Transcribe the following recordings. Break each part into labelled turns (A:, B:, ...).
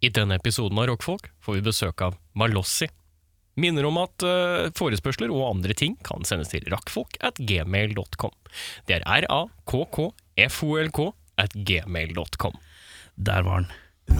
A: I denne episoden av Rockfolk får vi besøk av Malossi. Minner om at eh, forespørsler og andre ting kan sendes til rakkfolk at gmail.com. Det er r-a-k-k-f-o-l-k at gmail.com.
B: Der var den.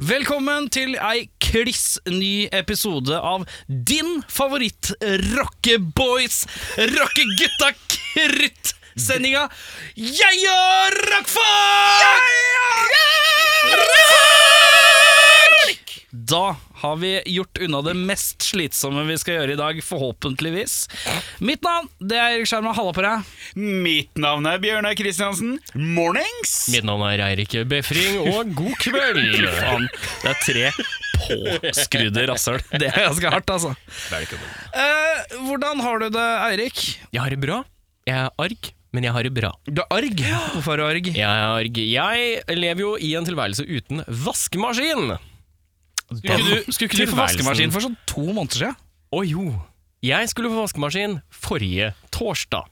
B: Velkommen til ei kliss ny episode av din favoritt rockeboys, rockegutta krutt sendinga Jeg og rockfolk! Da har vi gjort unna det mest slitsomme vi skal gjøre i dag, forhåpentligvis. Mitt navn det er Erik Skjerma. Halla på deg.
C: Mitt navn er Bjørnar Kristiansen. Mornings!
A: Mitt navn er Eirik Befring, og god kveld!
B: Faen, det er tre påskrudde rasshøl. Det er ganske hardt, altså.
A: Velkommen.
B: Eh, hvordan har du det, Eirik?
A: Jeg har det bra. Jeg er arg, men jeg har det bra.
B: Du er arg. Hvorfor er du arg?
A: Jeg er arg. Jeg lever jo i en tilværelse uten vaskemaskin.
B: Skulle du, skulle ikke du få
A: Tilværelsen.
B: vaskemaskin for sånn to måneder siden?
A: Å jo, jeg skulle få vaskemaskin forrige torsdag.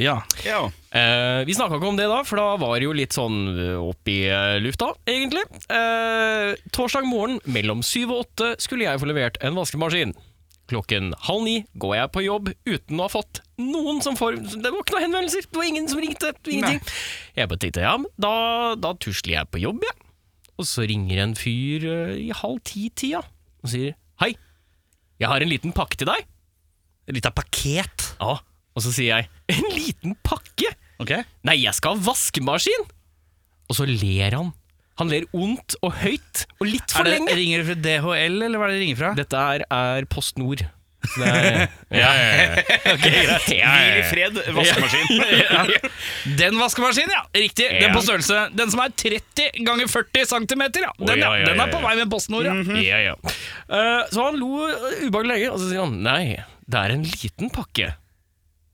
B: Ja.
C: Ja.
A: Eh, vi snakka ikke om det da, for da var det jo litt sånn eh, opp i eh, lufta, egentlig. Eh, torsdag morgen mellom syv og åtte skulle jeg få levert en vaskemaskin. Klokken halv ni går jeg på jobb uten å ha fått noen som får Det var ikke noen henvendelser, det var ingen som ringte. Ingenting. Jeg bare tenkte ja, men da, da tusler jeg på jobb, jeg. Og så ringer en fyr eh, i halv ti-tida og sier hei, jeg har en liten pakke til deg.
B: Litt av paket.
A: Ja, Og så sier jeg en liten pakke?
B: Ok.
A: Nei, jeg skal ha vaskemaskin! Og så ler han. Han ler ondt og høyt og litt for
B: Er det,
A: lenge.
B: ringer du fra DHL, eller hva er det de ringer fra?
A: Dette er, er Post Nord. Så Det er, ja, ja, ja. Okay, greit. Ja, ja,
C: Hvil i
A: ja.
C: fred, vaskemaskin.
B: Den vaskemaskinen, ja! Riktig. Den
A: Ja.
B: på størrelse. Den som er 30 ganger 40 cm, ja. Den,
A: Oi,
B: ja.
A: ja, ja,
B: Den
A: ja,
B: er på
A: ja.
B: vei med postnord, ja.
A: Ja, ja. Eh, så han lo eh, ubehagelig lenge, og så sier han nei, det er en liten pakke.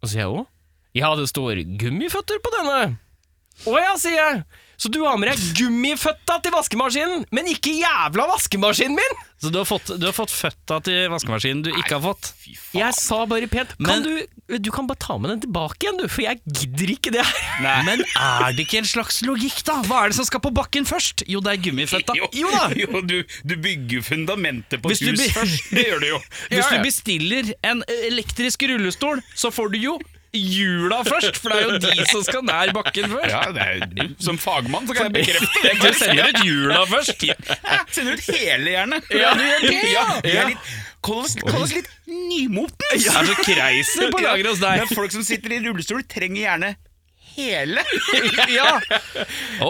A: Og så sier jeg òg. Ja, det står gummiføtter på denne. Å ja, sier jeg. Så du har med deg gummiføtta til vaskemaskinen, men ikke jævla vaskemaskinen min?
B: Så du har, fått, du har fått føtta til vaskemaskinen du ikke har fått?
A: Jeg sa bare pent kan
B: Men-
A: du, du kan bare ta med den tilbake igjen, du, for jeg gidder ikke det her.
B: Men er det ikke en slags logikk, da? Hva er det som skal på bakken først? Jo, det er gummiføtta. Jo da!
C: Jo, du, du bygger fundamentet på
B: Hvis
C: et
B: du
C: hus
B: blir-
C: først. Det gjør du jo.
B: Hvis
A: Ja, ja.
B: du bestiller en elektrisk rullestol, så får du jo hjula først, for det er jo de som skal nær bakken først.
C: Ja, det er, som fagmann så kan jeg bekrefte det.
B: Du sender ut hjula først.
C: Jeg Sender ut hele hjernen.
B: Ja, du gjør det, ja.
C: jeg er litt, kall, oss, kall oss litt nymotens.
B: Det er så kreiser på lageret hos
C: Men
B: deg.
C: folk som sitter i rullestol, trenger gjerne hele.
B: Ja.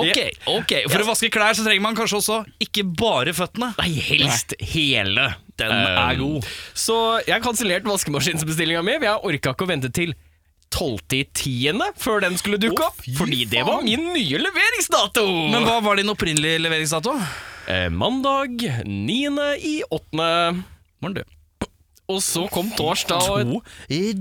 B: Ok, ok. For å vaske klær så trenger man kanskje også ikke bare føttene.
A: Nei, helst hele.
B: Den er god.
A: Så jeg kansellerte vaskemaskinsbestillinga mi. for Jeg orka ikke å vente til 12.10. før den skulle dukke
C: Å,
A: opp.
C: fy
A: Fordi det var
C: faen.
A: min nye leveringsdato!
B: Men hva var din opprinnelige leveringsdato?
A: eh, mandag 9. i 8.
B: Morn, du.
A: Og så kom torsdag og
B: To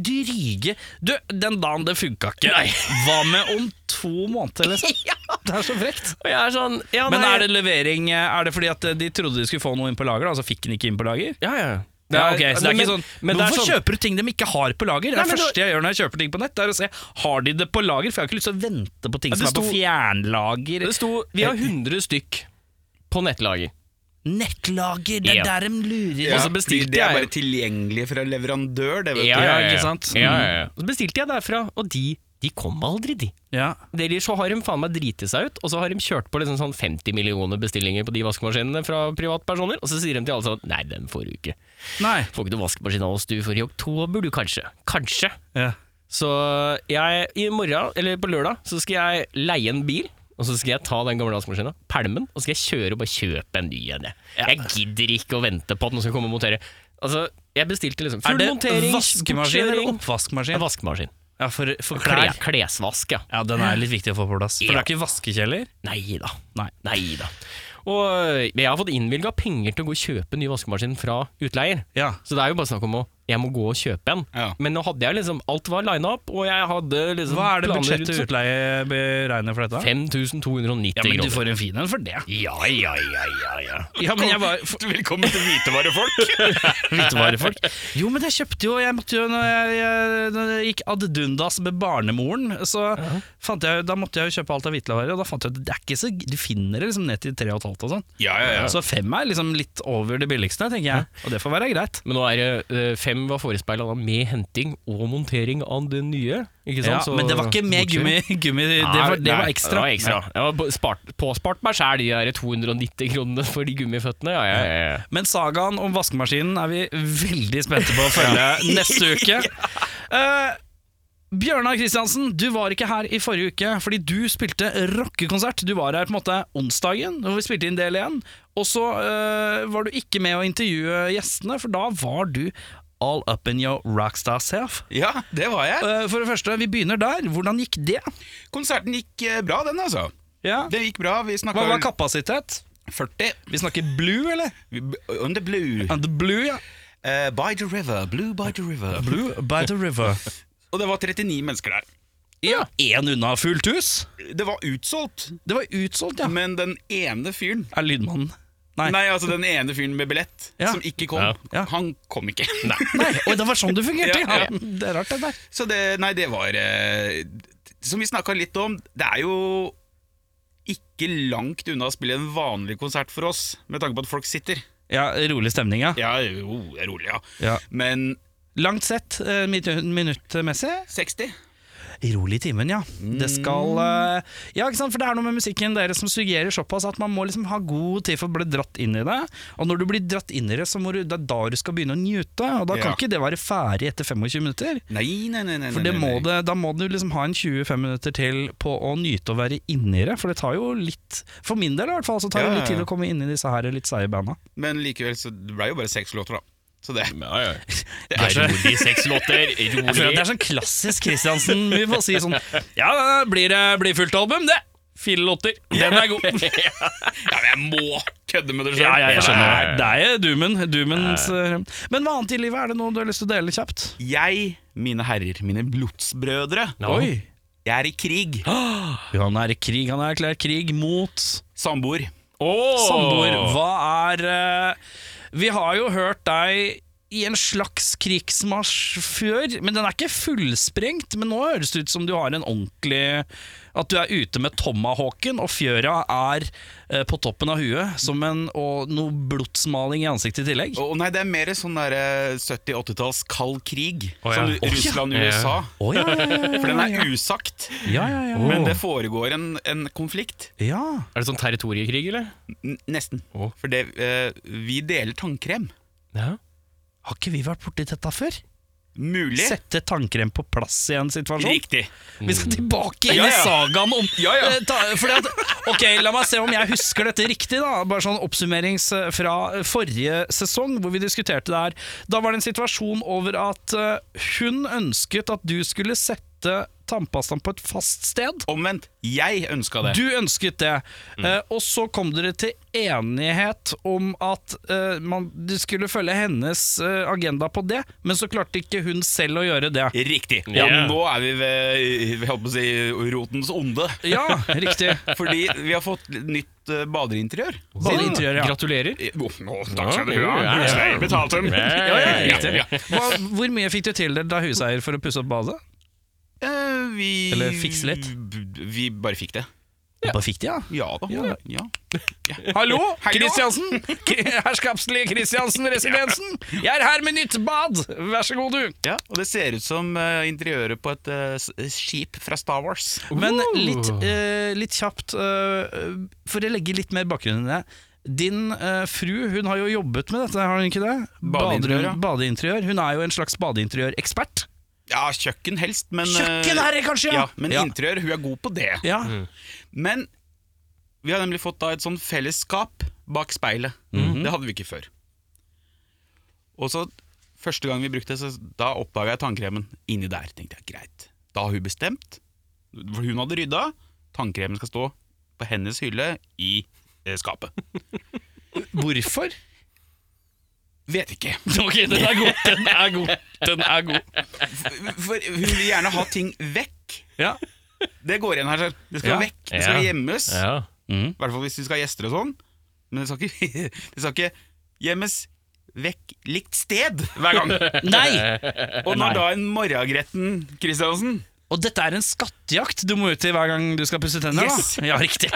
B: dryge Du, den dagen det funka ikke.
A: Nei.
B: Hva med om to måneder, liksom? Det er så frekt.
A: Og jeg er sånn ja,
B: Men
A: nei,
B: er det levering eh, Er det fordi at de trodde de skulle få noe inn på lager, da, og så fikk den ikke inn på lager?
A: Ja, ja. Det
B: Ja,
A: er-
B: ok, så det er
A: men-
B: ikke
A: men
B: sånn
A: det er
B: Hvorfor
A: sånn-
B: kjøper du ting de ikke har på lager? Det
A: Nei,
B: er
A: men
B: første
A: det-
B: jeg gjør når jeg kjøper ting på nett, Det er å se har de det på lager. For jeg har ikke lyst til å vente på ting
A: Ja,
B: som
A: det
B: er på
A: sto-
B: fjernlager.
A: Det sto Vi har 100 stykk på nettlager.
B: Nettlager, det er
A: Ja.
B: der de lurer.
A: Ja.
B: Ja.
A: så bestilte
C: det er
A: jeg-
C: bare tilgjengelig fra leverandør, det vet
B: Ja,
C: du.
B: ja, ikke sant?
A: Ja, ja, ja. Mm. Så bestilte jeg derfra, og de, de kom aldri, de. Eller så har de faen meg driti seg ut, og så har de kjørt på liksom sånn 50 millioner bestillinger på de vaskemaskinene fra privatpersoner, og så sier de til alle sånn Nei, den får du ikke.
B: Nei.
A: Får ikke du vaskemaskin av oss, du, for i oktober, du, kanskje. Kanskje.
B: Ja.
A: Så jeg, i morgen, eller på lørdag, så skal jeg leie en bil. Og så skal jeg ta den gamle vaskemaskina, pælme den, og så skal jeg kjøre og bare kjøpe en ny en. Jeg. jeg gidder ikke å vente på at den skal komme og montere. Altså, jeg bestilte liksom
B: Er
A: full
B: det
A: montering,
B: vaskemaskin eller
A: bortkjøring.
B: oppvaskmaskin?
A: En vaskemaskin.
B: Ja, for, for
A: Kle,
B: klær.
A: klesvask, ja.
B: Ja, den er litt viktig å få på plass. For
A: Ja.
B: det er ikke vaskekjeller?
A: Nei da.
B: Nei.
A: Nei da. Og øh, jeg har fått innvilga penger til å gå og kjøpe ny vaskemaskin fra utleier.
B: Ja.
A: Så det er jo bare snakk om å jeg må gå og kjøpe en.
C: Ja.
A: Men nå hadde jeg liksom Alt var lina opp, og jeg hadde liksom
B: Hva er det
A: planer
B: budsjettet
A: rundt-
B: utleie beregner for dette?
A: 5290
B: Ja, men du
A: kroner.
B: får en fin en for det.
C: Ja, ja, ja, ja, ja.
B: Ja, men jeg var
C: Velkommen til hvitevarefolk.
B: Hvitevarefolk. Jo, men jeg kjøpte jo Jeg måtte jo Når jeg, jeg, når jeg gikk ad dundas med barnemoren, så fant jeg Da måtte jeg jo kjøpe alt av hvitevarer, og da fant jeg at det er ikke så Du finner det liksom ned til tre og et halvt og sånn.
C: ja, ja, ja.
B: Så fem er liksom litt over det billigste, tenker jeg. Og det får være greit.
A: Men nå er det øh, fem var forespeila da med henting og montering av det nye. Ikke sant?
B: Ja,
A: Så-
B: men det var ikke med
A: bortkjøring.
B: gummi, gummi det, var, det
A: Nei,
B: var
A: nei,
B: ekstra.
A: Det var ekstra. Jeg var på- spart, påspart meg sjæl de der 290 kronene for de gummiføttene. Ja, ja, ja, ja.
B: Men sagaen om vaskemaskinen er vi veldig spente på å følge neste uke. Eh, Bjørnar Kristiansen, du var ikke her i forrige uke fordi du spilte rockekonsert. Du var her på en måte onsdagen, hvor vi spilte inn del én. Og så eh, var du ikke med å intervjue gjestene, for da var du all up in your rockstar self.
C: Ja, det var jeg.
B: Eh, for det første, vi begynner der. Hvordan gikk det?
C: Konserten gikk eh, bra, den, altså.
B: Ja.
C: Det gikk bra. Vi snakka
B: Hva var kapasitet?
C: 40.
B: Vi snakker blue, eller?
C: On the blue.
B: And the blue, ja.
C: Eh, by the river. Blue by the river.
B: Blue by the river.
C: Og det var 39 mennesker der.
B: Ja, Én unna fullt hus.
C: Det var utsolgt,
B: Det var utsolgt, ja.
C: men den ene fyren
B: Er lydmannen Nei.
C: Nei, altså den ene fyren med billett
B: Ja.
C: som ikke kom.
A: Ja.
B: Ja.
C: Han kom ikke.
B: Nei, oi, det var sånn det fungerte,
C: Ja,
B: ja.
C: ja.
B: Det er rart, det der.
C: Så det, nei, det var eh, Som vi snakka litt om, det er jo ikke langt unna å spille en vanlig konsert for oss, med tanke på at folk sitter.
B: Ja, Rolig stemning, ja.
C: Ja, jo, det er rolig, ja.
B: Ja.
C: Men
B: Langt sett, eh, minu- minuttmessig.
C: 60?
B: Rolig i timen, ja. Det skal eh, Ja, ikke sant, for det er noe med musikken dere som suggerer såpass at man må liksom ha god tid for å bli dratt inn i det. Og når du blir dratt inn i det, så må du, det er da du skal begynne å njute. Og da kan
C: Ja.
B: ikke det være ferdig etter 25 minutter.
C: Nei, nei, nei. nei
B: For det
C: nei,
B: må
C: nei.
B: det, da må du liksom ha en 25 minutter til på å nyte å være inni det, for det tar jo litt For min del i hvert fall, så tar det
C: Ja, ja,
B: litt
C: ja.
B: tid å komme inn i disse her litt seige banda.
C: Men likevel, så det ble jo bare seks låter, da. Så det
A: Ja, ja. Det
B: er
A: er
B: så-
A: rolig seks låter.
B: Jeg føler at det
A: Rolig.
B: er sånn klassisk Kristiansen. Vi får si sånn Ja, det blir, det blir fullt album, det. Fire låter. Den er god.
C: Ja, men jeg må kødde med det sjøl!
B: Ja, ja, jeg skjønner.
A: ja, ja.
B: Det er doomen. Doomens eh, Men hva annet i livet er det noe du har lyst til å dele kjapt?
C: Jeg, mine herrer, mine blodsbrødre,
A: Ja.
B: Oi.
C: jeg er i krig.
B: Han er i krig. Han har erklært krig mot
C: Samboer.
A: sånn- Åh!
B: Samboer, hva er eh, Vi har jo hørt deg i en slags krigsmarsj før, men den er ikke fullsprengt. Men nå høres det ut som du har en ordentlig At du er ute med tomahawken, og fjøra er eh, på toppen av huet, som en, og noe blodsmaling i ansiktet i tillegg.
C: Å nei, det er mer sånn der eh, 70-80-talls kald krig.
A: Å,
C: Som
A: ja.
C: du- Russland og
A: Ja.
C: USA.
B: Å ja, ja, ja,
C: For den er usagt.
B: ja, ja, ja.
C: Men det foregår en, en konflikt.
B: ja.
A: Er det sånn territoriekrig, eller?
C: N nesten.
A: Å.
C: For det, eh, vi deler tannkrem.
A: Ja.
B: Har ikke vi vært borti dette før?
C: Mulig.
B: Sette tannkrem på plass i en
A: sånn.
B: situasjon?
C: Riktig.
B: Vi skal tilbake inn
C: Mm. Ja,
B: i
C: ja.
B: sagaen om
C: Ja, ja.
B: Eh, ta, fordi at, Ok, la meg se om jeg husker dette riktig da Bare sånn oppsummerings eh, fra forrige sesong Hvor vi diskuterte det her Da var det en situasjon over at eh, Hun ønsket at du skulle sette Tannpastaen på et fast sted
C: Omvendt. Jeg ønska det.
B: du ønsket det,
C: Mm.
B: eh, og så kom dere til enighet om at eh, man, du skulle følge hennes eh, agenda på det, men så klarte ikke hun selv å gjøre det.
C: Riktig.
A: Ja.
C: Og nå er vi ved vi holdt på å si, rotens onde.
B: Ja, riktig.
C: Fordi vi har fått nytt eh, badeinteriør.
B: Badeinteriør, ja.
A: Gratulerer.
C: Eh, oh, å, takk skal du
A: Ja,
C: ha.
A: ja, ja.
C: Husleie betalt dem.
A: Ja, ja, ja.
C: Riktig. Ja.
B: Hva, hvor mye fikk du tildelt av huseier for å pusse opp badet?
C: Eh, vi
B: Eller fikse litt?
C: b- Vi bare fikk det.
B: Bare fikk de, ja.
C: Ja da.
B: Ja.
C: Ja.
B: Hallo,
C: Hallo?
B: Kristiansen! Kri- Herskapslige Kristiansen-residensen! Jeg er her med nytt bad! Vær så god, du.
C: Ja, og det ser ut som eh, interiøret på et eh, s- skip fra Star Wars.
B: Men
A: Oh.
B: litt, eh, litt kjapt, eh, for å legge litt mer bakgrunn i det. Din eh, fru hun har jo jobbet med dette, har hun ikke det?
C: Badeinteriør, ja.
B: Baderom- Badeinteriør. Hun er jo en slags badeinteriørekspert.
C: Ja, kjøkken helst, men eh,
B: Kjøkkenherre, kanskje!
C: Ja, men
B: ja. Mm.
C: interiør, hun er god på det.
B: ja.
C: Men vi har nemlig fått da et sånn fellesskap bak speilet.
A: Mhm.
C: Det hadde vi ikke før. Og så første gang vi brukte det, så da oppdaga jeg tannkremen inni der. tenkte jeg, greit. Da har hun bestemt. For hun hadde rydda. Tannkremen skal stå på hennes hylle i eh, skapet.
B: Hvorfor?
C: Vet ikke.
B: Ok, den er god. Den er god. Den er god.
C: For hun vil gjerne ha ting vekk.
B: Ja.
C: Det går igjen her. selv. Det skal
B: Ja.
C: vekk, det skal
A: Ja.
C: gjemmes.
A: Ja.
C: I hvert fall hvis vi skal ha gjester og sånn. Men det skal ikke, det skal ikke gjemmes vekk likt sted hver gang.
B: Nei!
C: Og når da en morgengretten Kristiansen
B: Og dette er en skattejakt du må ut i hver gang du skal pusse tenner.
C: Yes.
B: Da. Ja, riktig.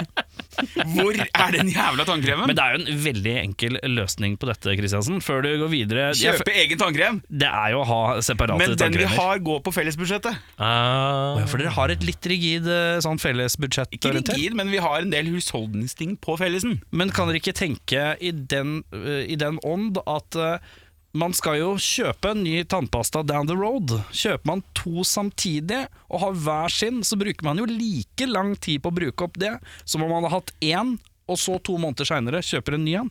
C: Hvor er den jævla tannkremen?
B: Men det er jo en veldig enkel løsning på dette, Kristiansen. Før du går videre Jeg
C: Kjøpe egen tannkrem,
B: fø- Det er jo å ha separate
C: men den vi
B: tannkremer.
C: har, går på fellesbudsjettet.
A: Ah.
B: Å ja, For dere har et litt rigid eh, sånn felles budsjett?
C: Ikke
B: orientert.
C: rigid, men vi har en del husholdningsting på fellesen.
B: Men kan dere ikke tenke i den, eh, i den ånd at eh, man skal jo kjøpe en ny tannpasta down the road. Kjøper man to samtidig og har hver sin, så bruker man jo like lang tid på å bruke opp det som om man har hatt én, og så to måneder seinere kjøper en ny en.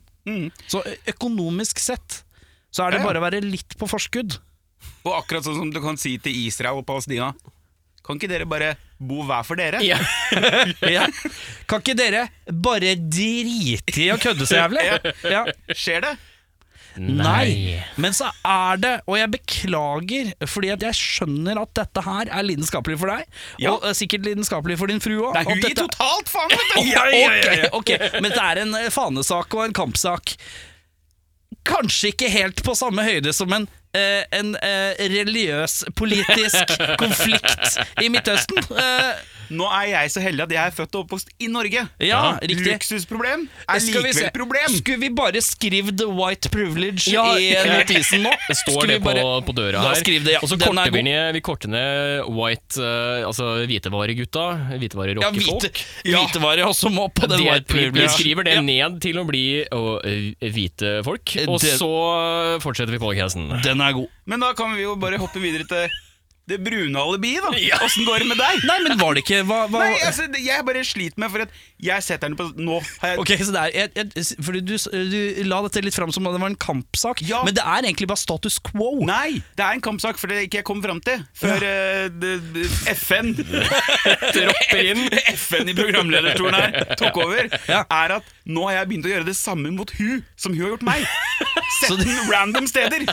B: Så ø- økonomisk sett så er det
C: Mm. Ja, ja.
B: bare å være litt på forskudd.
C: Og akkurat sånn som du kan si til Israel og Palestina Kan ikke dere bare bo hver for dere?
A: Ja.
B: Ja. Kan ikke dere bare drite i å kødde så jævlig? Ja.
C: Skjer det?
B: Nei. Men så er det, og jeg beklager, fordi at jeg skjønner at dette her er lidenskapelig for deg,
C: Ja.
B: og eh, sikkert lidenskapelig for din frue òg.
C: Nei, hun gir totalt faen! vet du!
B: Ok, men det er en eh, fanesak og en kampsak. Kanskje ikke helt på samme høyde som en, eh, en eh, religiøs, politisk konflikt i Midtøsten. Eh,
C: Nå er jeg så heldig at jeg er født og oppvokst i Norge.
B: Ja, riktig.
C: Luksusproblem er
B: skal vi
C: likevel
B: se-
C: problem.
B: Skulle vi bare skrevet 'white privilege'
A: Ja,
B: i eh, notisen nå?
A: Står
B: Skulle
A: det på,
B: vi bare-
A: på døra
B: Da
A: her.
B: skriv det, ja.
A: Og så
B: Den er
A: korter vi
B: god.
A: ned, vi korter ned white, eh, altså hvitevaregutta,
B: Ja,
A: hvitevarerockefolk.
B: hvite, hvitevare også må på den
A: Det-
B: white
A: Vi
B: privilege.
A: skriver det ned til å bli å, eh, hvite folk, og
B: Eh, Det-
A: så fortsetter vi podcasten.
B: Den er god.
C: Men da kan vi jo bare hoppe videre til det brune alibiet, da. Åssen går det med deg?
B: Nei, men var det ikke hva, hva?
C: Nei, altså, det- jeg bare sliter med for at jeg setter den på Nå har jeg
B: Ok, så det er jeg, jeg, Fordi du, s- du la dette litt fram som om det var en kampsak,
C: Ja.
B: men det er egentlig bare status quo.
C: Nei, det er en kampsak for det ikke jeg kom fram til før eh, det- det- FN dropper inn. FN i programlederstolen her tok over.
B: Ja.
C: Er at nå har jeg begynt å gjøre det samme mot hun som hun har gjort meg. Sett
B: Så det-
C: den random steder.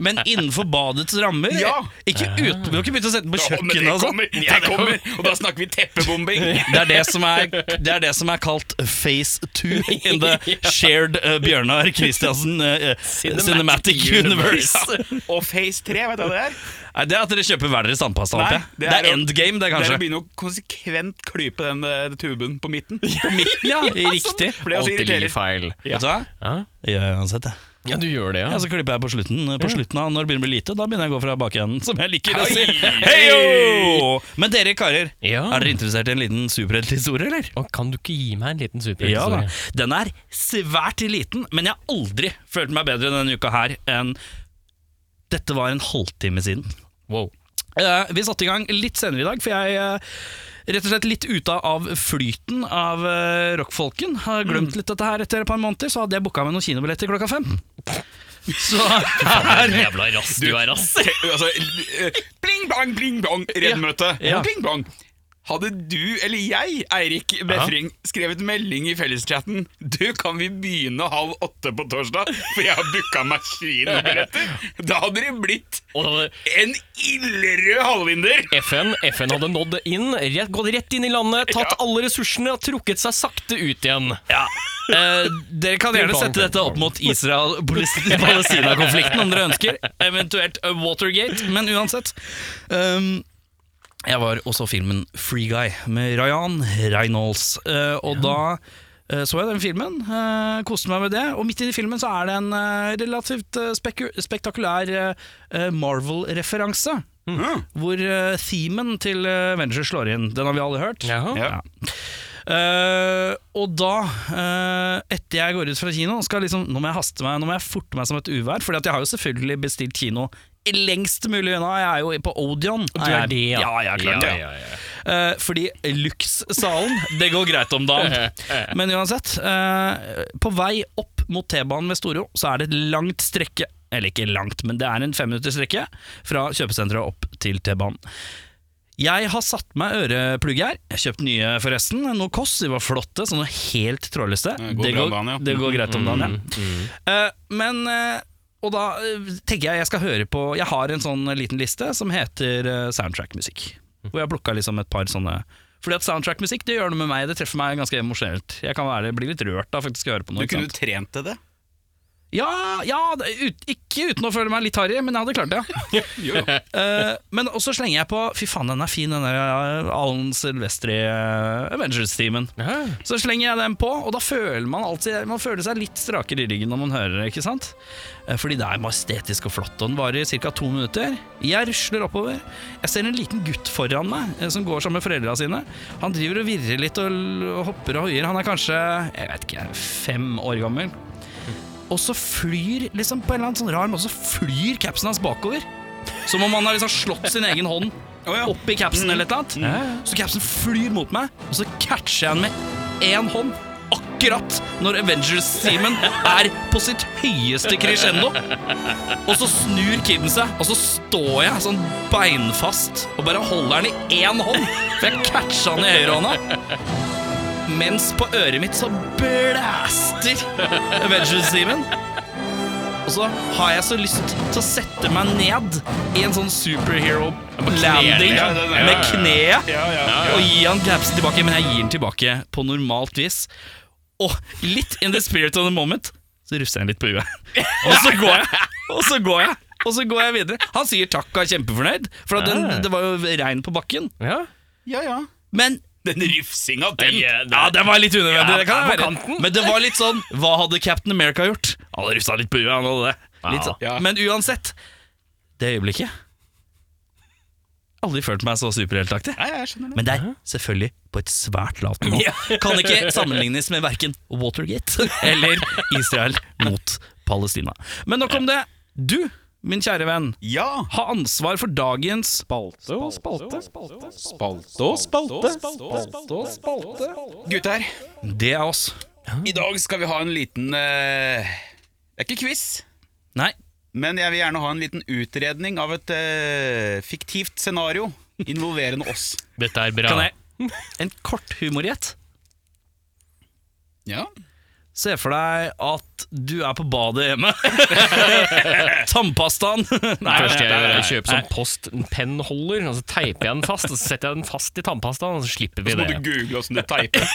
B: Men innenfor badets rammer.
C: Ja.
B: Ikke uten, Du har ikke begynt å sette den på
C: Ja, men
B: kjøkkenet og sånn.
C: det kommer, og da snakker vi teppebombing.
B: Det er det, som er, det er det som er kalt phase two in the shared eh, Bjørnar Kristiansen eh, eh, cinematic, universe.
C: Og Phase 3, vet du hva det er?
B: Nei, det er at dere kjøper hver deres tannpasta.
C: Nei,
B: håper jeg. Det er
C: å-
B: endgame, det,
C: Det
B: kanskje.
C: er å begynne å konsekvent klype den eh, tuben på midten. På midten.
B: Ja, riktig.
C: For det er også
A: Alltid
C: irriterende.
A: ligger feil.
B: Vet du hva?
A: Ja?
B: Jeg Gjør jeg uansett, jeg.
A: ja, du gjør det, ja.
B: Ja, så klipper jeg på slutten. eh, På slutten av Når det begynner å bli lite, da begynner jeg å gå fra bakenden, som jeg liker å si. Heio! Men dere karer,
A: Ja.
B: er dere interessert i en liten superhelthistorie, eller?
A: Og kan du ikke gi meg en liten
B: Ja da.
A: superhistorie?
B: Den er svært liten, men jeg har aldri følt meg bedre denne uka her enn Dette var en halvtime siden.
A: wow.
B: Eh, vi satte i gang litt senere i dag, for jeg eh, rett og slett litt ute av flyten av eh, rockfolken. Har glemt litt dette her etter et par måneder, så hadde jeg booka med noen kinobilletter klokka fem. Så her
A: Jævla rass du er, ass.
C: Te- altså, eh, Pling bang, pling bang, reddmøte.
B: Ja.
C: Pling bang. Hadde du eller jeg, Eirik Befring, skrevet melding i felleschatten 'Du, kan vi begynne halv åtte på torsdag, for jeg har booka meg kinobilletter', da hadde det blitt
A: Og
C: en ildrød halvinder!
A: FN, FN hadde nådd inn, rett, gått rett inn i landet, tatt alle ressursene og trukket seg sakte ut igjen.
B: Ja. Eh, dere kan gjerne sette dette opp mot Israel-Palestina-konflikten om dere ønsker. Eventuelt eh, Watergate, men uansett. Um, jeg var og så filmen Free Guy med Ryan Reynolds. eh, og da eh, så jeg den filmen, eh, koste meg med det. Og midt inni filmen så er det en eh, relativt eh, speku spektakulær eh, eh, Marvel-referanse. Hvor eh, themen til eh, Avengers slår inn. Den har vi alle hørt.
A: Jaha.
C: Ja.
B: Eh, og da, eh, etter jeg går ut fra kino, skal jeg liksom, nå må jeg haste meg, nå må jeg forte meg som et uvær, Fordi at jeg har jo selvfølgelig bestilt kino lengst mulig unna. Jeg er jo på Odeon.
A: Du er det,
B: ja. Ja, jeg er klart det.
A: Ja, ja, ja.
B: Eh, fordi Lux-salen, det går greit om dagen. Men uansett, eh, på vei opp mot T-banen ved Storo, så er det et langt strekke. Eller ikke langt, men det er en femminuttersstrekke fra kjøpesenteret opp til T-banen. Jeg har satt meg øreplugger. Jeg kjøpt nye, forresten. Noe Koss. De var flotte. Sånne helt trådløse.
C: Det
B: det,
C: går
B: går,
C: bra om dagen, ja.
B: det går greit om dagen, ja. Eh, men eh, Og da eh, tenker jeg jeg skal høre på Jeg har en sånn liten liste som heter eh, soundtrackmusikk. Hvor jeg har plukka liksom et par sånne Fordi at soundtrackmusikk det gjør noe med meg. Det treffer meg ganske emosjonelt. Jeg kan være, bli litt rørt av faktisk å høre på noe.
C: Du
B: ikke
C: kunne
B: sant?
C: jo trent til det.
B: Ja, ja det- ut, ikke uten å føle meg litt harry, men jeg hadde klart det. ja.
C: Jo, jo.
B: Eh, men også slenger jeg på Fy faen, den er fin, den der eh, Alan Silvestri eh, Avengers-teamen. Så slenger jeg den på, og da føler man alltid Man føler seg litt strakere i ryggen når man hører det, ikke sant? Eh, Fordi det er majestetisk og flott, og den varer i ca. to minutter. Jeg rusler oppover. Jeg ser en liten gutt foran meg eh, som går sammen med foreldra sine. Han driver og virrer litt og l- og hopper og hoier. Han er kanskje jeg vet ikke, fem år gammel. Og så flyr liksom på en eller annen sånn rar måte Så flyr capsen hans bakover. Som om han har liksom slått sin egen hånd
C: Å ja. Mm.
B: opp i capsen eller et eller annet. Så capsen flyr mot meg, og så catcher jeg den med én hånd. Akkurat når Avengers-teamen er på sitt høyeste crescendo. Og så snur kiden seg, og så står jeg sånn beinfast og bare holder den i én hånd. For jeg catcha den i høyrehånda. Mens på øret mitt så blæster Avengers-teamen. Og så har jeg så lyst til å sette meg ned i en sånn superhero-landing
A: Ja,
C: den er-
B: med
C: ja, ja, ja.
B: kneet
C: Ja, ja, ja.
B: og gi han capsen tilbake, men jeg gir den tilbake på normalt vis. Og litt in the spirit of the moment, så russer jeg den litt på huet. Og så går jeg, og så går jeg, og så går jeg videre. Han sier takk og er kjempefornøyd, for at
C: Ah.
B: den, det var jo regn på bakken.
A: Ja.
C: ja, ja.
B: Men
C: Den rufsinga, den!
A: Ja, det-
B: ja, det var litt unødvendig.
A: Ja,
B: det kan
A: på
B: være.
A: kanten.
B: Men det var litt sånn Hva hadde Captain America gjort? Han hadde russa litt på huet, han hadde det. Litt sånn.
C: Ja.
B: Men uansett, det øyeblikket Aldri følt meg så superheltaktig.
C: Ja, ja, jeg skjønner det.
B: Men det er selvfølgelig på et svært lavt nivå. Kan ikke sammenlignes med verken Watergate eller Israel mot Palestina. Men nok om det. Du, min kjære venn,
C: Ja!
B: har ansvar for dagens spalte.
C: Gutter,
B: Det er oss.
C: i dag skal vi ha en liten eh, Det er ikke quiz,
B: Nei.
C: men jeg vil gjerne ha en liten utredning av et eh, fiktivt scenario involverende oss.
A: Dette er bra.
B: Kan jeg En kort humorgjett?
C: Ja,
B: Se for deg at du er på badet hjemme. Tannpastaen Nei,
A: Først jeg gjør, er å kjøpe
B: nei.
A: sånn postpennholder, og så teiper jeg den fast, og så setter jeg den fast i tannpastaen, og så slipper vi
C: Så må du
A: det.
C: google åssen du teiper.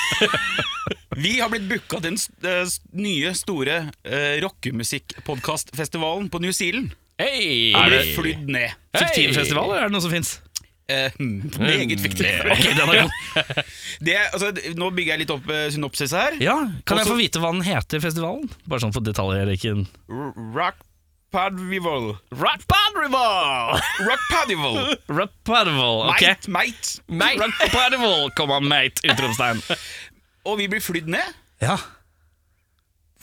C: Vi har blitt booka til den s- eh, s- nye, store uh, rockemusikkpodkastfestivalen på New Zealand.
A: Hei!
C: Og blitt flydd ned.
B: Fiktiv festival, eller er det noe som fins?
C: Eh, hmm, meget fiktivt.
B: Ok, den er god.
C: Det, er- altså, det- nå bygger jeg litt opp eh, synopsis her.
B: Ja, Kan jeg
C: Også-
B: få vite hva den heter, festivalen? Bare sånn for detaljer. Ikke en
C: R- Rock Padrival.
A: Rock Band Revolve!
C: Rock Padrival.
B: Rapparvel, ok?
C: Mate, mate.
B: Rapparvel, komma mate, utropstegn.
C: Og vi blir flydd ned.
B: Ja.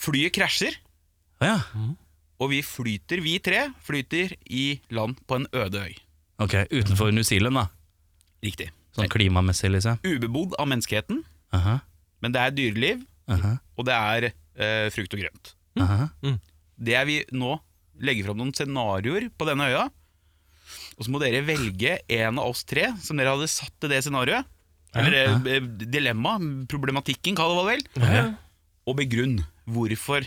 C: Flyet krasjer,
B: Å ja.
C: og vi flyter, vi tre, flyter i land på en øde øy.
B: Ok, utenfor New Zealand, da.
C: Riktig.
B: Sånn klimamessig, liksom.
C: Ubebodd av menneskeheten,
B: Aha,
C: men det er dyreliv.
B: aha,
C: og det er eh, frukt og grønt.
B: aha.
C: Det er vi nå legger fram noen scenarioer på denne øya. Og så må dere velge en av oss tre som dere hadde satt til det scenarioet. Eller eh, dilemma, problematikken, kall det hva det vil. Og begrunn hvorfor.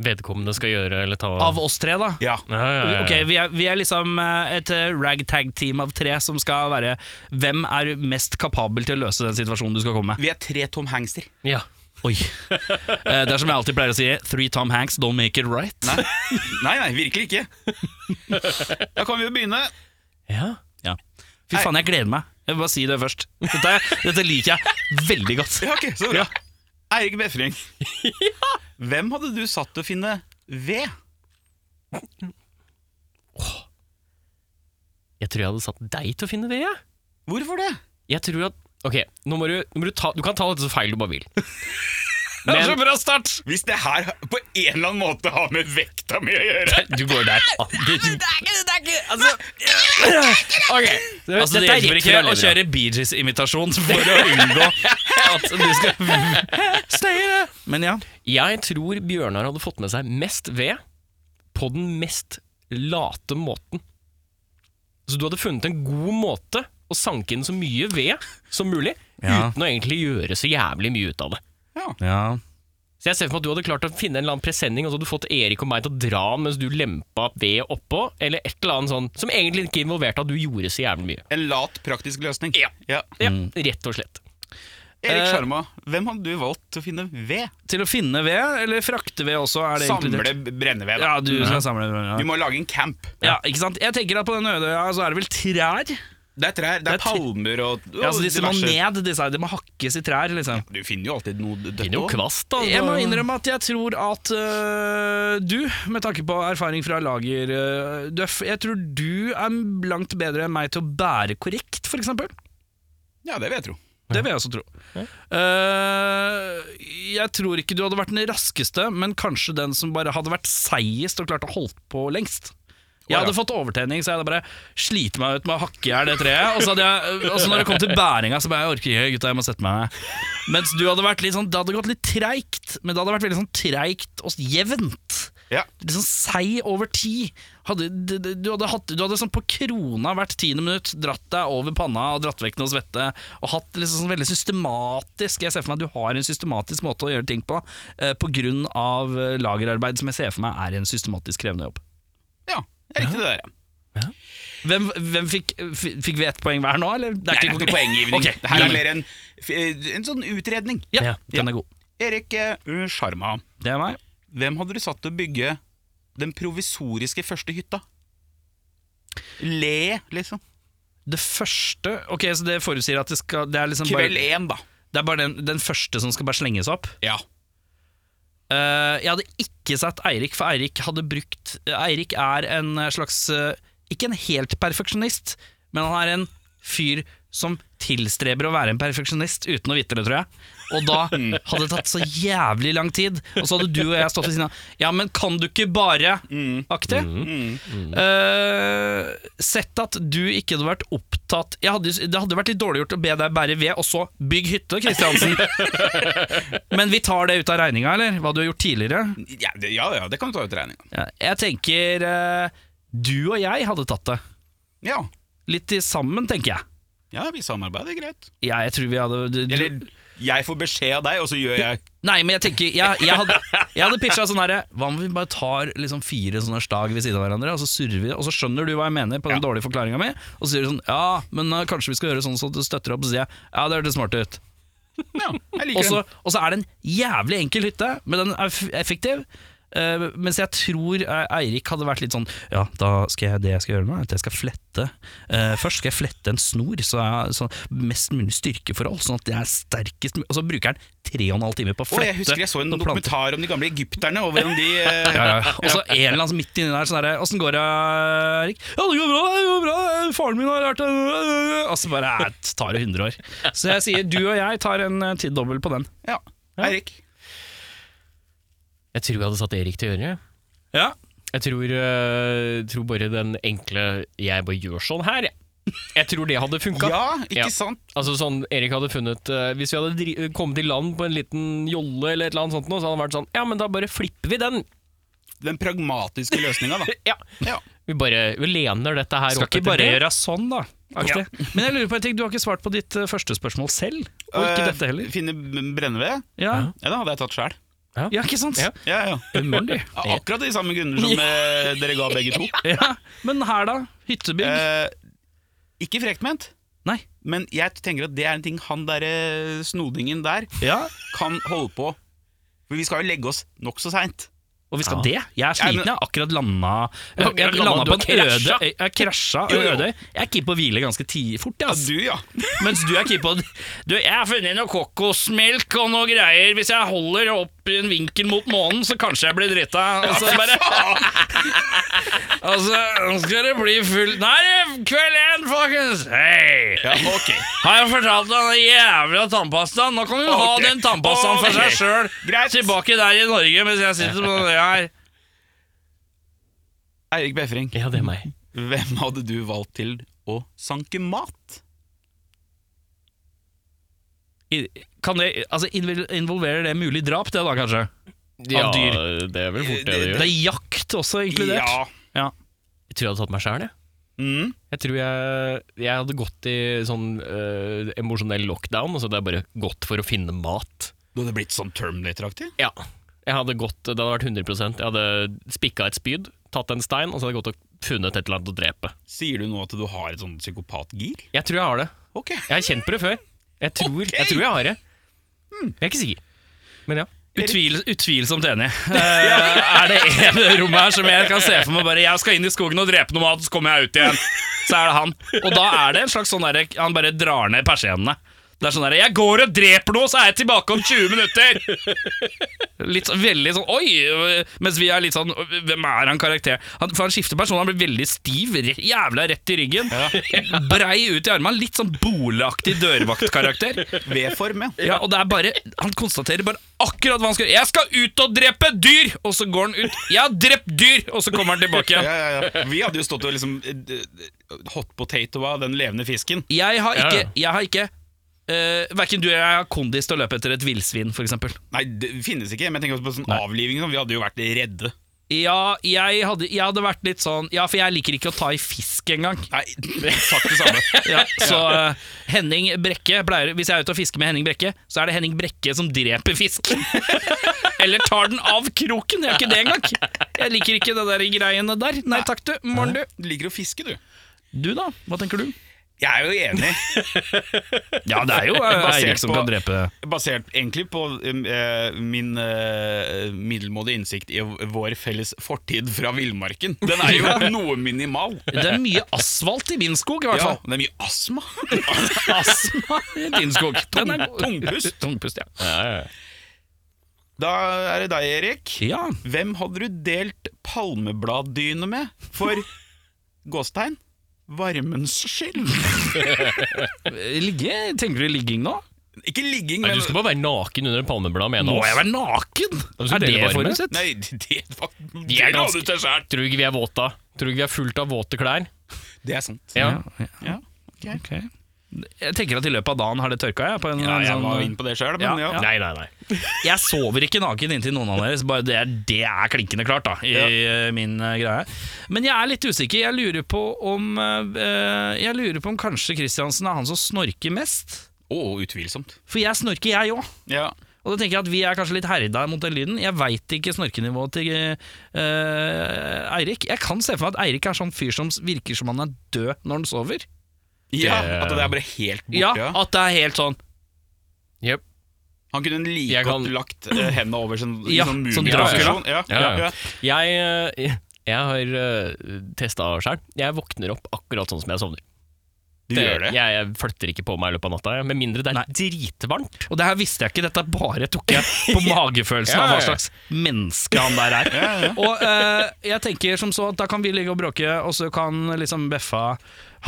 A: Vedkommende skal gjøre eller ta
B: Av oss tre, da.
C: Ja.
A: Ja, ja, ja, ja.
B: Ok, vi er, vi er liksom eh, et eh, ragtag-team av tre som skal være Hvem er mest kapabel til å løse den situasjonen du skal komme med?
C: Vi er tre Tom Hangster.
A: ja.
B: Oi. Eh, Det er som jeg alltid pleier å si, three Tom Hanks don't make it right.
C: Nei, nei, nei virkelig ikke. Da kan vi jo begynne.
A: ja.
B: Ja. Fy faen, jeg gleder meg. Jeg vil bare si det først. Dette, dette liker jeg veldig godt.
C: Ja, ok, så bra. Eirik Befring. Hvem hadde du satt til å finne ved?
A: Jeg tror jeg hadde satt deg til å finne ved, jeg.
C: Hvorfor det?
A: Jeg tror at Ok, nå må du, nå må du ta Du kan ta dette så feil du bare vil.
B: Det er
A: Men
B: så bra start!
C: Hvis det her på en eller annen måte har med vekta mi å gjøre
B: Du går der.
A: Ok, det,
B: Altså, det
A: dette er
B: hjelper
A: rett
B: ikke
A: fra
B: å
A: levra.
B: kjøre Bee Gees-imitasjon for å unngå at du skal Men ja.
A: Jeg tror Bjørnar hadde fått med seg mest ved på den mest late måten. Så du hadde funnet en god måte å og sanke inn så mye ved som mulig,
B: Ja.
A: uten å egentlig gjøre så jævlig mye ut av det.
B: Ja.
A: Så jeg ser for meg at du hadde klart å finne en eller annen presenning, og så hadde du fått Erik og meg til å dra mens du lempa ved oppå, eller et eller annet sånn, som egentlig ikke involverte at du gjorde så jævlig mye.
C: En lat, praktisk løsning.
A: Ja.
C: ja.
A: Ja,
B: Mm.
A: rett og slett.
C: Erik
B: Eh,
C: Sjarma, hvem hadde du valgt til å finne ved?
B: Til å finne ved, eller frakte ved også, er det
C: Samle
B: inkludert?
C: brenneved. da.
B: Ja, du skal samle ved.
C: Vi
B: Ja.
C: må lage en camp.
B: ja, ikke sant? Jeg tenker at på den øde øya så er det vel trær.
C: Det er trær, det
B: Det er
C: er palmer og, og
B: Ja, altså, så disse må
C: diverse.
B: ned, disse her. De må hakkes i trær, liksom.
C: Du finner jo alltid noe dødt
A: Finner jo altså.
C: også.
A: kvast, da.
B: Jeg må innrømme at jeg tror at øh, du, med tanke på erfaring fra lager øh, du er, f- Jeg tror du er langt bedre enn meg til å bære korrekt, for eksempel.
C: Ja, det vil jeg tro.
B: Det vil jeg også tro. Eh, jeg tror ikke du hadde vært den raskeste, men kanskje den som bare hadde vært seigest og klart å holdt på lengst. Jeg
C: Å, ja.
B: hadde fått overtenning, så jeg hadde bare slitt meg ut med å hakke i hjel det treet. Og så hadde jeg, eh, og så når det kom til bæringa, så bare jeg orker ikke, gutta, jeg må sette meg ned. Mens du hadde vært litt sånn, det hadde gått litt treigt, men det hadde vært veldig sånn treigt og jevnt.
C: Ja.
B: Litt sånn seig over tid. Hadde, d- d- du, hadde hatt, du hadde sånn på krona hvert tiende minutt dratt deg over panna og dratt vekk noe svette. Og hatt liksom sånn veldig systematisk Jeg ser for meg at du har en systematisk måte å gjøre ting på eh, på grunn av eh, lagerarbeid, som jeg ser for meg er en systematisk krevende jobb.
C: ja, det er riktig det der. ja.
B: Hvem, hvem fikk, f- fikk vi ett poeng hver nå, eller? Det
C: Nei, det er ikke poenggivning.
B: Ok,
C: Det her
B: nei,
C: er
B: nei.
C: mer en, en sånn utredning.
B: ja,
A: Ja.
B: den er god.
C: Erik eh, Sjarma,
B: Det er meg.
C: hvem hadde du satt til å bygge den provisoriske første hytta? Le, liksom.
B: Det første Ok, så det forutsier at det skal Det er liksom
C: Kveld
B: bare,
C: én, da.
B: det er bare den, den første som skal bare slenges opp?
C: Ja.
B: Eh, jeg hadde ikke sett Eirik, for Eirik hadde brukt Eirik er en slags eh, Ikke en helt perfeksjonist, men han er en fyr som tilstreber å være en perfeksjonist uten å vite det, tror jeg. Og da hadde det tatt så jævlig lang tid. Og så hadde du og jeg stått ved siden av. Ja, men kan du ikke bare aktig? Eh, sett at du ikke hadde vært opptatt jeg hadde, Det hadde vært litt dårlig gjort å be deg bære ved, og så bygg hytte, Kristiansen. Men vi tar det ut av regninga, eller? Hva du har gjort tidligere?
C: Ja, det, ja, ja, det kan du ta ut i regninga.
B: Ja, jeg tenker eh, du og jeg hadde tatt det.
C: Ja.
B: Litt til sammen, tenker jeg.
C: ja, vi samarbeider greit.
B: Ja, jeg tror vi hadde du, du,
C: Eller jeg får beskjed av deg, og så gjør jeg
B: Nei, men jeg tenker Jeg, jeg hadde, jeg hadde pitcha sånn herre Hva om vi bare tar liksom fire sånne slag ved siden av hverandre, og så surrer vi, og så skjønner du hva jeg mener på den dårlige forklaringa mi, og så sier du sånn Ja, men eh, kanskje vi skal gjøre sånn så du støtter opp, og så sier jeg Ja, det hørtes smart ut.
C: Ja, jeg
B: Og
C: liker
B: så
C: den.
B: og så er det en jævlig enkel hytte, men den er f- effektiv. Eh, mens jeg tror eh, Eirik hadde vært litt sånn Ja, da skal jeg det jeg skal gjøre nå, er at jeg skal flette eh, Først skal jeg flette en snor, så jeg så mest mulig styrkeforhold, sånn at jeg er sterkest mulig Og så bruker han tre og en halv time på å
C: Og
B: flette.
C: jeg husker jeg så en
B: noen planter.
C: dokumentar om de gamle egypterne. Og hvordan de eh,
B: Ja, ja. Og så en eller annen som midt inni der sånn herre Åssen går det, Erik? Ja, det går bra, det går bra. Faren min har lært det Og så bare eh, tar det 100 år. Så jeg sier du og jeg tar en eh, tidobbel på den.
C: ja. Eirik.
A: Jeg tror jeg hadde satt Erik til å gjøre det.
B: Ja
A: Jeg tror, øh, tror bare den enkle 'jeg bare gjør sånn her', jeg. Jeg tror det hadde funka.
C: Ja, ikke
A: Ja.
C: sant?
A: Altså sånn, Erik hadde funnet eh, Hvis vi hadde dri kommet i land på en liten jolle eller et eller annet sånt nå, så hadde han vært sånn Ja, men da bare flipper vi den.
C: Den pragmatiske løsninga, da.
A: Ja.
C: Ja.
A: Vi bare vi lener dette her
B: Skal
A: opp
B: ikke
A: etter
B: bare
A: det.
B: gjøre sånn, da. aktig. Men jeg lurer på en ting, du har ikke svart på ditt eh, første spørsmål selv, og ikke
C: Eh,
B: dette heller.
C: Finne b- brenneved?
B: Ja,
C: Ja, den hadde jeg tatt sjæl.
B: ja ikke sant?
A: Ja.
C: Ja, ja.
B: Umulig.
C: Av Akkurat de samme grunner som eh, dere ga begge to.
B: Ja. Men her, da? Hyttebygg?
C: Eh, ikke frekt ment,
B: Nei.
C: men jeg tenker at det er en ting han derre snodingen der
B: Ja.
C: kan holde på. For vi skal jo legge oss nokså seint.
B: Og vi
A: Ja.
B: skal det? Jeg er
C: Ja, men-
B: sliten, jeg har akkurat landa Jeg
A: Ja,
B: har
A: du har
B: landa på
A: landet,
B: en
A: du har
B: øde
A: krasja.
B: øy. Jeg krasja
C: Jo,
B: og
C: jo.
B: øde øy. Jeg er keen på å hvile ganske ti fort, jeg,
C: Ja,
B: ass.
C: du, ja.
B: Mens du er keen på å- Du, jeg har funnet noe kokosmelk og noe greier. Hvis jeg holder opp i en vinkel mot månen, så kanskje jeg blir drita. Og så bare Altså, nå skal det bli full Nå er det kveld én, folkens! Hei!
C: ja ok.
B: Har jeg fortalt deg den jævla tannpastaen? Nå kan du ha
C: Ok.
B: den tannpastaen for
C: Ok.
B: seg sjøl.
C: Greit.
B: Tilbake der i Norge mens jeg sitter på det her.
C: Eirik Befring,
A: Ja, det er meg.
C: hvem hadde du valgt til å sanke mat?
B: I- Kan det, altså, invol- Involverer det mulig drap, det da, kanskje?
A: Ja,
B: Av dyr.
A: det er vel fort det det
B: Det
A: gjør.
B: er jakt også inkludert?
C: Ja.
A: Jeg tror jeg hadde tatt meg sjæl, jeg.
C: Mm.
A: Jeg tror jeg, jeg hadde gått i sånn eh, emosjonell lockdown, altså det er bare gått for å finne mat.
C: Du hadde blitt sånn Terminator-aktig?
A: Ja. Jeg hadde gått, det hadde vært 100 Jeg hadde spikka et spyd, tatt en stein, og så hadde jeg gått og funnet et eller annet å drepe.
C: Sier du nå at du har et sånn psykopatgir?
A: Jeg tror jeg har det.
C: Ok.
A: Jeg har kjent på det før. Jeg tror
C: Ok.
A: jeg, tror jeg har det. Jeg er ikke sikker. Men ja.
B: Utvil, utvilsomt enig. Eh, er det en i rommet her som jeg kan se for meg bare Jeg skal inn i skogen og drepe noe mat, så kommer jeg ut igjen. Så er det han. Og da er det en slags sånn derre Han bare drar ned persiennene. Det er sånn derre Jeg går og dreper noe, så er jeg tilbake om 20 minutter! Litt sånn- veldig sånn Oi! Mens vi er litt sånn Hvem er han karakter? Han, for han skifter person. Han blir veldig stiv. re- Jævla rett i ryggen. Brei ut i armene. Litt sånn boligaktig dørvaktkarakter.
C: V-form, ja.
B: Ja, og det er bare Han konstaterer bare akkurat hva han skal gjøre. 'Jeg skal ut og drepe dyr!' Og så går han ut. 'Jeg har drept dyr!' Og så kommer han tilbake
C: Ja,
B: igjen.
C: ja, ja. Vi hadde jo stått og liksom eh, eh, hot potatoa den levende fisken.
B: Jeg har
A: Ja,
B: ikke,
A: ja.
B: jeg har ikke eh, Verken du eller jeg har kondis til å løpe etter et villsvin, f.eks.
C: Nei, det finnes ikke, men jeg tenker også på sånn avliving. og sånn. Vi hadde jo vært redde.
B: Ja, jeg hadde, jeg hadde vært litt sånn Ja, for jeg liker ikke å ta i fisk engang.
C: Nei, sagt det samme.
B: Ja, så eh, Henning Brekke pleier Hvis jeg er ute og fisker med Henning Brekke, så er det Henning Brekke som dreper fisk. Eller tar den av kroken. Jeg gjør ikke det engang. Jeg liker ikke det der greiene der. Nei takk, du. Morn, du.
C: Du liker å fiske, du.
B: Du da? Hva tenker du?
C: Jeg er jo enig,
B: Ja, det er jo eh,
C: Basert
B: Eirik som
C: på-
B: kan drepe
C: basert egentlig på um, eh, min eh, middelmådige innsikt i vår felles fortid fra villmarken. Den er jo noe minimal.
B: Det er mye asfalt i min skog, i hvert
C: Ja,
B: fall.
C: det er mye astma.
B: Astma i din skog. Den er god.
C: Tungpust.
B: Tungpust, ja.
C: Da er det deg, Erik.
B: ja.
C: Hvem hadde du delt palmebladdyne med? For gåstegn varmens skyld.
B: Ligge? Tenker du ligging nå?
C: Ikke ligging,
A: Nei,
C: men
A: du skal bare være naken under en palmeblad med en
B: Må
A: av
B: jeg
A: oss.
B: være naken?
A: hvis du
B: Er det
A: deler varme?
B: forutsett?
C: Nei, det var
A: Vi er ganske-
C: Det la du til selv.
A: Tror du ikke vi er våta? Tror du ikke vi er fullt av våte klær?
C: Det er sant.
A: Ja.
B: ja.
C: Ja, ok.
B: ok. Jeg tenker at i løpet av dagen har det tørka, jeg. På en,
C: Ja, jeg
B: sånn-
C: var inne på det sjøl, men ja.
B: Ja.
A: Nei, nei, nei.
B: Jeg sover ikke naken inntil noen av dere, så bare det, er- det er klinkende klart, da, i eh, min eh, greie. Men jeg er litt usikker. Jeg lurer på om eh, Jeg lurer på om kanskje Kristiansen er han som snorker mest.
C: Og utvilsomt.
B: For jeg snorker, jeg òg.
C: Ja.
B: Og da tenker jeg at vi er kanskje litt herda mot den lyden. Jeg veit ikke snorkenivået til eh, Eirik. Jeg kan se for meg at Eirik er sånn fyr som virker som han er død når han sover.
C: ja, At det er bare helt borte.
B: Ja,
C: ja.
B: At det er helt sånn
A: Jep.
C: Han kunne like
A: Jeg
C: godt
A: kan-
C: lagt eh, hendene over sin, i
B: Ja,
C: sånn
B: sånn
C: mumieposisjon. Ja, ja,
A: Ja, ja.
C: ja.
A: Jeg, eh, jeg har uh, testa sjøl. Jeg våkner opp akkurat sånn som jeg sovner.
C: Du gjør det.
A: Jeg, jeg flytter ikke på meg i løpet av natta, jeg. med mindre det er
B: Nei.
A: dritvarmt.
B: Og det her visste jeg ikke, dette bare tok jeg på magefølelsen av
A: Ja, ja,
B: hva
A: ja.
B: slags menneske han der er. Og eh, jeg tenker som så at da kan vi ligge og bråke, og så kan liksom Beffa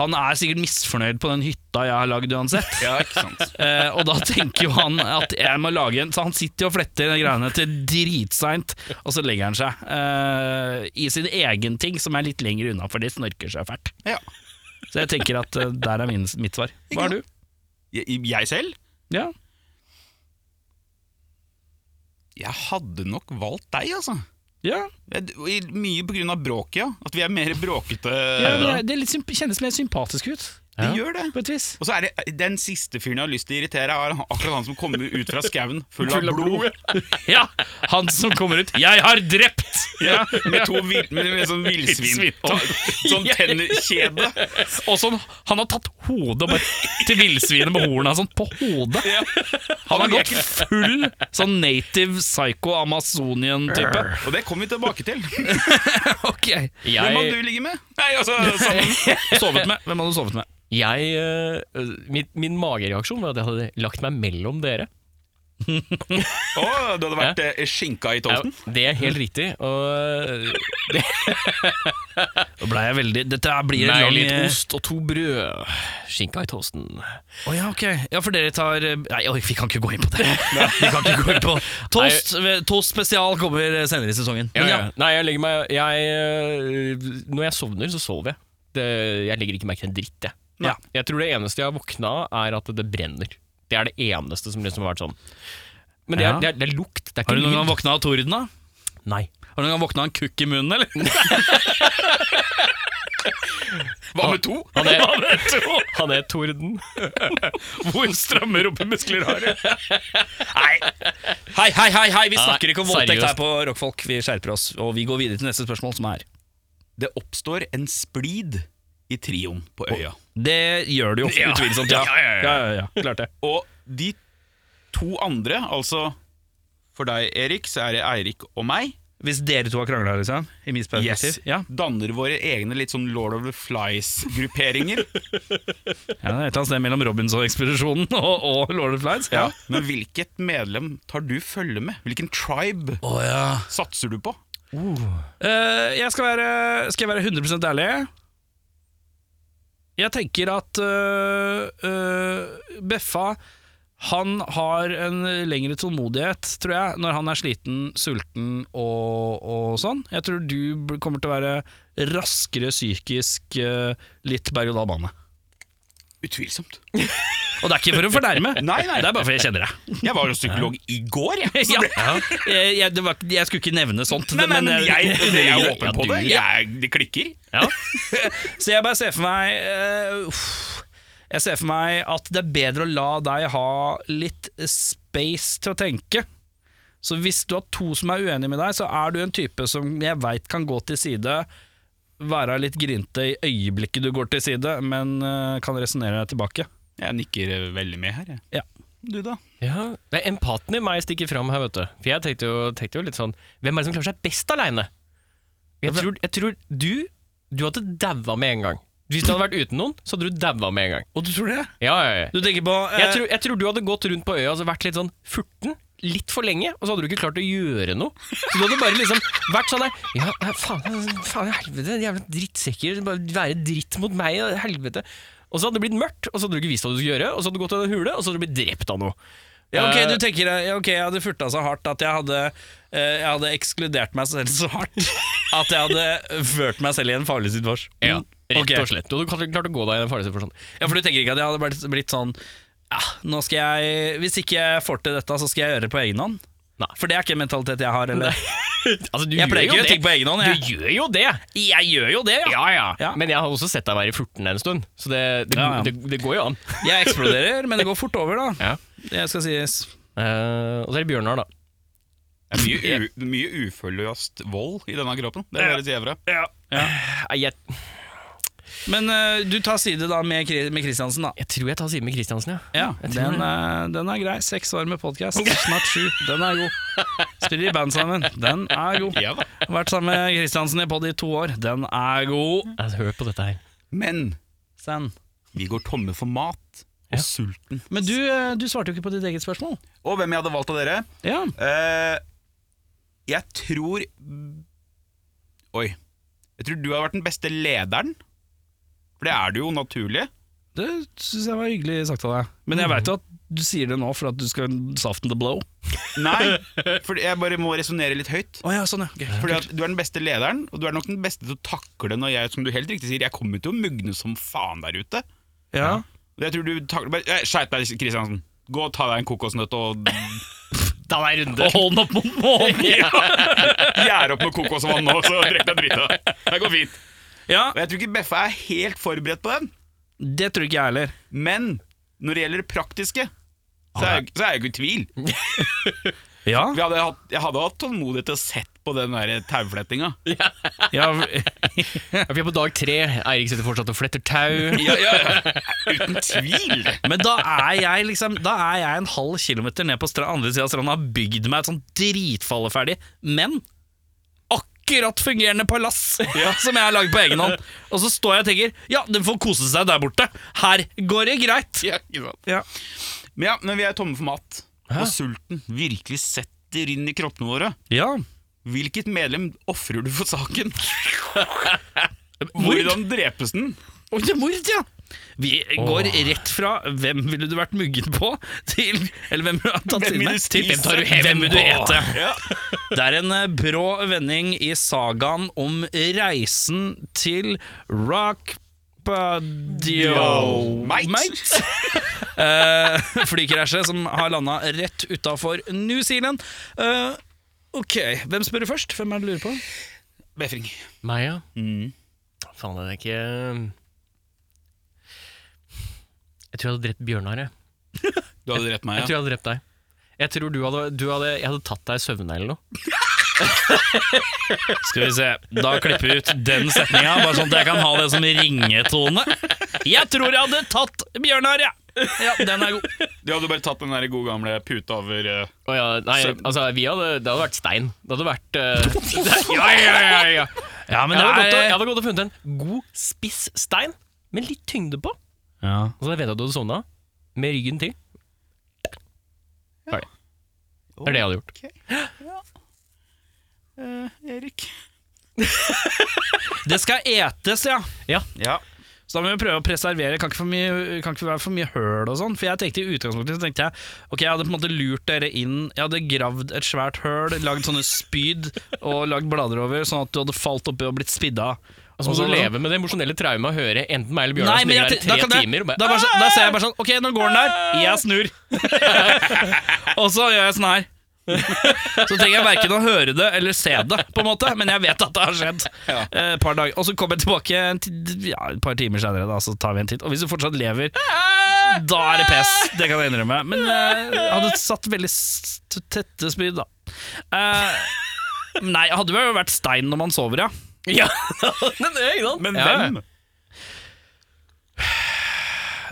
B: Han er sikkert misfornøyd på den hytta jeg har lagd uansett.
C: Ja, ikke sant.
B: Eh, og da tenker jo han at jeg må lage en Så han sitter jo og fletter de greiene til dritseint, og så legger han seg eh, i sin egen ting, som er litt lenger unna, for det snorker seg fælt.
C: Ja.
B: Så jeg tenker at eh, der er min, mitt svar. Hva er du?
C: Jeg, jeg selv?
B: Ja.
C: Jeg hadde nok valgt deg, altså.
B: ja.
C: Jeg, i- mye på grunn av bråket, ja. At vi er mer bråkete.
B: ja det, er- det er litt, symp- kjennes mer sympatisk ut,
C: Det gjør det.
B: på et vis.
C: Og så er det Den siste fyren jeg har lyst til å irritere, er han- akkurat han som kommer ut fra skauen full,
A: Full av
C: av blod.
B: Ja, han som kommer ut 'Jeg har drept!'
C: Ja, med to vil, med, med sånn villsvin.
B: Villsvin.
C: Ta- Sånn tennerkjede.
B: Og sånn, han har tatt hodet bare, til villsvinet med horna sånn på hodet. Han har gått full sånn native psycho-amazonian-type.
C: Og det kommer vi tilbake til.
B: Ok
C: Hvem hadde
A: Jeg,
C: du ligget med? Nei, altså, sammen.
B: Sovet med? Hvem hadde du sovet med?
A: jeg, eh, min, min magereaksjon var at jeg hadde lagt meg mellom dere.
C: Å, du hadde vært eh, skinka i
A: Ja,
C: toasten?
A: det er helt riktig. Og eh,
B: Da ble jeg veldig Dette her blir en
A: Nei,
B: lang
A: litt ost og to brød. eh, Skinka i toasten.
B: Å ja, ok. Ja, for dere tar eh, Nei, oi, vi kan ikke gå inn på det. Vi kan ikke gå inn på Toast, eh, toast spesial kommer senere i sesongen. Men ja.
A: Nei, jeg legger meg jeg, øh, Når jeg sovner, så sover jeg. Det, jeg legger ikke merke til en dritt, jeg.
B: Ja.
A: Jeg tror det eneste jeg har våkna av, er at det brenner. Det er det eneste som liksom har vært sånn. Men det er,
B: Ja.
A: det er, det er lukt, det er
B: Har
A: ikke
B: du noen gang
A: lyd.
B: våkna av torden, da?
A: Nei.
B: Har du noen gang våkna av en kukk i munnen, eller?
C: Hva Hva med to?
A: Han er,
B: Hva vet du?
A: han er torden.
B: Hvor stramme rumpemuskler har du?
D: Hei, hei, hei, hei, vi
A: Nei,
D: snakker ikke om voldtekt
A: seriøst.
D: her på Rockfolk. Vi skjerper oss, og vi går videre til neste spørsmål, som er
C: Det oppstår en splid i trioen på øya.
D: Det gjør det jo
B: Ja.
D: utvilsomt, ja.
B: Ja, ja, ja, ja, klart det.
C: Og de to andre, altså for deg, Erik, så er det Eirik og meg,
B: Hvis dere to har krangla, liksom? I mitt perspektiv?
C: yes,
B: Ja.
C: danner våre egne litt sånn Lord of the Flies-grupperinger.
B: ja, det er et eller annet sted mellom Robinson-ekspedisjonen og, og Lord of Flies.
C: ja. Men hvilket medlem tar du følge med? Hvilken tribe satser du på?
B: Eh, jeg skal være, skal jeg være 100 ærlig. Jeg tenker at øh, øh, Beffa han har en lengre tålmodighet, tror jeg, når han er sliten, sulten og, og sånn. Jeg tror du bl- kommer til å være raskere psykisk øh, litt berg-og-dal-bane.
C: Utvilsomt.
B: Og det er ikke for å fornærme,
C: Nei, nei.
B: det er bare for jeg kjenner deg.
C: Jeg var jo psykolog i går, jeg.
B: Ja, jeg, jeg, det var, jeg skulle ikke nevne sånt.
C: Nei, men jeg, jeg er
B: Ja,
C: åpen på
B: du-
C: det. Jeg, det klikker.
B: Så jeg bare ser for meg eh, uff. Jeg ser for meg at det er bedre å la deg ha litt space til å tenke. Så hvis du har to som er uenige med deg, så er du en type som jeg veit kan gå til side, være litt grinte i øyeblikket du går til side, men eh, kan resonnere deg tilbake.
C: Jeg nikker eh, veldig med her, jeg.
B: Ja.
C: Du, da?
A: Ja, det er Empaten i meg stikker fram her, vet du. For jeg tenkte jo, tenkte jo litt sånn Hvem er det som klarer seg best aleine? Jeg, tror- jeg tror du Du hadde daua med en gang. Hvis du hadde vært uten noen, så hadde du daua med en gang.
B: Og du tror det?
A: Ja, ja, ja.
B: Du tenker på eh,
A: Jeg tror, jeg tror du hadde gått rundt på øya og vært litt sånn furten litt for lenge, og så hadde du ikke klart å gjøre noe. Så du hadde bare liksom vært sånn der Ja, eh, faen, faen helvete, jævla drittsekker. Bare være dritt mot meg, og helvete. Og så hadde det blitt mørkt, og så hadde du ikke visst hva du skulle gjøre, og så hadde du gått til en hule, og så hadde du blitt drept av noe.
B: ja, ok,
A: Eh,
B: du tenker eh, ja, ok, jeg hadde furta så hardt at jeg hadde, eh, jeg hadde ekskludert meg selv så hardt at jeg hadde ført meg selv i en farlig situasjon.
A: ja, rett
B: Ok.
A: og slett. Du hadde klart- klart å gå deg i den farlige situasjonen.
B: Ja, for du tenker ikke at jeg hadde blitt, blitt sånn ja, nå skal jeg, Hvis ikke jeg får til dette, så skal jeg gjøre det på egen hånd?
A: Nei.
B: For det er ikke en mentalitet jeg har. Eller?
A: Altså, du
B: Jeg
A: gjør jo
B: pleier ikke å gjøre
A: det.
B: ting på egen hånd. Jeg.
A: Du gjør jo det!
B: jeg gjør jo det,
A: Ja, ja.
B: Ja.
A: Men jeg har også sett deg være furten en stund, så det, det,
B: Ja, ja.
A: det, det går jo an.
B: Jeg eksploderer, men det går fort over, da.
A: Ja.
B: Det skal sies.
A: Eh, og så er det Bjørnar, da.
C: Det er mye, u, mye uforløst vold i denne kroppen. Det høres jævla
A: Nei, jeg,
B: Men eh, du tar side da med, Kri- med Kristiansen, da.
A: jeg tror jeg tar siden med Kristiansen, ja.
B: Ja,
A: jeg tror
B: den, er, den er grei. Seks år med podkast, snart sju. Den er god. Spiller i band sammen. Den er god.
C: Ja da.
B: Vært sammen med Kristiansen i pod i to år. Den er god.
A: Altså, hør på dette her.
C: Men
B: Send.
C: vi går tomme for mat og sulten.
B: Men du, eh, du svarte jo ikke på ditt eget spørsmål.
C: Og hvem jeg hadde valgt av dere?
B: Ja.
C: Eh, jeg tror Oi. Jeg tror du har vært den beste lederen. For det er du jo naturlig.
B: Det syns jeg var hyggelig sagt av deg. Men jeg veit jo at du sier det nå for at du skal soften the blow.
C: Nei, for jeg bare må resonnere litt høyt.
B: Oh, ja, sånn, ja.
C: Fordi at Du er den beste lederen, og du er nok den beste til å takle når jeg som du helt riktig sier, jeg kommer til å mugne som faen der ute.
B: Ja.
C: Og Jeg tror du takler bare eh, Skjerp deg, Kristiansen. Gå og ta deg en kokosnøtt og
A: Da er jeg runde.
B: hånden opp mot månen!
C: gjære opp noe kokosvann nå, så drikk deg drita. Det går fint.
B: Ja,
C: Og Jeg tror ikke Beffa er helt forberedt på den,
B: det tror ikke jeg heller.
C: men når det gjelder det praktiske, så er, jeg- så er jeg ikke i tvil.
B: Ja,
C: Vi hadde hatt, jeg hadde hatt tålmodighet til å sett på den der tauflettinga.
B: ja,
A: Vi er på dag tre. Eirik sitter fortsatt og fletter tau.
C: Uten tvil!
B: Men da er jeg liksom Da er jeg en halv kilometer ned på stra andre sida av stranda og har bygd meg et sånn dritfalleferdig, men akkurat fungerende palass som jeg har lagd på egen hånd. Og så står jeg og tenker Ja, den får kose seg der borte. Her går det greit.
C: Ja, ikke sant?
B: Ja.
C: Men ja, når vi er tomme for mat, og sulten virkelig setter inn i kroppene våre,
B: ja.
C: hvilket medlem ofrer du for saken?
B: Mord.
C: Hvordan drepes den?
B: Oi, det er mord, ja! Vi går rett fra 'hvem ville du vært muggen på?' til Eller hvem har tatt siden
C: Hvem vil
B: her?
C: du
B: Til
C: spise?
B: hvem vil du ete?
C: Ja.
B: Det er en eh, brå vending i sagaen om reisen til Rockpadio
C: Mate.
B: Eh, Flykrasjet som har landa rett utafor New Zealand. Eh, ok, hvem spør du først? Hvem er det du lurer på?
C: Befring.
A: Meg, ja. Faen, det er ikke Jeg tror jeg hadde drept Bjørnar. Jeg,
C: Du hadde rett meg,
A: jeg tror jeg hadde drept deg. Jeg tror du hadde, du hadde Jeg hadde tatt deg i søvne eller noe.
D: Skal vi se. Da klipper vi ut den setninga, bare sånn at jeg kan ha det som ringetone. Jeg tror jeg hadde tatt Bjørnar, ja. Ja, den er god.
C: Du hadde bare tatt den der gode gamle puta over eh,
A: Å ja, nei,
C: Søvn.
A: altså, vi hadde, det hadde vært stein. Det hadde vært eh, det, Ja, ja, ja! ja, ja.
D: Ja, men
A: Jeg, hadde gått og,
D: det
A: jeg
D: er
A: hadde gått og funnet en god, spiss stein med litt tyngde på.
D: ja.
A: Og så vet jeg at du hadde sovna med ryggen til. Ferdig. Det er det jeg hadde gjort.
C: Erik.
B: Det skal etes, ja.
C: Ja.
B: Så da må vi prøve å preservere. Kan ikke, for mye, kan ikke være for mye høl og sånn. For jeg tenkte i utgangspunktet så tenkte jeg Ok, jeg hadde på en måte lurt dere inn. Jeg hadde gravd et svært høl, lagd sånne spyd og lagd blader over, sånn at du hadde falt oppi og blitt spidda.
A: Og så Altså, må du leve med det emosjonelle traumet å høre enten meg eller Bjørnar
B: Nei,
A: som
B: men
A: ligger
B: jeg,
A: der i
B: da,
A: tre
B: kan jeg,
A: timer og
B: da,
A: bare Ah!
B: bare, så- da ser jeg bare sånn Ok, nå går den der. Jeg snur. og så gjør jeg sånn her. Så trenger jeg verken å høre det eller se det, på en måte men jeg vet at det har skjedd. Eh, Et par dager Og så kommer jeg tilbake en ti- ja, et par timer senere, da, så tar vi en titt. Og hvis du fortsatt lever, da er det pes. Det kan jeg innrømme. Men eh, jeg hadde satt veldig s- tette spyd, da. Eh, nei, hadde vel vært stein når man sover, ja.
A: Ja, men det er ikke sant?
C: Men
A: ja.
C: hvem?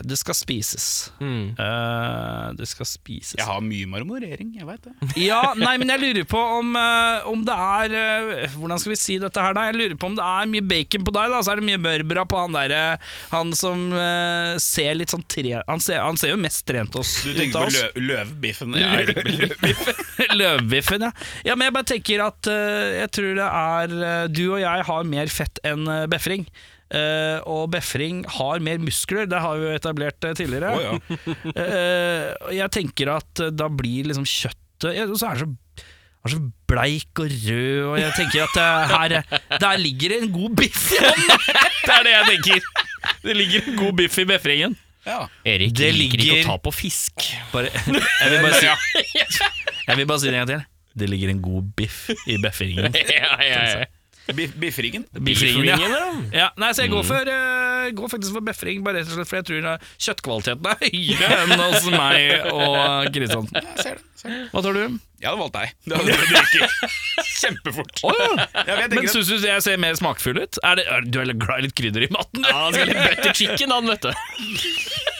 B: Det skal spises.
A: Mm.
B: Eh, det skal spises.
C: Jeg har mye marmorering, jeg veit det.
B: Ja, nei, men jeg lurer på om, eh, om det er eh, Hvordan skal vi si dette her, da? Jeg lurer på om det er mye bacon på deg, da. Så er det mye mørbra på han derre Han som eh, ser litt sånn tre... Han ser, han ser jo mest trent oss.
C: Du
B: ut
C: tenker
B: av
C: på
B: oss.
C: lø løvbiffen. Ja, Erik blir
B: Løvbiffen, ja. ja. Men jeg bare tenker at eh, jeg tror det er eh, Du og jeg har mer fett enn eh, befring. Eh, og befring har mer muskler, det har vi jo etablert eh, tidligere.
C: Å, ja.
B: Eh, og jeg tenker at eh, da blir liksom kjøttet ja, Og så er det så, er det så bleik og rød, og jeg tenker at eh, her eh, Der ligger det en god biff i hånden!
D: Det er det jeg tenker. Det ligger en god biff i befringen.
C: Ja.
A: Erik
B: Det
A: liker
B: ligger-
A: ikke å ta på fisk.
B: Bare, jeg, vil
C: Eh,
B: bare si, jeg vil bare si det en gang til. Det ligger en god biff i befferingen.
A: ja, ja, ja.
C: Biff- Biffringen.
B: Biffringen, ja. Ja, nei, så jeg går, for, eh, går faktisk for befring, bare rett og slett fordi jeg tror eh, kjøttkvaliteten er høyere enn hos meg og Kristiansen.
C: Jeg ser det. Ser det.
B: Hva tror du?
C: Jeg hadde valgt deg. Det hadde du drikker kjempefort. Ja, men jeg
B: Men
C: tenker at
B: syns du jeg ser mer smakfull ut? Er det, er, du er litt glad i litt krydder i maten, du?
A: Ja, han skal litt butter chicken, han, vet du.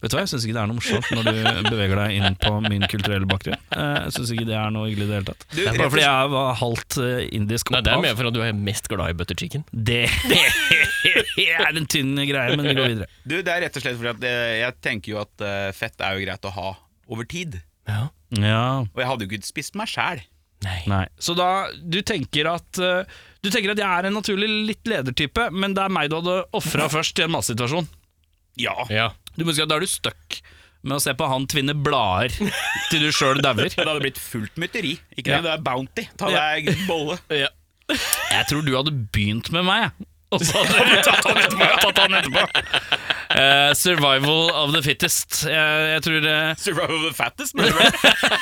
B: Vet du hva, jeg syns ikke det er noe morsomt når du beveger deg inn på min kulturelle bakgrunn. Eh, Jeg syns ikke det er noe hyggelig i det hele tatt.
C: Du,
B: Det er
C: rett og
B: bare fordi jeg var halvt eh, indisk
A: Nei, det er
B: opphav.
A: mer for at du er mest glad i butter chicken.
B: Det, det er en tynn greie, men vi går videre.
C: du, det er rett og slett fordi at eh, jeg tenker jo at eh, fett er jo greit å ha over tid.
A: Ja.
B: Ja,
C: Og jeg hadde jo ikke spist meg sjæl.
A: Nei.
B: Nei. Så da, du tenker at eh, Du tenker at jeg er en naturlig litt ledertype, men det er meg du hadde ofra først i en massesituasjon.
C: Ja.
A: Ja.
B: Du må huske at Da er du stuck med å se på han tvinne blader til du sjøl dauer.
C: Det hadde blitt fullt mytteri. Ikke
B: Ja.
C: det, det er Bounty. Ta deg en bolle.
B: Jeg tror du hadde begynt med meg, jeg. Og så hadde du tatt han etterpå. Tatt han etterpå. Eh, survival of the fittest. Jeg, jeg tror eh,
C: Survival of the fattest. Men det var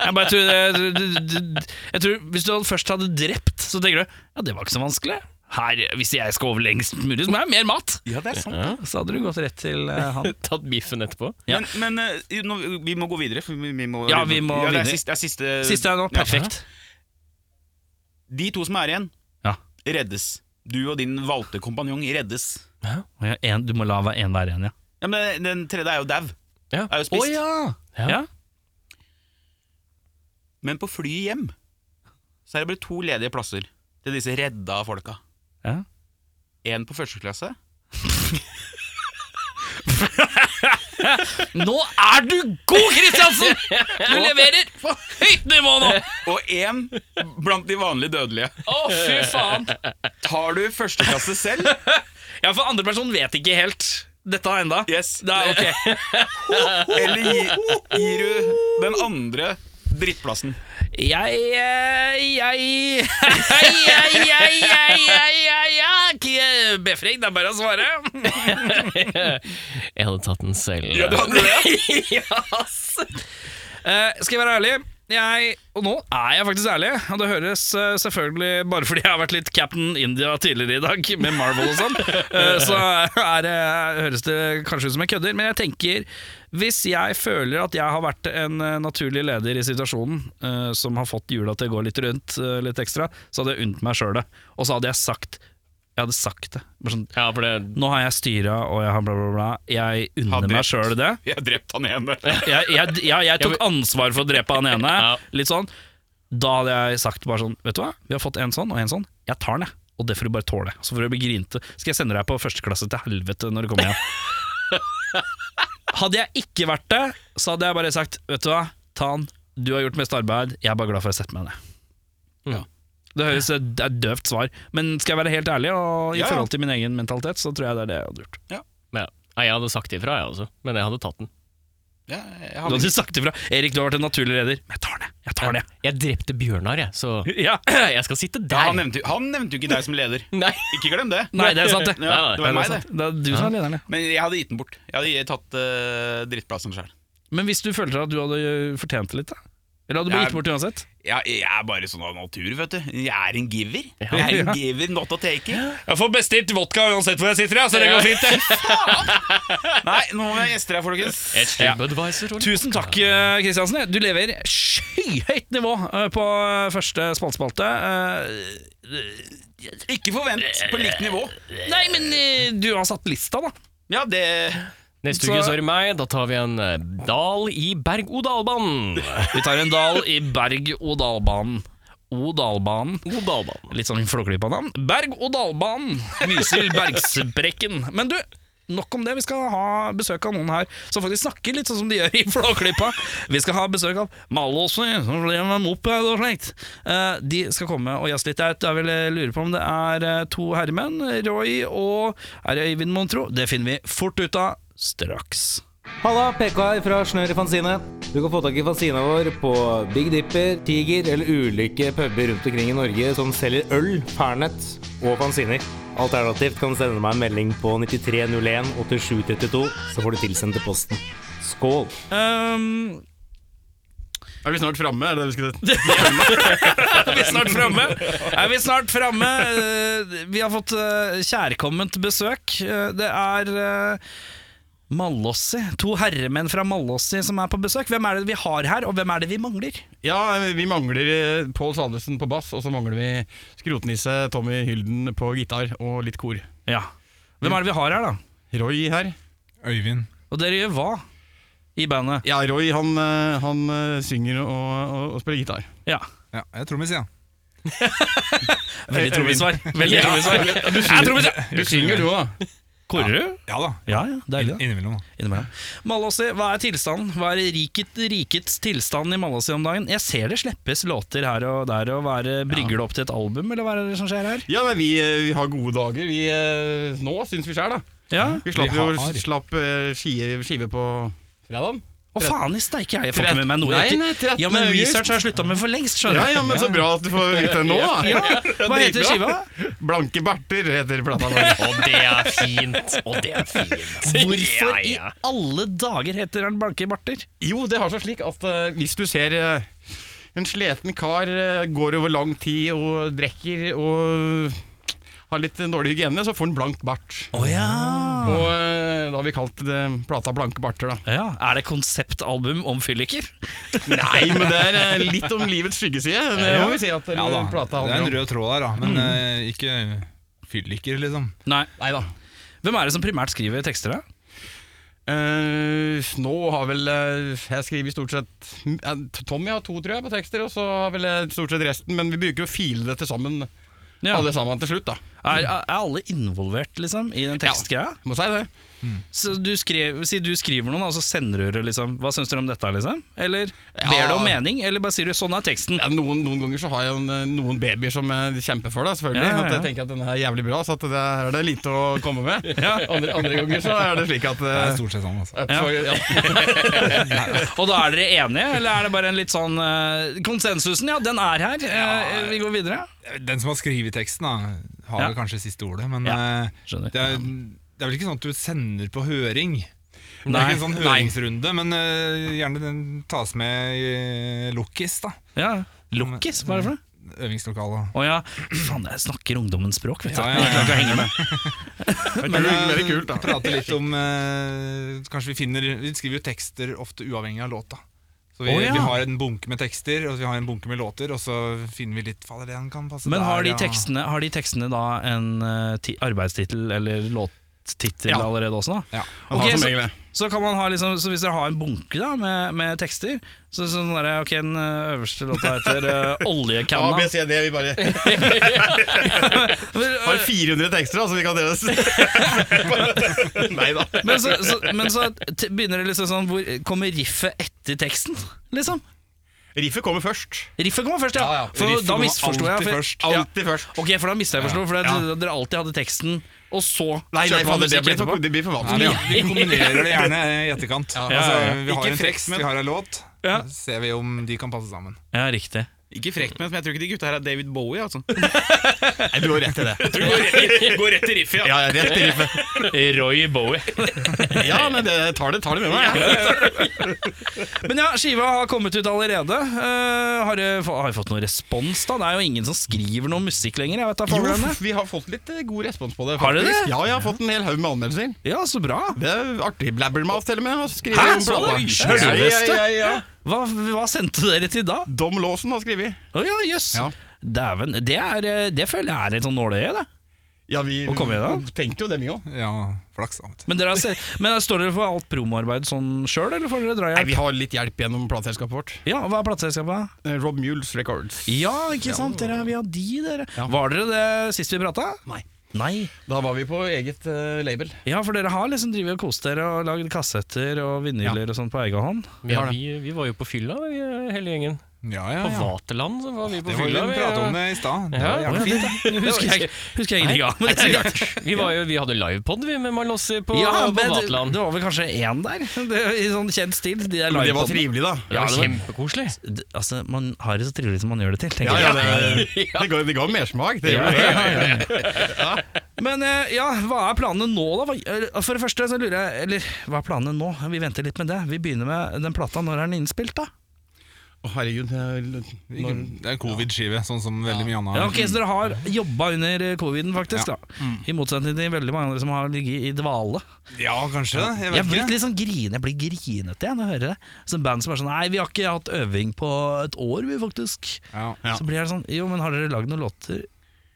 B: Jeg bare tror, eh, jeg, tror- jeg tror Hvis du hadde først hadde drept, så tenker du Ja, det var ikke så vanskelig. Her, hvis jeg skal over lengst mulig, så må jeg ha mer mat.
C: Ja, det er sant.
B: Så hadde du gått rett til eh, han.
A: Tatt biffen etterpå.
B: Ja.
C: Men, men eh, nå, vi må gå videre. For vi, vi må,
B: Ja, vi må
C: det er
B: videre.
C: siste, det er siste,
B: Siste er nå.
C: Ja.
B: Perfekt.
C: De to som er igjen,
B: Ja.
C: reddes. Du og din valgte kompanjong reddes.
B: Å ja, en, du må la hver én være en, ja.
C: Ja, men Den tredje er jo dau.
A: Ja.
C: Er jo spist.
B: ja. ja.
C: Men på flyet hjem Så er det bare to ledige plasser til disse redda folka.
B: Ja.
C: En på første klasse.
B: Nå er du god, Kristiansen! Du leverer på høyt nivå nå!
C: Og en blant de vanlige dødelige.
B: Å, fy faen.
C: Tar du første klasse selv?
B: Ja, for andre person vet ikke helt dette enda.
C: Yes.
B: Det er ok.
C: Eller gir, gir du den andre drittplassen?
B: Jeg, eh, jeg Jeg, jeg, jeg, jeg, jeg, jeg, jeg ikke Befring, det er bare å svare.
A: Jeg hadde tatt den selv.
C: hadde det.
B: Eh, skal jeg være ærlig? jeg, og nå er jeg faktisk ærlig, og det høres eh, selvfølgelig bare fordi jeg har vært litt Captain India tidligere i dag, med Marvel og sånn, eh, så er, det- høres det kanskje ut som jeg kødder, men jeg tenker hvis jeg føler at jeg har vært en eh, naturlig leder i situasjonen, eh, som har fått hjula til å gå litt rundt eh, litt ekstra, så hadde jeg unnt meg sjøl det. Og så hadde jeg sagt Jeg hadde sagt det. Bare sånn,
A: Ja, for det
B: nå har jeg styra, og jeg har bla, bla, bla. Jeg
C: Hadde-
B: unner meg sjøl det.
C: Jeg har drept han ene.
B: Jeg, jeg, ja, jeg tok ansvar for å drepe han ene.
A: Ja.
B: Litt sånn. Da hadde jeg sagt bare sånn Vet du hva, vi har fått en sånn og en sånn. Jeg tar den, jeg. Og det får du bare tåle. Så får du bli grinte. Skal jeg sende deg på førsteklasse til helvete når du kommer hjem. Hadde jeg ikke vært det, så hadde jeg bare sagt Vet du hva, ta han. Du har gjort mest arbeid. Jeg er bare glad for å sette meg ned.
A: Ja.
B: Det høres det er et døvt svar, men skal jeg være helt ærlig, og i
C: Ja, ja.
B: forhold til min egen mentalitet, så tror jeg det er det jeg hadde gjort.
A: ja. Nei, Jeg hadde sagt ifra, jeg også, men jeg hadde tatt den.
C: Ja, jeg
B: Du
C: har
B: hadde sagt ifra. Erik, du har vært en naturlig leder. Men jeg tar den, jeg. jeg. tar den,
A: Jeg drepte Bjørnar, jeg, så
B: jeg. Ja.
A: jeg skal sitte
C: Ja, han,
A: der.
C: nevnte, han nevnte jo ikke deg som leder.
A: Nei.
C: Ikke glem det.
B: Nei, det er sant, det.
C: Ja, det var
B: Nei,
C: meg,
B: det. er
C: det.
B: sant. Det er du som er lederen, ja.
C: Men jeg hadde gitt den bort. Jeg hadde tatt eh, drittplassen sjøl.
B: Men hvis du følte at du hadde ø, fortjent det litt, da? Eller hadde du
C: Ja.
B: gitt bort uansett?
C: Jeg, jeg er bare sånn av natur, vet du. Jeg er en giver. Jeg er en giver, not a taker.
D: Jeg får bestilt vodka uansett hvor jeg sitter, ja, så det går fint. det.
C: Nei, nå må jeg gjester her, folkens.
A: Et TripAdvisor, Tor.
B: Tusen takk, ø, Kristiansen. Du leverer skyhøyt nivå ø, på ø, første spaltspalte. Eh, Ø,
C: Ikke forvent på likt nivå.
B: Nei, men ø, du har satt lista, da.
C: Ja, det
A: Neste
B: Så-
A: uke så er det meg. Da tar vi en eh, dal i berg-og-dal-banen.
B: Vi tar en dal i berg-og-dal-banen. O-dalbanen.
A: Odalbanen.
B: Litt sånn flåklypa navn. Berg-og-dal-banen. Mysil Bergsprekken. Men du, nok om det. Vi skal ha besøk av noen her som faktisk snakker litt sånn som de gjør i Flåklypa. Vi skal ha besøk av Malåsen, som ble med moped og slikt. Eh, De skal komme og jazze litt. Jeg jeg vil eh, lure på om det er eh, to herremenn, Roy og Er det Øyvind, mon tro? Det finner vi fort ut av straks.
E: Halla, PK her fra Snør i Fanzine. Du kan få tak i fanzina vår på Big Dipper, Tiger eller ulike puber rundt omkring i Norge som selger øl, pernett og fanziner. Alternativt kan du sende meg en melding på 9301 8732, så får du tilsendt til posten. Skål!
B: Um,
C: Er vi snart framme? Er det det vi skal
B: Er vi snart framme? Er vi snart framme? Eh, Vi har fått eh, kjærkomment besøk. Eh, Det er eh, Mallåssi. To herremenn fra Mallåssi som er på besøk. Hvem er det vi har her, og hvem er det vi mangler?
F: Ja, vi mangler eh, Pål Salvesen på bass, og så mangler vi skrotnisse Tommy Hylden på gitar og litt kor.
B: Ja. Hvem er det vi har her, da?
F: Roy her.
G: Øyvind.
B: Og dere gjør hva i bandet?
F: Ja, Roy han, eh, han eh, synger og, og, og spiller gitar.
B: Ja.
G: Ja, jeg er trommis, ja.
B: Veldig trommisvar. Veldig trommisvar. Jeg er trommis, ja.
F: Du synger du òg, da.
B: Korer du?
G: Ja da.
B: Ja, ja. Deilig, da.
G: Innimellom. da.
B: Innimellom. Malåsi, hva er tilstanden? Hva er riket, rikets tilstand i Malåsi om dagen? Jeg ser det slippes låter her og der, og hva er det, brygger det opp til et album, eller hva er det som skjer her?
F: Ja, men vi, eh, vi har gode dager, vi eh, nå, syns vi sjæl, da.
B: Ja,
F: Vi slapp
G: Vi
F: jo
G: har.
F: slapp eh, skive, skive på fredag.
B: og faen i steike, jeg får ikke med meg noe.
F: Nei, nei, 13.
B: ja, men
F: august.
B: research har jeg slutta med for lengst,
F: Ja,
B: skjønner du.
F: ja, men så bra at du får vite det nå, da.
B: Ja, Hva heter
F: Dritbra.
B: skiva?
F: Blanke berter heter plata vår.
A: Og det er fint. Og det er fint.
B: Hvorfor
A: Ja,
B: i
A: ja.
B: alle dager heter den Blanke barter?
F: Jo, det har seg slik at eh, hvis du ser eh, en sliten kar eh, går over lang tid og drikker og har litt dårlig hygiene, så får han blank bart.
B: Å ja.
F: Og eh, da har vi kalt det plata 'Blanke barter', da.
B: ja. Er det konseptalbum om fylliker?
F: Nei, men det er eh, litt om livets skyggeside. Det må vi si at
G: Ja, da.
F: eh, plata
G: Det er en
F: handler om.
G: rød tråd der, da. Men eh, ikke fylliker, liksom.
B: Nei.
F: Nei da.
B: Hvem er det som primært skriver tekster, da?
F: Eh, nå har vel eh, Jeg skriver stort sett eh, Tommy har to, tror jeg, på tekster, og så har vel eh, stort sett resten. Men vi bruker å file det til sammen,
B: Ja.
F: alle sammen til slutt, da.
B: Er, er alle involvert, liksom, i den tekstgreia?
F: Må si det.
B: Så du, skrev, si du skriver noe, da, og så sender du det, liksom. Hva syns dere om dette, liksom? Eller ber du om mening, eller bare sier du 'sånn er teksten'?
F: ja, noen, noen ganger så har jeg en, eh, noen babyer som eh, kjemper for deg, selvfølgelig.
B: Ja, ja,
F: At jeg
B: ja.
F: tenker at den er jævlig bra, så at det er, det er lite å komme med. andre, andre ganger så er det slik at
G: Det er
F: eh,
G: stort sett sånn, altså.
F: at- ja.
B: Og da er dere enige, eller er det bare en litt sånn eh, Konsensusen, ja, den er her. Eh, vi går videre.
G: Den som har skrevet teksten, da, har
B: Ja.
G: vel kanskje siste ordet, men
B: Ja,
G: eh,
B: skjønner.
G: det, er, det er vel ikke sånn at du sender på høring? Det er ikke en sånn
B: Nei.
G: høringsrunde, men eh, gjerne den tas med i eh, Lokkis, da.
B: Ja, Lokkis, hva er det for noe?
G: Øvingslokalet.
B: Å ja. Faen, jeg snakker ungdommens språk, vet du.
G: Ja, ja, ja.
B: Jeg klarer ikke å henge med.
G: Men eh, prate litt om eh, Kanskje vi finner Vi skriver jo tekster ofte uavhengig av låta. Så vi,
B: Å, ja.
G: vi har en bunke med tekster, og vi har en bunke med låter, og så finner vi litt Fader, den kan passe
B: Men
G: der,
B: har de
G: ja.
B: tekstene, har de tekstene da en eh, ti- arbeidstittel eller låttittel
G: Ja.
B: allerede også, da?
G: Ja.
F: Han
B: Ok,
F: har som
B: så-
F: regel det.
B: Så, kan man ha liksom, så hvis dere har en bunke da med, med tekster så, Sånn der, ok, Den eh, øverste låta heter uh,
F: A, B,
B: 'Oljekanna'.
F: C, D, vi bare
B: Men, eh,
F: har 400 tekster, altså, vi kan dele oss. Nei da.
B: men så, så, men så t begynner det liksom sånn hvor, Kommer riffet etter teksten, liksom?
F: Riffet kommer først.
B: Riffet kommer først, ja.
G: Ja, ja.
B: For
G: Riffet
B: da
G: kommer
B: misforsto jeg.
G: alltid
B: For,
G: først.
B: ja.
F: Alltid først.
B: Ok, for da mista jeg forstå, for at dere alltid hadde teksten, og så
F: Nei, nei,
B: kjørte man
F: fader, det
B: musikk
F: blir
B: etterpå.
F: for, det blir for
G: Nei,
F: vanskelig.
G: vi,
F: Ja.
G: vi kombinerer det gjerne eh, i etterkant.
B: ja,
G: Altså, vi har
F: Ikke
G: en
F: frekt,
G: tekst,
F: men-
G: vi har en låt.
B: Ja.
G: Så Ser vi om de kan passe sammen.
B: Ja, riktig.
C: Ikke frekt, men jeg tror ikke de gutta her er David Bowie, altså.
F: Nei, du har rett i det.
C: Går rett, går rett i riffet, ja.
F: Ja, ja, rett i riffet.
B: Roy Bowie.
F: Ja, nei, det tar det, tar det med meg. Ja.
B: Men ja, skiva har kommet ut allerede. Eh, har, det, fa- har jeg fått noen respons, da? Det er jo ingen som skriver noe musikk lenger. Jeg vet da,
F: Jo,
B: faen hvem det er.
F: f- vi har fått litt eh, god respons på det.
B: Har dere
F: faktisk.
B: det?
F: Ja, jeg har fått en hel haug med anmeldelser.
B: Ja, så bra.
F: Det er artig. Blabbermouth til og med har skrevet
B: Hæ,
F: om
B: så
F: plata.
B: det?
F: Ja, ja, ja, ja.
B: Hva, hva sendte dere til da?
F: Dom Lawson har skrevet.
B: Å ja, jøss.
F: Ja.
B: Dæven. Det, er, eh, det føler jeg er et sånn nåløye, det.
F: Ja, vi
B: Og kom igjen,
F: tenkte jo det, vi òg.
G: Ja, flaks. da, vet du.
B: Men, dere har se- men står dere for alt promoarbeid sånn sjøl, eller får dere
F: Nei,
B: drahjelp?
F: vi har litt hjelp gjennom plateselskapet vårt.
B: Ja, hva er plateselskapet?
F: Eh, Rob Mules Records.
B: Ja, ikke sant. Dere er via de, dere. Var dere det sist vi prata?
F: Nei.
B: Nei.
F: Da var vi på eget eh, label.
B: Ja, for dere har liksom drivet og kost dere og lagd kassetter og vinyler og sånn på egen hånd.
A: Ja, vi, vi var jo på fylla, vi, hele gjengen.
G: Ja, ja,
A: På
G: ja.
A: Vaterland så var vi på
G: Det var
A: fylla.
G: jo vi
A: Vi,
G: pratet om det i stad. Det
A: Ja.
G: var jævlig fint. da.
B: Det husker jeg, husker jeg ingenting av. Men det er rart.
A: vi, var jo, vi hadde livepod vi, med Malossi på, på
B: men det,
A: Vaterland.
B: det var vel kanskje én der, det, i sånn kjent stil. De der
F: Men det var
B: livepodene.
F: trivelig, da.
A: Ja, det var
B: var-
A: kjempekoselig.
B: D- Altså, Man har det så trivelig som man gjør det til. tenker
F: Ja, ja,
B: jeg.
F: det, det, ga, det ga mersmak. Det
B: Ja,
F: gjorde det.
B: Men eh, ja, hva er planene nå, da? Hva, eh, for det første så lurer jeg Eller hva er planene nå? Vi venter litt med det. Vi begynner med den plata. Når er den innspilt, da?
F: Å, herregud. jeg-
G: Ikke-
F: Når,
G: Det er covid-skive, sånn som veldig mye annet.
B: Ja, ok, Så dere har jobba under eh, coviden, faktisk? da
G: mm.
B: I motsetning til veldig mange andre som har ligget i dvale.
G: Ja, kanskje. det.
B: Jeg
G: Jeg vet
B: blir
G: ikke.
B: litt sånn grine, jeg blir grinete jeg, når jeg hører det. Som band som er sånn Nei, vi har ikke hatt øving på et år, vi, faktisk.
G: Ja.
F: Ja.
B: Så blir jeg sånn Jo, men har dere lagd noen låter?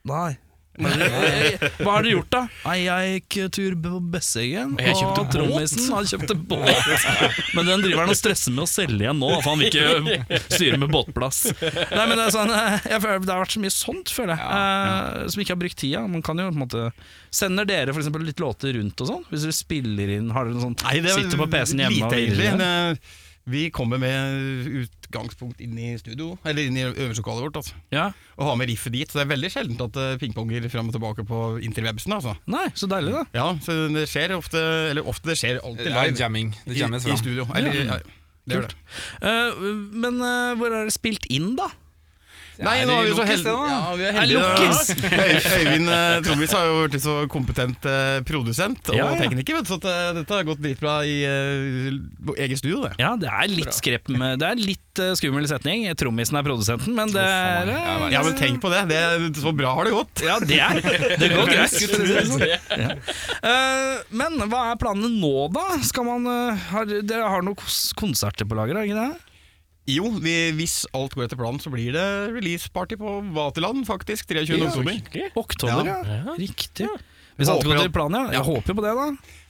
B: Nei. Hva har dere- Hva har dere gjort, da? Nei, jeg gikk tur på Besseggen,
A: Jeg kjøpte
B: og trommisen han kjøpte båt. Men den driver han og stresser med å selge igjen nå, for han vil ikke styre med båtplass. Nei, men Det er sånn eh, jeg føler, Det har vært så mye sånt, føler jeg, eh, som ikke har brukt tida. Man kan jo på en måte Sender dere for eksempel litt låter rundt og sånn? Hvis dere spiller inn, har dere noe sånt?
F: Nei, det er
B: sitter på PC-en hjemme
F: lite,
B: og
F: egentlig.
B: virrer?
F: Det, eh, vi kommer med utgangspunkt inn i studio, eller inn i øvingslokalet vårt, altså.
B: Ja.
F: og har med riffet dit. Så det er veldig sjeldent at det pingponger fram og tilbake på interwebsen. Altså.
B: Nei, så deilig, da.
F: Ja, så det skjer ofte, eller ofte det skjer alltid
G: Det er
F: live
G: jamming. Det jammes
F: i, i
G: fram.
F: studio. Eller,
B: Ja.
F: ja. Det er det.
B: Eh, men eh, hvor er det spilt inn, da?
F: Nei, nå er vi så
G: Lukkes, det
F: heldige.
G: da?
F: Ja, vi er
B: Er Lukkes?
F: heldige. da. Øy- Øyvind eh, Trommis har jo vært så kompetent eh, produsent og
B: Ja, ja.
F: tekniker, vet du, så at, eh, dette har gått dritbra i eh, eget studio, det.
B: Ja, det er litt skrepp med Det er litt eh, skummel setning. Trommisen er produsenten, men det er eh,
F: Ja, men tenk på det. det så bra har det gått.
B: Ja, det er Det går greit. Ja. Eh, men hva er planene nå, da? Skal man eh, har, Dere har noen kos- konserter på lager, har dere ikke det?
F: Jo, vi, hvis alt går etter planen, så blir det releaseparty på Vaterland, faktisk. 23. oktober.
B: Oktober, ja. Riktig. Hvis alt
F: Håper
B: går
F: at-
B: til planen, ja. Jeg håper jo på det, da.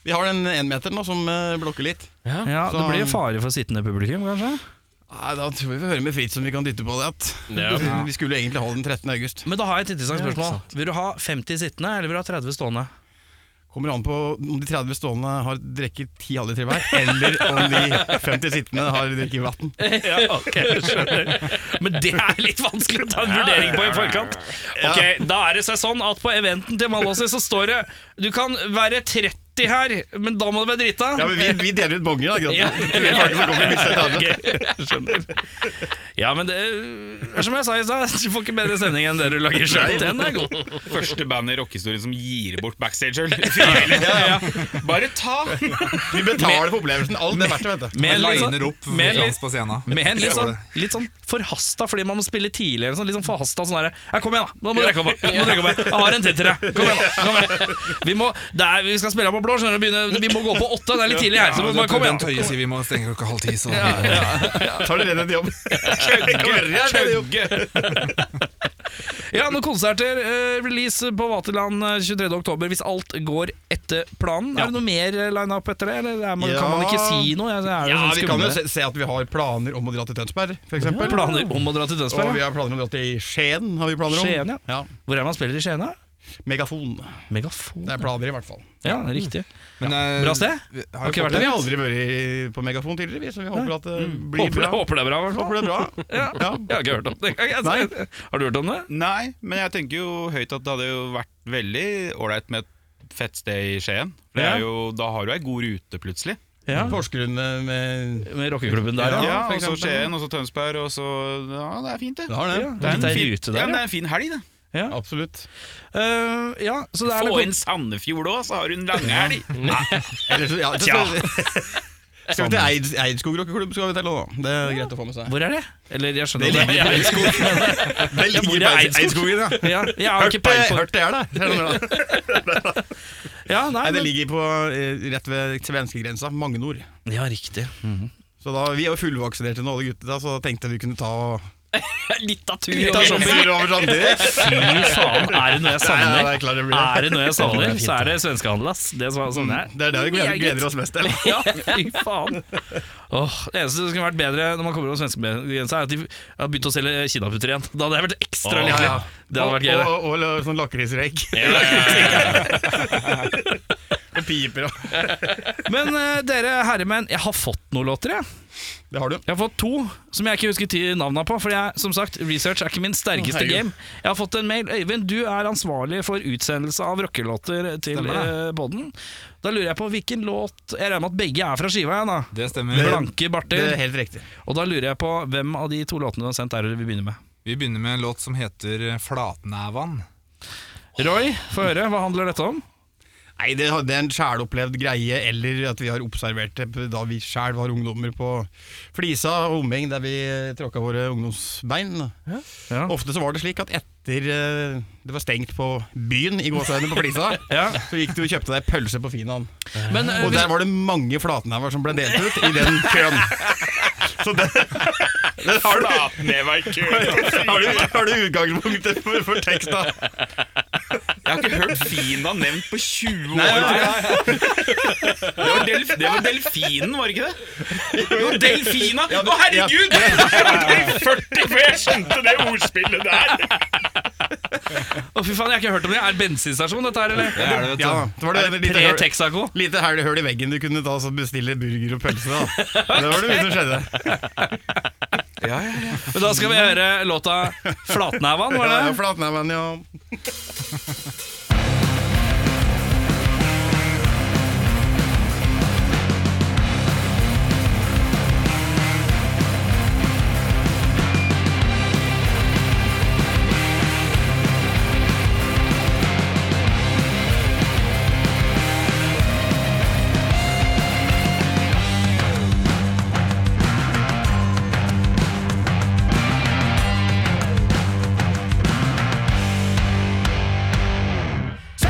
F: Vi har den enmeteren nå som eh, blokker litt.
B: Ja,
F: Så-
B: det blir jo fare for sittende publikum, kanskje.
F: Nei, Da tror jeg vi får høre med Fritz om vi kan dytte på det. At. Vi skulle egentlig ha den 13. august.
B: Men da har jeg et interessant spørsmål. Vil du ha 50 sittende, eller vil du ha 30 stående?
F: Kommer an på om de 30 stående har drukket 10 halvliter hver, eller om de 50 sittende har drukket vann.
B: Ja, ok, skjønner Men det er litt vanskelig å ta en vurdering på i forkant. Ok, Da er det seg sånn at på eventen til Malåsi så står det Du kan være 30 80 her, men da må det være drita.
F: Ja, men vi, vi deler ut bonger, da. Ikke sant? Vi vet faktisk hvor kommer vi mister et annet.
B: Ja, men det er som jeg sa i stad, du får ikke bedre sending enn det du lager sjøl. Den er god.
C: Første band i rockehistorien som gir bort backstage-øl. Frivillig. Bare ta!
F: Vi betaler for opplevelsen. Alt det er verdt det, vet du.
B: Med en litt sånn,
G: Liner opp
B: med en
G: Frans på scenen.
B: med en litt sånn, litt sånn forhasta, fordi man må spille tidligere. Sånn, litt sånn forhasta sånn derre Ja, kom igjen, da! Nå må du rekke opp. Nå må du rekke opp. Jeg har en til til deg. Kom igjen, da. Kom igjen. Vi, må, det er, vi skal spille av på blå, skjønner du. Begynne, vi må gå på åtte. Det er litt tidlig her, så vi må bare kom
G: Den
B: igjen.
G: tøye sier vi må stenge klokka halv ti, så
F: Tar dere en jobb?
B: Ja, noen konserter. eh, release på Vaterland eh, 23. oktober, hvis alt går etter planen. Er det noe mer eh, line-up etter det, eller er man, kan man ikke
F: Ja.
B: si noe? Ja, er det
F: Ja,
B: sånn
F: vi kan jo
B: skummelt?
F: se, se at vi har planer om å dra til Tønsberg, f.eks.
B: Planer om å dra til
F: Og
B: Tønsberg?
F: vi
B: ja.
F: har planer om å dra til Skien. har vi planer om.
B: Skien, ja.
F: ja.
B: Hvor er man spiller i Skien? da?
F: Megafon.
B: Megafon.
F: Det er planer, i hvert fall.
B: Ja, riktig. Bra
F: eh,
G: Bra
B: sted?
G: Har
B: ikke
G: ikke
B: vært
F: Men
G: vært
F: vi har aldri vært på megafon tidligere, vi, så vi Mm. håper at det blir
B: Håper det,
F: bra.
B: håper det er bra, i hvert fall.
F: Håper det er bra.
B: Ja.
F: Ja.
B: Jeg har ikke hørt om det. Jeg- jeg- Har du hørt om det?
C: Nei, men jeg tenker jo høyt at det hadde jo vært veldig ålreit med et fett sted i Skien. For det
B: Ja.
C: er jo, da har du ei god rute, plutselig.
B: Ja.
F: Porsgrunn eh, med
B: Med rockeklubben der,
C: Ja,
B: ja. for
C: og så
B: eksempel.
C: Skien, og så Tønsberg, og så Ja, det er fint, det.
F: Det har det.
B: Det er en rute
C: ja,
B: der,
C: men
B: ja.
C: det er en fin helg, det.
F: Absolutt.
B: Eh, ja så det er
C: Få
B: noe-
C: inn Sandefjord òg, så har hun langhelg.
F: Eller så- ja, så skal vi- Skal vi til Eid, Eidskog rockeklubb, skal vi til nå. Det er greit å få med seg.
B: Hvor er det? Eller, jeg skjønner
F: Det
B: det.
F: ligger i Eidskog. Det
B: Hvor
F: ligger
B: er
F: i
B: Eidskog?
F: Eidskogen, ja.
B: Ja, jeg har ikke
F: Hørt
B: peil
F: det,
B: på
F: hørt det er det.
B: ja, nei,
F: Nei, det
B: men-
F: ligger på, eh, rett ved svenskegrensa, Magnor.
B: ja, riktig. Mhm.
F: Så da, Vi er jo fullvaksinerte nå, alle gutta, så da tenkte jeg vi kunne ta
A: Litt av tur.
F: Ta
B: sånn
F: shopping over samtidig.
B: Fy faen, er det noe jeg
F: Nei,
B: savner? Ah.
F: nei, det er klart det blir det.
B: Er det noe jeg savner, så er det svenskehandel, ass. Det som er sånn det er.
F: Det er det vi gleder, gleder oss mest til.
B: Ja, fy faen. Åh, det eneste som skulle vært bedre når man kommer over svenskegrensa, er at de har begynt å selge kinaputter igjen. Da hadde jeg vært ekstra
F: Åh,
B: lykkelig.
F: ja.
B: Det hadde vært gøy, det.
F: Og, og, og sånn lakrisrøyk. og piper og
B: Men eh, dere herremenn, jeg har fått noen låter, jeg.
F: Det har du.
B: Jeg har fått to som jeg ikke husker ti navna på. For jeg, som sagt, research er ikke min sterkeste
F: Herregud.
B: game. Jeg har fått en mail. Øyvind, du er ansvarlig for utsendelse av rockelåter til
G: Stemmer det.
B: eh, podden. Da lurer jeg på hvilken låt Jeg regner med at begge er fra skiva igjen, da.
G: Det stemmer.
B: Blanke
F: Det er
B: barter.
F: helt riktig.
B: Og da lurer jeg på hvem av de to låtene du har sendt, er det vi begynner med?
G: Vi begynner med en låt som heter Flatnævan.
B: Roy, få høre. Hva handler dette om?
F: Nei, det, det er en sjælopplevd greie, eller at vi har observert det da vi sjæl var ungdommer på Flisa og omheng, der vi eh, tråkka våre ungdomsbein.
B: Ja.
F: Ofte så var det slik at etter eh, det var stengt på byen i gåseøynene på Flisa,
B: Ja.
F: så gikk du og kjøpte deg pølse på Finan.
B: Men eh,
F: Og der var det mange flatnæver som ble delt ut i den køen. Så det, det har du
C: Flatneva i kø.
F: har du, har du utgangspunktet for, for teksta?
C: Jeg har ikke hørt Fina nevnt på 20 år. Det, var delf, det var delfinen, var det ikke det? Det var delfina! Å, herregud! Jeg var ikke i 40 før jeg skjønte det ordspillet der.
B: Å, fy faen, jeg har ikke hørt om det. Er det bensinstasjon dette her, eller?
G: Det er det, vet du.
F: Ja, da. så var det et lite, høl-
B: Pre-Texaco.
F: lite høl- høl i veggen du kunne ta og så bestille burger og pølse. Da. Det var det mye som skjedde.
B: Men da skal vi høre låta 'Flatnævan', var
F: Ja,
B: det?
F: ja, Flatnæven, ja.
H: Flatnæven,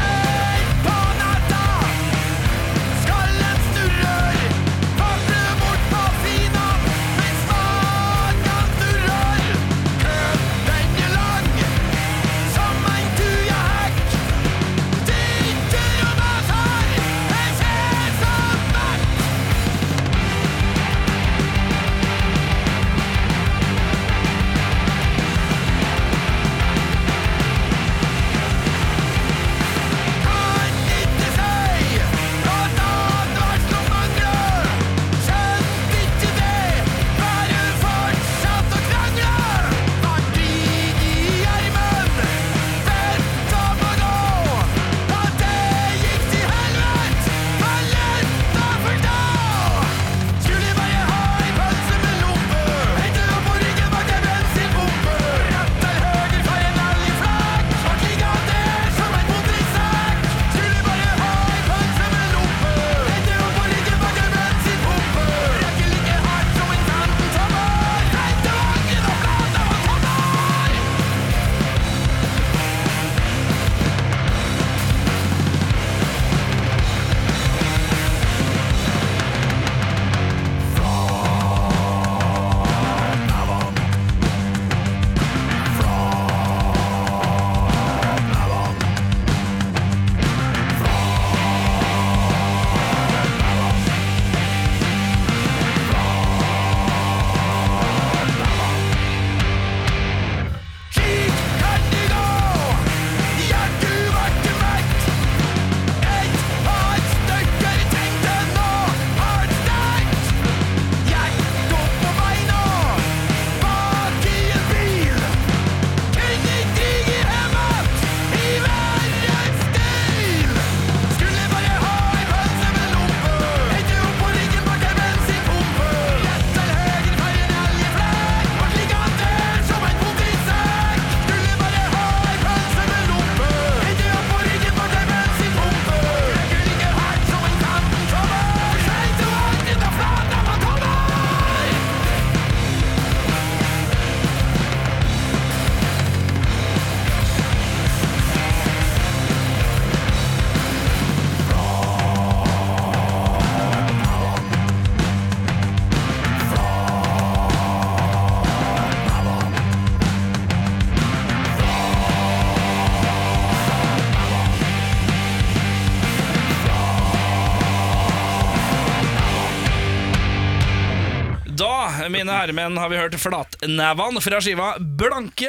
B: Da, mine herremenn, har vi hørt Flatnevan fra skiva Blanke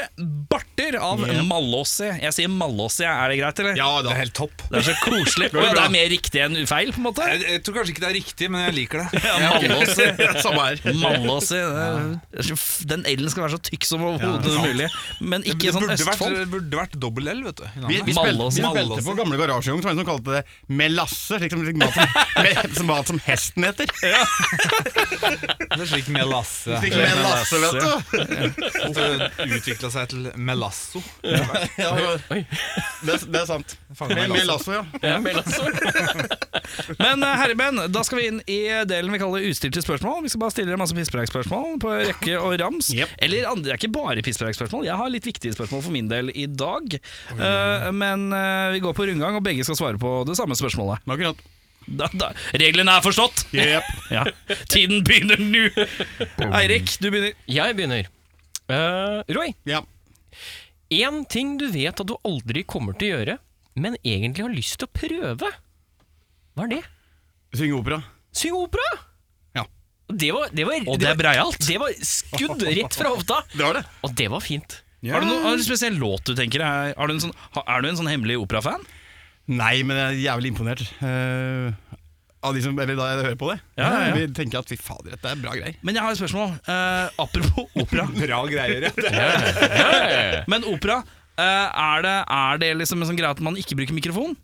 B: barter av Malåse. Jeg sier Malåse, jeg. er det greit, eller?
G: Ja, det er helt topp.
B: Det er så koselig. Å, ja, det er mer riktig enn feil, på en måte?
G: Jeg, jeg tror kanskje ikke det er riktig, men jeg liker det.
B: Ja, Malåse.
G: Samme her.
B: Malåse. det er så- Den L-en skal være så tykk som overhodet mulig, men ikke sånn
G: det burde vært,
B: Østfold.
G: det burde vært dobbel L, vet du. i
F: Vi,
G: navnet.
F: vi, spilte,
B: Malås.
F: vi spilte
G: Malås.
F: på gamle garasjerom, så var det en som kalte det melasse, slik som, slik mat, som, med, som mat som hesten heter.
G: Det er slik melasse
F: Slik melasse, vet du.
G: utvikla Sånn seg til melasso.
F: Ja,
A: Oi.
F: det, det er sant.
G: Fanger
F: Med melasso,
G: melasso.
F: ja.
A: Ja, men altså.
B: Men eh, herremenn, da skal vi inn i delen vi kaller ustilte spørsmål. Vi skal bare stille dere masse pisspreikspørsmål på rekke og rams. Eller andre, det er ikke bare pisspreikspørsmål. Jeg har litt viktige spørsmål for min del i dag. Eh, men eh, vi går på rundgang, og begge skal svare på det samme spørsmålet.
F: Akkurat.
B: Da, da. Reglene er forstått!
F: Yep.
B: Ja. Tiden begynner nå! Eirik, du begynner.
A: Jeg begynner. Eh, Roy,
F: Ja.
A: én ting du vet at du aldri kommer til å gjøre, men egentlig har lyst til å prøve. Hva er det?
F: Synge opera.
A: Synge opera!
F: Ja.
A: Det var, det var,
B: Og det er
A: var,
B: breialt.
A: det var skudd rett fra hofta,
F: Det var det.
A: og det var fint.
B: Har du noen har du en spesiell låt du tenker er har du en sånn, ha- Er du en sånn hemmelig operafan?
F: Nei, men jeg er jævlig imponert. eh, av de som, eller da jeg hører på det.
B: Ja, ja, ja.
F: Vi tenker at fy fader, dette er bra greier.
B: Men jeg har et spørsmål. eh, apropos opera.
G: Bra greier, ja.
B: Men opera, eh, er, det, er det liksom en sånn greie at man ikke bruker mikrofon?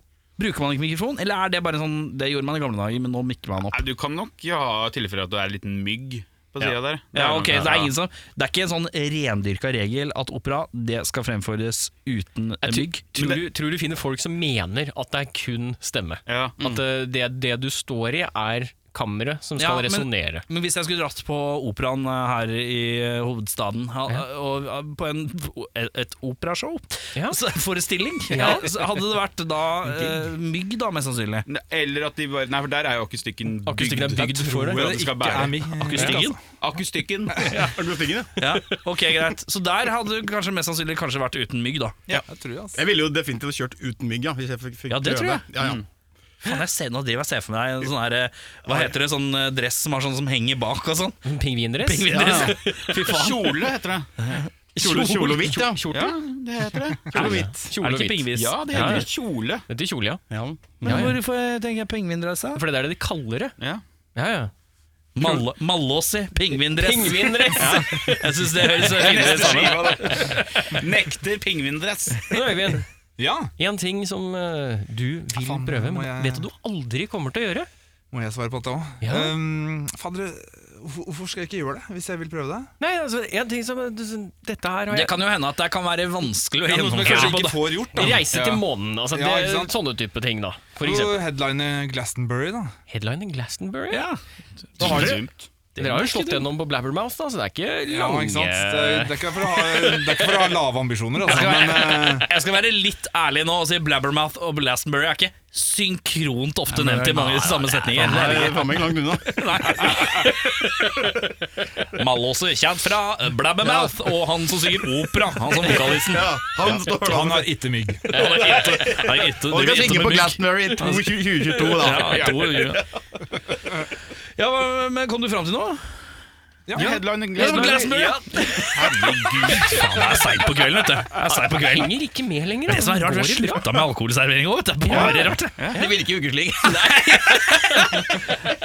B: Bruker man ikke mikrofon, eller er det bare en sånn Det gjorde man i gamle dager, men nå mikker man opp.
C: Nei, du kan nok ha tilfeller at du er en liten mygg på sida der.
B: Ja, ok, det er, ingen som, det er ikke en sånn rendyrka regel at opera det skal fremføres uten eh,
A: Jeg
B: mygg.
A: Tror, du, tror du finner folk som mener at det er kun stemme?
C: Ja.
A: At eh, det, det du står i, er kammeret som skal
B: Ja, men-
A: resonnere?
B: Men hvis jeg skulle dratt på operaen eh, her i eh, hovedstaden, ha, og, eh, på en, et operashow,
A: Ja.
B: så- forestilling, eh, så hadde det vært da eh, mygg, da, mest sannsynlig.
C: Eller at de bare Nei, for der er jo akustikken
A: Akustikken er bygd for det.
C: Hvor det skal bære.
B: altså.
A: Akustikken?
C: Akustikken.
F: Er du stigen, ja?
B: Ja, ok, greit. Så der hadde du kanskje mest sannsynlig kanskje vært uten mygg, da.
G: Jeg tror det, altså.
F: Jeg ville jo definitivt kjørt uten mygg, ja. Hvis jeg fikk, fikk
B: Ja, det tror
F: prøve.
B: jeg.
F: Ja, ja.
B: Faen, jeg ser, nå driver jeg og ser for meg en sånn her eh, Hva heter det, sånn eh, dress som har sånn som henger bak og sånn?
A: Pingvindress?
B: Pingvindress. Fy faen.
C: Kjole heter det.
F: Kjole, kjole og hvitt, ja.
C: Ja, det heter det.
F: Kjole og hvitt.
A: Kjole
B: Er det
A: og
B: ikke
A: hvitt.
B: pingvis?
C: Ja, det heter kjole.
A: Det heter kjole, ja.
F: Ja.
B: Men hvorfor tenker jeg pingvindress, da?
A: For det er det de kaller det.
C: Ja.
A: Ja, ja.
B: Mall- Mallåsi, pingvindress.
A: Pingvindress!
B: Jeg syns det høres så hyggelig ut sammen.
C: Nekter pingvindress.
A: Nå, Øyvind,
G: Ja,
A: en ting som eh, du vil
G: faen,
A: prøve,
G: må
A: men
G: jeg-
A: vet du du aldri kommer til å gjøre? Eh,
G: må jeg svare på dette Um, òg?
A: Ja.
G: Fader, hvorfor hvorfor skal jeg ikke gjøre det, hvis jeg vil prøve det?
A: Nei, altså, en ting som eh, du- som- Dette her har
B: Det
A: jeg
B: kan jo hende at det kan være vanskelig å
G: Ja, noe som jeg kanskje
B: gjennomføre. på
G: ikke
B: da.
G: får gjort, da.
A: Reise til månen, altså det,
G: Ja, ikke sant?
A: sånne type ting, da. For
G: For
A: eksempel.
G: headline Glastonbury, da.
A: Headline i Glastonbury?
B: Ja.
A: Da har dere-
C: Dumt.
A: Dere har jo slått gjennom på Blabbermouth, da, så det er ikke
G: Ja,
A: lange
G: ikke sant? Det, er- det, er ikke for å ha, det er ikke for å ha lave ambisjoner, altså. Men eh,
B: Jeg skal være litt ærlig nå og si Blabbermouth og Blastonbury er ikke synkront ofte nevnt i mange samme setninger.
F: Nei, det er faen meg langt unna.
B: Mallåse, kjent fra Blabbermouth, og han som synger opera, han som vokalisten.
F: Ja, han står da.
G: han har ikke mygg.
B: Han er ikke- han er ikke- det
F: Og skal
B: er ikke
F: synge på
B: med mygg.
F: Glastonbury i 2022, da.
B: Ja, to, ja. ja, hva- men kom du fram til noe?
G: Ja,
C: Headline
B: Glastonbury, ja. Herregud, faen, det er seigt på kvelden, vet du. Det er seigt på kvelden.
A: Henger ikke med lenger. altså.
B: Det som er rart, vi har slutta med alkoholservering òg, vet du. Det er Bare rart. Det
F: Det virker jo ukeslig.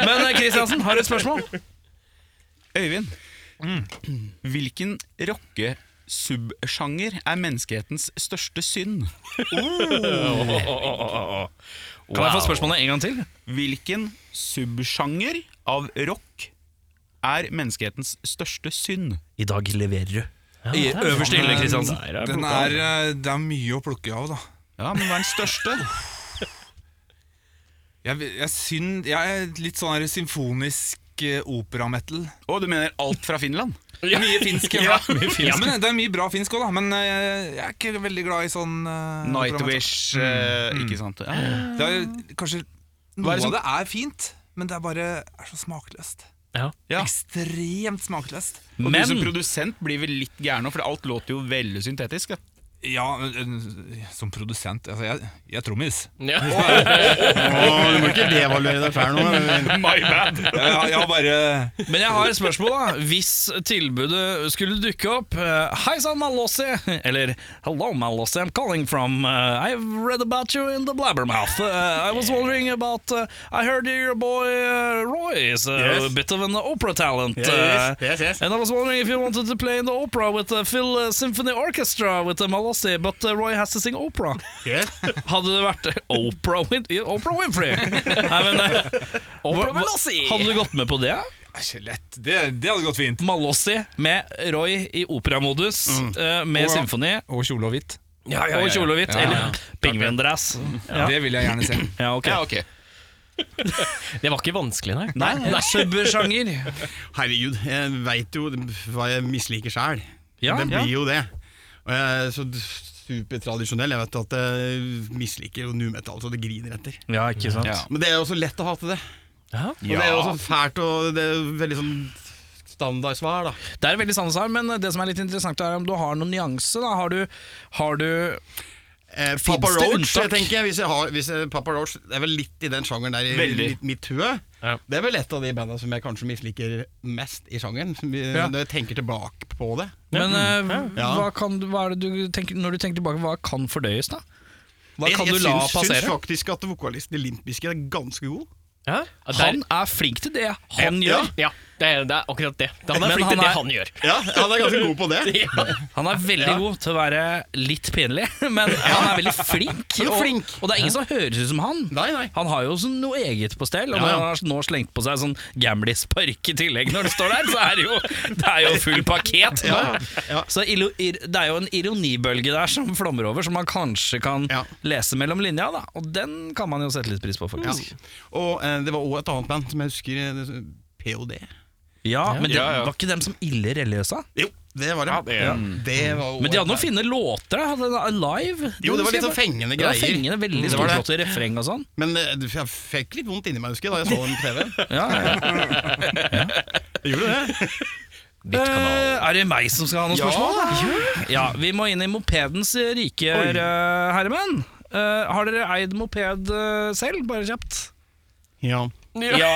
B: Men eh, Kristiansen, har du et spørsmål?
C: Øyvind,
B: Mm.
C: hvilken rockesubsjanger er menneskehetens største synd?
B: Kan jeg få spørsmålet en gang til?
C: Hvilken subsjanger av rock er menneskehetens største synd?
B: I dag leverer du. I øverste hylle, Kristiansen.
G: Den er, eh, det er mye å plukke av, da.
C: Ja, men hva er den største?
G: Jeg, jeg, synd, jeg er litt sånn her symfonisk eh, operametal.
C: Å, du mener alt fra Finland?
G: Mye finsk, ja. ja. Men det er mye bra finsk òg, da. Men eh, jeg er ikke veldig glad i sånn eh, operametal.
C: Nightwish, eh, ikke sant? Ja.
G: Det er kanskje Noe
C: er det som-
G: av det Mm. er fint, men det er bare er så smakløst.
A: Ja.
C: Ja.
G: Ekstremt smakløst.
C: Og du som
B: Men
C: produsent blir vel litt gæren nå, for alt låter jo veldig syntetisk. Da.
G: Ja, øh, som produsent altså, Jeg, jeg er trommis.
A: Ja.
F: Åh, du må ikke devaluere deg sjøl nå.
G: Jeg, jeg, jeg bare
B: Men jeg har et spørsmål, da. Hvis tilbudet skulle dukke opp eh, Hei sann, Malossi! Eller Hello, Malossi, I'm calling from eh, I've read about you in the blabbermouth. Eh, I was wondering about eh, I heard your boy eh, Roy is a
F: Yes.
B: bit of an opera talent. eh,
F: yes, yes.
B: And I was wondering if you wanted to play in the opera with the Phil eh, Symphony Orchestra with eh, Malossi, but eh, Roy has to sing opera. Hadde det vært eh, Opera, Win Oprah Winfrey? Nei, men, eh, hva- hva- hadde du gått med på det?
G: Ikke lett. Det, det hadde gått fint.
B: Malossi med Roy i operamodus, eh, med
G: Og-
B: symfoni
G: Og kjole og hvitt.
B: og kjole og hvitt. Eller pingvindress. Ja.
G: Det vil jeg gjerne se.
B: ja, ok.
C: Ja, ok.
A: Det var ikke vanskelig, nei.
B: Nei, subsjanger.
F: Herregud, jeg veit jo hva jeg misliker sjæl.
B: Ja,
F: det
B: ja.
F: blir jo det. Og jeg er så d- supertradisjonell. Jeg vet at jeg misliker jo nu metal så det griner etter.
B: Ja, ikke sant.
C: Ja.
F: Men det er jo så lett å hate det.
A: Ja.
F: Og det er jo så fælt og det er jo veldig sånn standardsvar, da.
B: Det er veldig sans her, men det som er litt interessant, er om du har noen nyanse. Da. Har, du, har du
F: Eh,
B: Finns
F: Papa
B: det
F: Roach,
B: unntak?
F: jeg tenker jeg, hvis jeg har, hvis jeg, Papa Roach Det er vel litt i den sjangeren der i
C: Veldig.
F: litt mitt hue.
A: Ja.
F: Det er vel et av de banda som jeg kanskje misliker mest i sjangeren. Som vi, Når jeg tenker tilbake på det.
B: Men eh,
F: Ja.
B: hva kan, du- hva er det du tenker, når du tenker tilbake, hva kan fordøyes, da? Hva
F: Jeg-
B: kan
F: jeg
B: du la
F: syns,
B: passere?
F: Syns faktisk at vokalisten i Limp Bizkit er ganske god.
A: Ja.
B: han er flink til det han
F: Ja.
B: gjør.
A: Ja, det er, det er akkurat det. Han
B: Men
A: er flink
B: han
A: til det
B: er-
A: han gjør.
F: Ja, han er ganske god på det.
B: Han er veldig god til å være litt pinlig, men han er veldig flink.
F: er
B: og-
F: flink.
B: Og det er ingen som høres ut som han.
F: Nei, nei.
B: Han har jo sånn noe eget på stell, og
F: Ja,
B: når
F: ja.
B: han har nå slengt på seg sånn Gamlis-park i tillegg når det står der, så er det jo, det er jo full pakket. nå.
F: Ja, ja.
B: Så ilo- ir- det er jo en ironibølge der som flommer over, som man kanskje kan
F: Ja.
B: lese mellom linja, da. Og den kan man jo sette litt pris på, faktisk.
F: Og eh, det var òg et annet band som jeg husker, eh, det- POD.
B: Ja, men det
C: Ja, ja.
B: var ikke dem som ille religiøsa?
F: Jo, det var det.
C: Ja, det-
F: det var også
B: Men de hadde noen
F: et band.
B: fine låter, da. Hadde de Live.
F: Jo, det var
B: husker
F: litt
B: jeg
F: sånn fengende
B: bare- Det
F: greier.
B: var fengende, veldig
F: Det var det.
B: storslåtte refreng og sånn.
F: Men eh, jeg fikk litt vondt inni meg, husker jeg, da jeg så den på TV.
B: Ja, ja.
F: Gjorde du det?
B: Eh, er det meg som skal ha noen spørsmål? Da? Ja, Vi må inn i mopedens eh, rike, eh, herremenn. Eh, har dere eid moped eh, selv, bare kjapt?
F: Ja.
B: Ja.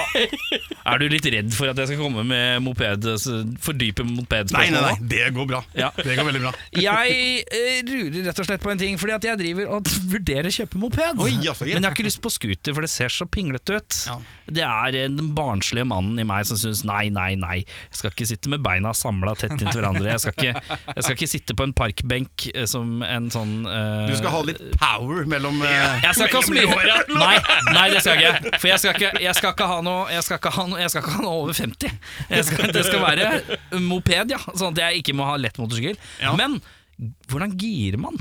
B: er du litt redd for at jeg skal komme med moped, eh, fordype
F: Nei,
B: mopedspørsmål?
F: nei, nei,
B: nå?
F: det går bra.
B: Ja.
F: Det går veldig bra.
B: Jeg eh, rurer rett og slett på en ting, fordi at jeg driver og vurderer å kjøpe moped.
F: Oi, ja, så greit.
B: Men jeg har ikke lyst på scooter, for det ser så pinglete ut.
F: Ja.
B: Det er eh, den barnslige mannen i meg som syns nei, nei, nei. Jeg skal ikke sitte med beina samla tett inntil hverandre. Jeg skal, ikke, jeg skal ikke sitte på en parkbenk eh, som en sånn eh,
F: Du skal ha litt power mellom eh,
B: jeg skal ikke ha så mye nei, nei, det skal jeg ikke. For jeg skal ikke, jeg skal ikke ha noe Jeg skal ikke ha noe, jeg skal ikke ha noe over 50. Jeg skal, det skal være moped, ja. Sånn at jeg ikke må ha lett motorsykkel. Men hvordan girer man?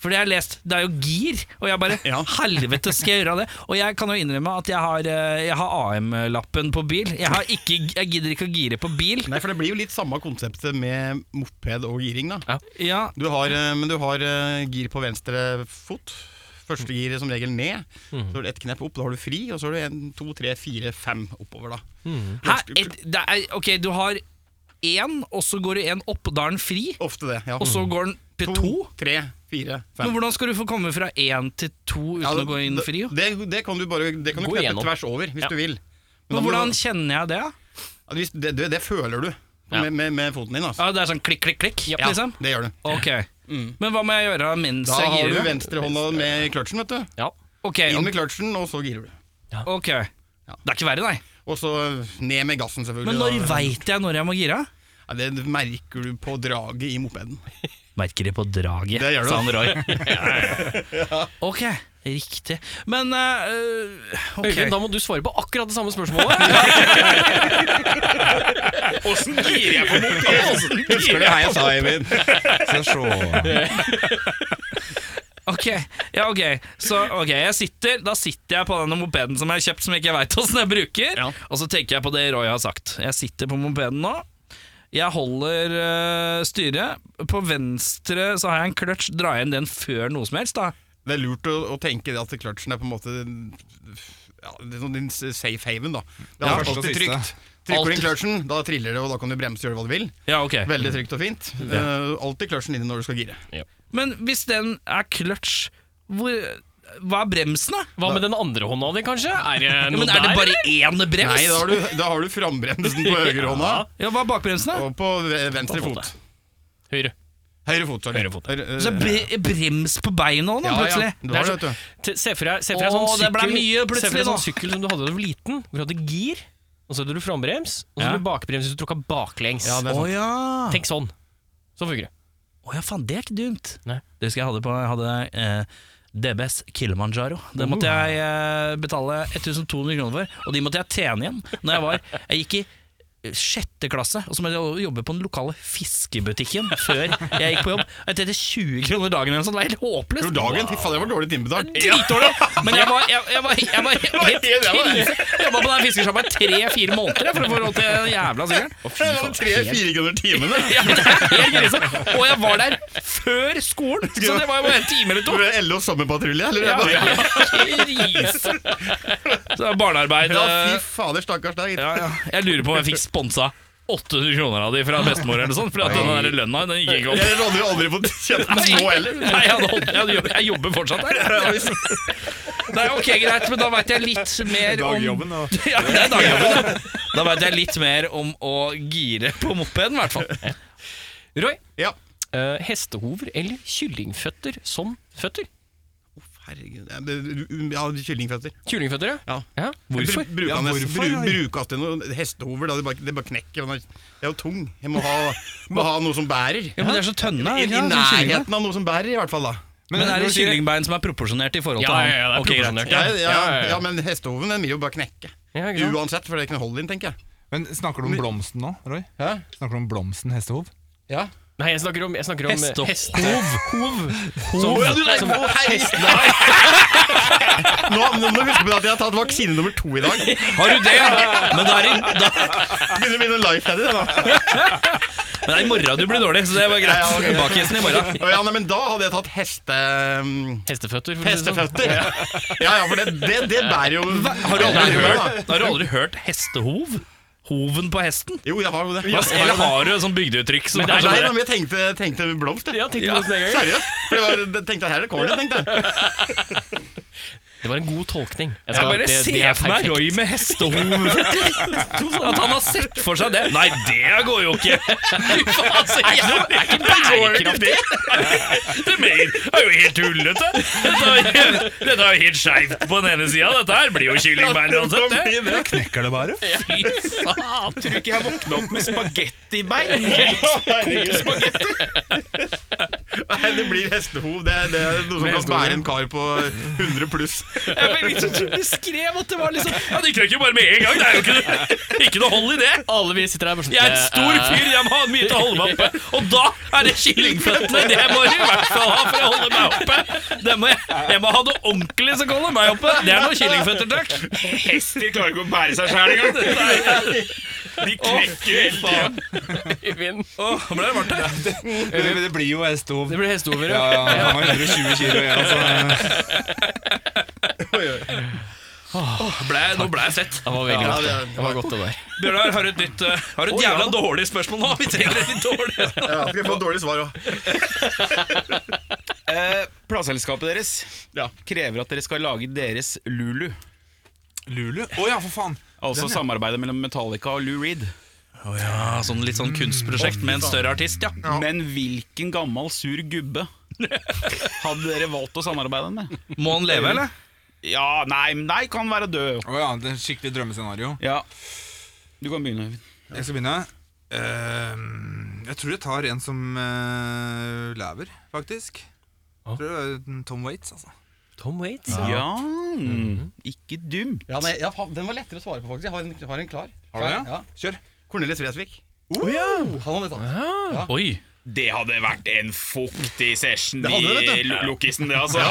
B: For det har jeg lest, det er jo gir, og jeg bare Helvete, skal jeg gjøre det? Og jeg kan jo innrømme at jeg har, eh, jeg har AM-lappen på bil. Jeg, har ikke, jeg gidder ikke å gire på bil.
F: Nei, for det blir jo litt samme konseptet med moped og giring, da.
B: Ja,
F: Du har, eh, men du har eh, gir på venstre fot. Første gir er som regel ned.
B: Mhm.
F: Så har du ett knepp opp, da har du fri. Og så har du en, to, tre, fire, fem oppover, da.
B: Mhm. Hæ? Et, det er, ok, du har én, og så går du én opp, da er den fri.
F: Ofte det. ja
B: Og så går den til to?
F: tre, fire,
B: Men
F: fem.
B: hvordan skal du få komme fra én til to uten
F: Ja,
B: å gå inn fri? jo?
F: Det, det kan du bare Det kan du
A: Gå
F: kneppe
A: igjennom.
F: tvers over, hvis du vil. Men da
B: Men
F: må
B: hvordan
F: du,
B: kjenner jeg det? da?
F: ja, hvis, det, det, det føler du
A: Ja.
F: med, med, med foten din. Altså.
B: Ja, det er sånn klikk, klikk, klikk?
F: Ja,
B: liksom?
F: det gjør du.
B: Ok. Men hva må jeg gjøre mens
F: Mm. Da
B: jeg
F: har du
B: girer? da?
F: venstrehånda med i kløtsjen, vet du.
A: Ja.
B: Ok,
F: Inn med kløtsjen, Eh, og så girer du.
B: ok. Det er ikke verre, nei.
F: Og så eh, ned med gassen, selvfølgelig.
B: Men når
F: da.
B: veit jeg når jeg må gire?
F: ja, det merker du på draget i mopeden.
B: Merker det på draget,
F: Det gjør du.
B: sa han Roy. Ok, riktig. Men eh, ok.
A: Øyvind, da må du svare på akkurat det samme spørsmålet.
C: Åssen girer jeg på moped?
F: Husker du hva jeg sa, Eivind?
G: Så så.
B: Ok, ja ok Så ok, jeg sitter Da sitter jeg på denne mopeden som jeg har kjøpt Som jeg ikke vet hvordan jeg bruker
F: Ja.
B: Og så tenker jeg på det Roy har sagt Jeg sitter på mopeden nå Jeg holder øh, styret På venstre så har jeg en kløtsj Dra igjen den før noe som helst da
F: Det er lurt å, å tenke det at kløtsjen er på en måte ja, det er sånn din safe haven. da Det er
G: Ja, første og
F: alltid
G: siste.
F: trygt. Trykker du
B: Alltid.
F: inn kløtsjen, da triller det, og da kan du bremse og gjøre hva du vil.
B: Ja ok
F: Veldig trygt og fint. Eh, alltid kløtsjen inne når du skal gire.
B: Men hvis den er kløtsj, hvor, hva er bremsen, da?
A: Hva med den andre hånda di, kanskje? Er det
B: Ja,
A: noe
B: men er det
A: der?
B: bare én brems?
F: Nei, da har du, da har du frambremsen på høyrehånda
B: Ja, Hva er bakbremsen, da?
F: og på ve- venstre fot.
A: Høyre.
F: Høyre fot, sorry.
A: Høyre fot.
F: Høyre, øh,
B: Så er bre brems på beina òg,
F: ja, ja,
B: plutselig.
F: du har det, vet du.
A: T- sånn- Se for deg, se for deg
B: Åh,
A: sånn
B: det ble
A: sykkel,
B: mye plutselig
A: se for deg sånn
B: nå.
A: sykkel som du hadde da du var liten, hvor du hadde gir, og så hadde du frambrems, og så hadde du bakbrems hvis du tråkka baklengs.
F: Ja, det er
B: Å
F: sant.
B: ja.
A: Tenk sånn. Sånn funker det.
B: Å ja, faen, det er ikke dumt.
A: Nei.
B: Det husker jeg hadde på Jeg hadde eh, DBS Kilimanjaro. Det måtte jeg eh, betale 1200 kroner for, og de måtte jeg tjene igjen. Når jeg var Jeg gikk i eh, sjette klasse, og så måtte jeg jobbe på den lokale fiskebutikken før jeg gikk på jobb. Jeg tjente 20 kroner dagen eller noe sånt. Det var helt håpløst.
F: Jo, dagen, fy faen, jeg var dårlig timebetalt.
B: dritdårlig. Men jeg var, jeg, jeg var, jeg var helt
F: det var-
B: krise. Jeg jobba på den fiskesjappa i tre-fire måneder jeg, for å få råd til den jævla sykkelen.
F: Tre-fire kroner timen, da.
B: Ja, det er helt krise. Og jeg var der før skolen, så det var jo bare en time eller to.
F: Tror du det er LO sommerpatrulje, eller?
B: Ja,
F: Ja,
B: krise. Så det er barnearbeid.
F: fy fader, stakkars deg.
B: Ja, ja. Jeg lurer på om jeg fikk sponsa 800 kroner av de fra bestemor eller sånn, for at den der lønna den gikk ikke opp.
F: Jeg låner jo aldri på kjøpt nå heller.
B: Nei, jeg, hadde holdt, jeg, hadde jobb, jeg jobber fortsatt der. Nei, ok, greit, men da veit jeg litt mer om
G: Dagjobben og
B: ja, det er dagjobben. ja. Da veit jeg litt mer om å gire på mopeden, i hvert fall.
A: Roy,
F: Ja.
A: eh, hestehover eller kyllingføtter som føtter?
F: Herregud, ja, det- ja, kyllingføtter.
A: Kyllingføtter, ja.
F: Ja.
A: ja. Hvorfor?
F: Bru- Bruker han
G: Ja,
F: nesten-
G: hvorfor,
F: bru-
G: ja.
F: bruker han til noe hestehover? Da, det, bare, det bare knekker. Han er, det er jo tung. Jeg må ha, må ha noe som bærer.
B: Ja, men det er så tønne.
F: I, I nærheten av noe som bærer, i hvert fall. da
B: Men er det
G: når du sier-
B: kyllingbein som er proporsjonert i forhold til
A: Ja,
B: han?
A: ja, ja, det er
B: Ok, greit.
A: proporsjonert,
F: Ja,
A: ja.
F: ja, ja, men hestehoven den vil jo bare knekke.
A: Ja, ikke sant?
F: Uansett, for det er ikke noe hold inn, tenker jeg.
G: Men snakker du om blomsten nå, Roy?
F: Hæ?
G: Snakker du om blomsten hestehov?
F: Ja.
A: Nei, jeg snakker om, jeg snakker om
B: Hestehov.
A: hestehov. Hov. Som,
F: ja, du, nei,
A: som,
F: å, herregud. Nå, nå må du huske på at jeg har tatt vaksine nummer to i dag.
B: Har du det? Men det er i, da,
F: Begynner å bli noe life daddy, det nå.
B: men det er i morgen du blir dårlig, så det var greit.
F: Ja, ja, ok.
B: Bakhesen i morgen.
F: Å, Ja, nei, men da hadde jeg tatt heste... mm,
A: hesteføtter. for å si det sånn.
F: Hesteføtter. Ja, ja, for det, det, det bærer jo
B: Har du aldri
F: det bærer jo, da.
B: hørt, har du aldri hørt hestehov? Hoven på hesten?
F: Jo, jeg har jo det.
B: Eller har du et sånt bygdeuttrykk som
A: Men det
B: er
A: er
F: Nei,
B: sånn
F: nei, men jeg tenkte, tenkte blomst, jeg.
A: Ja, tenkte på det sånn en gang.
F: Seriøst. For jeg var- jeg tenkte her kommer det, tenkte jeg.
A: Det var en god tolkning. Jeg
B: Jeg
A: skal-
B: bare
A: det- det
B: ser
A: er
B: for meg
A: perfekt.
B: Roy med hestehoveføtter. At han har sett for seg det. Nei, det går jo ikke! Fy faen, så jævla- Det er ikke bærekraftig! Det mener- det er jo helt tullete! Dette er jo- Dette er jo helt skeivt på den ene sida. Dette her blir jo kyllingbein uansett. det.
G: Knekker det bare?
C: Tror ikke jeg våkna opp med spagettibein.
F: Nei, det blir hestehov. Det, det er noe som kan bære en kar på 100 pluss.
B: Beskrev liksom, at det var liksom Ja, De krøkker jo bare med en gang. Det er jo ikke noe, ikke noe hold i det.
A: Alle vi sitter her bare sånn
B: Jeg er en
A: eh,
B: stor
A: eh,
B: fyr, jeg må ha mye til å holde meg oppe. Og da er det kyllingføttene! Det må jeg i hvert fall ha for å holde meg oppe. Det må jeg, jeg må ha det ordentlig som holder meg oppe. Det er noen kyllingføtter, takk.
C: Hester klarer ikke å bære seg sjæl engang. De knekker hele tiden.
A: Øyvind.
B: Åh, nå ble det varmt her.
G: Det, det blir jo hestehov.
A: Det blir hestehover,
G: Ja,
A: ja.
G: ja, han har 120 kilo igjen, altså.
B: Ble, nå ble jeg sett.
A: Det var veldig
F: Ja,
A: godt.
F: det er-
A: Det var godt det der.
B: Bjørnar, har du et nytt eh, Har du et jævla dårlig spørsmål nå? Vi trenger et litt dårlig.
F: Ja, skal jeg få dårlig svar òg.
C: Eh, Plateselskapet deres krever at dere skal lage deres Lulu.
G: Lulu? Å ja, for faen.
C: Altså samarbeidet mellom Metallica og Lou Reed.
B: Ja, sånn litt sånn kunstprosjekt med en større artist, ja.
C: Men hvilken gammel sur gubbe hadde dere valgt å samarbeide med?
B: Må han leve, eller?
C: Ja, nei, men nei, kan være død.
G: Å ja, det er skikkelig drømmescenario.
C: Ja. Du kan begynne. Øyvind.
G: Jeg skal begynne. Ehm, jeg tror jeg tar en som eh, lever, faktisk. Jeg tror det er Tom Waits, altså.
A: Tom Waits.
C: Ja, Mhm. ikke dumt.
F: Ja, nei, ja, fa- den var lettere å svare på, faktisk. Jeg har en, har en klar.
G: Har du det?
F: Ja.
G: Kjør.
F: Cornelis Vresvik. Han hadde tatt.
B: Oi.
C: Det hadde vært en fuktig session
F: Det hadde det, vet
C: i lo- Lokkisen, det, altså.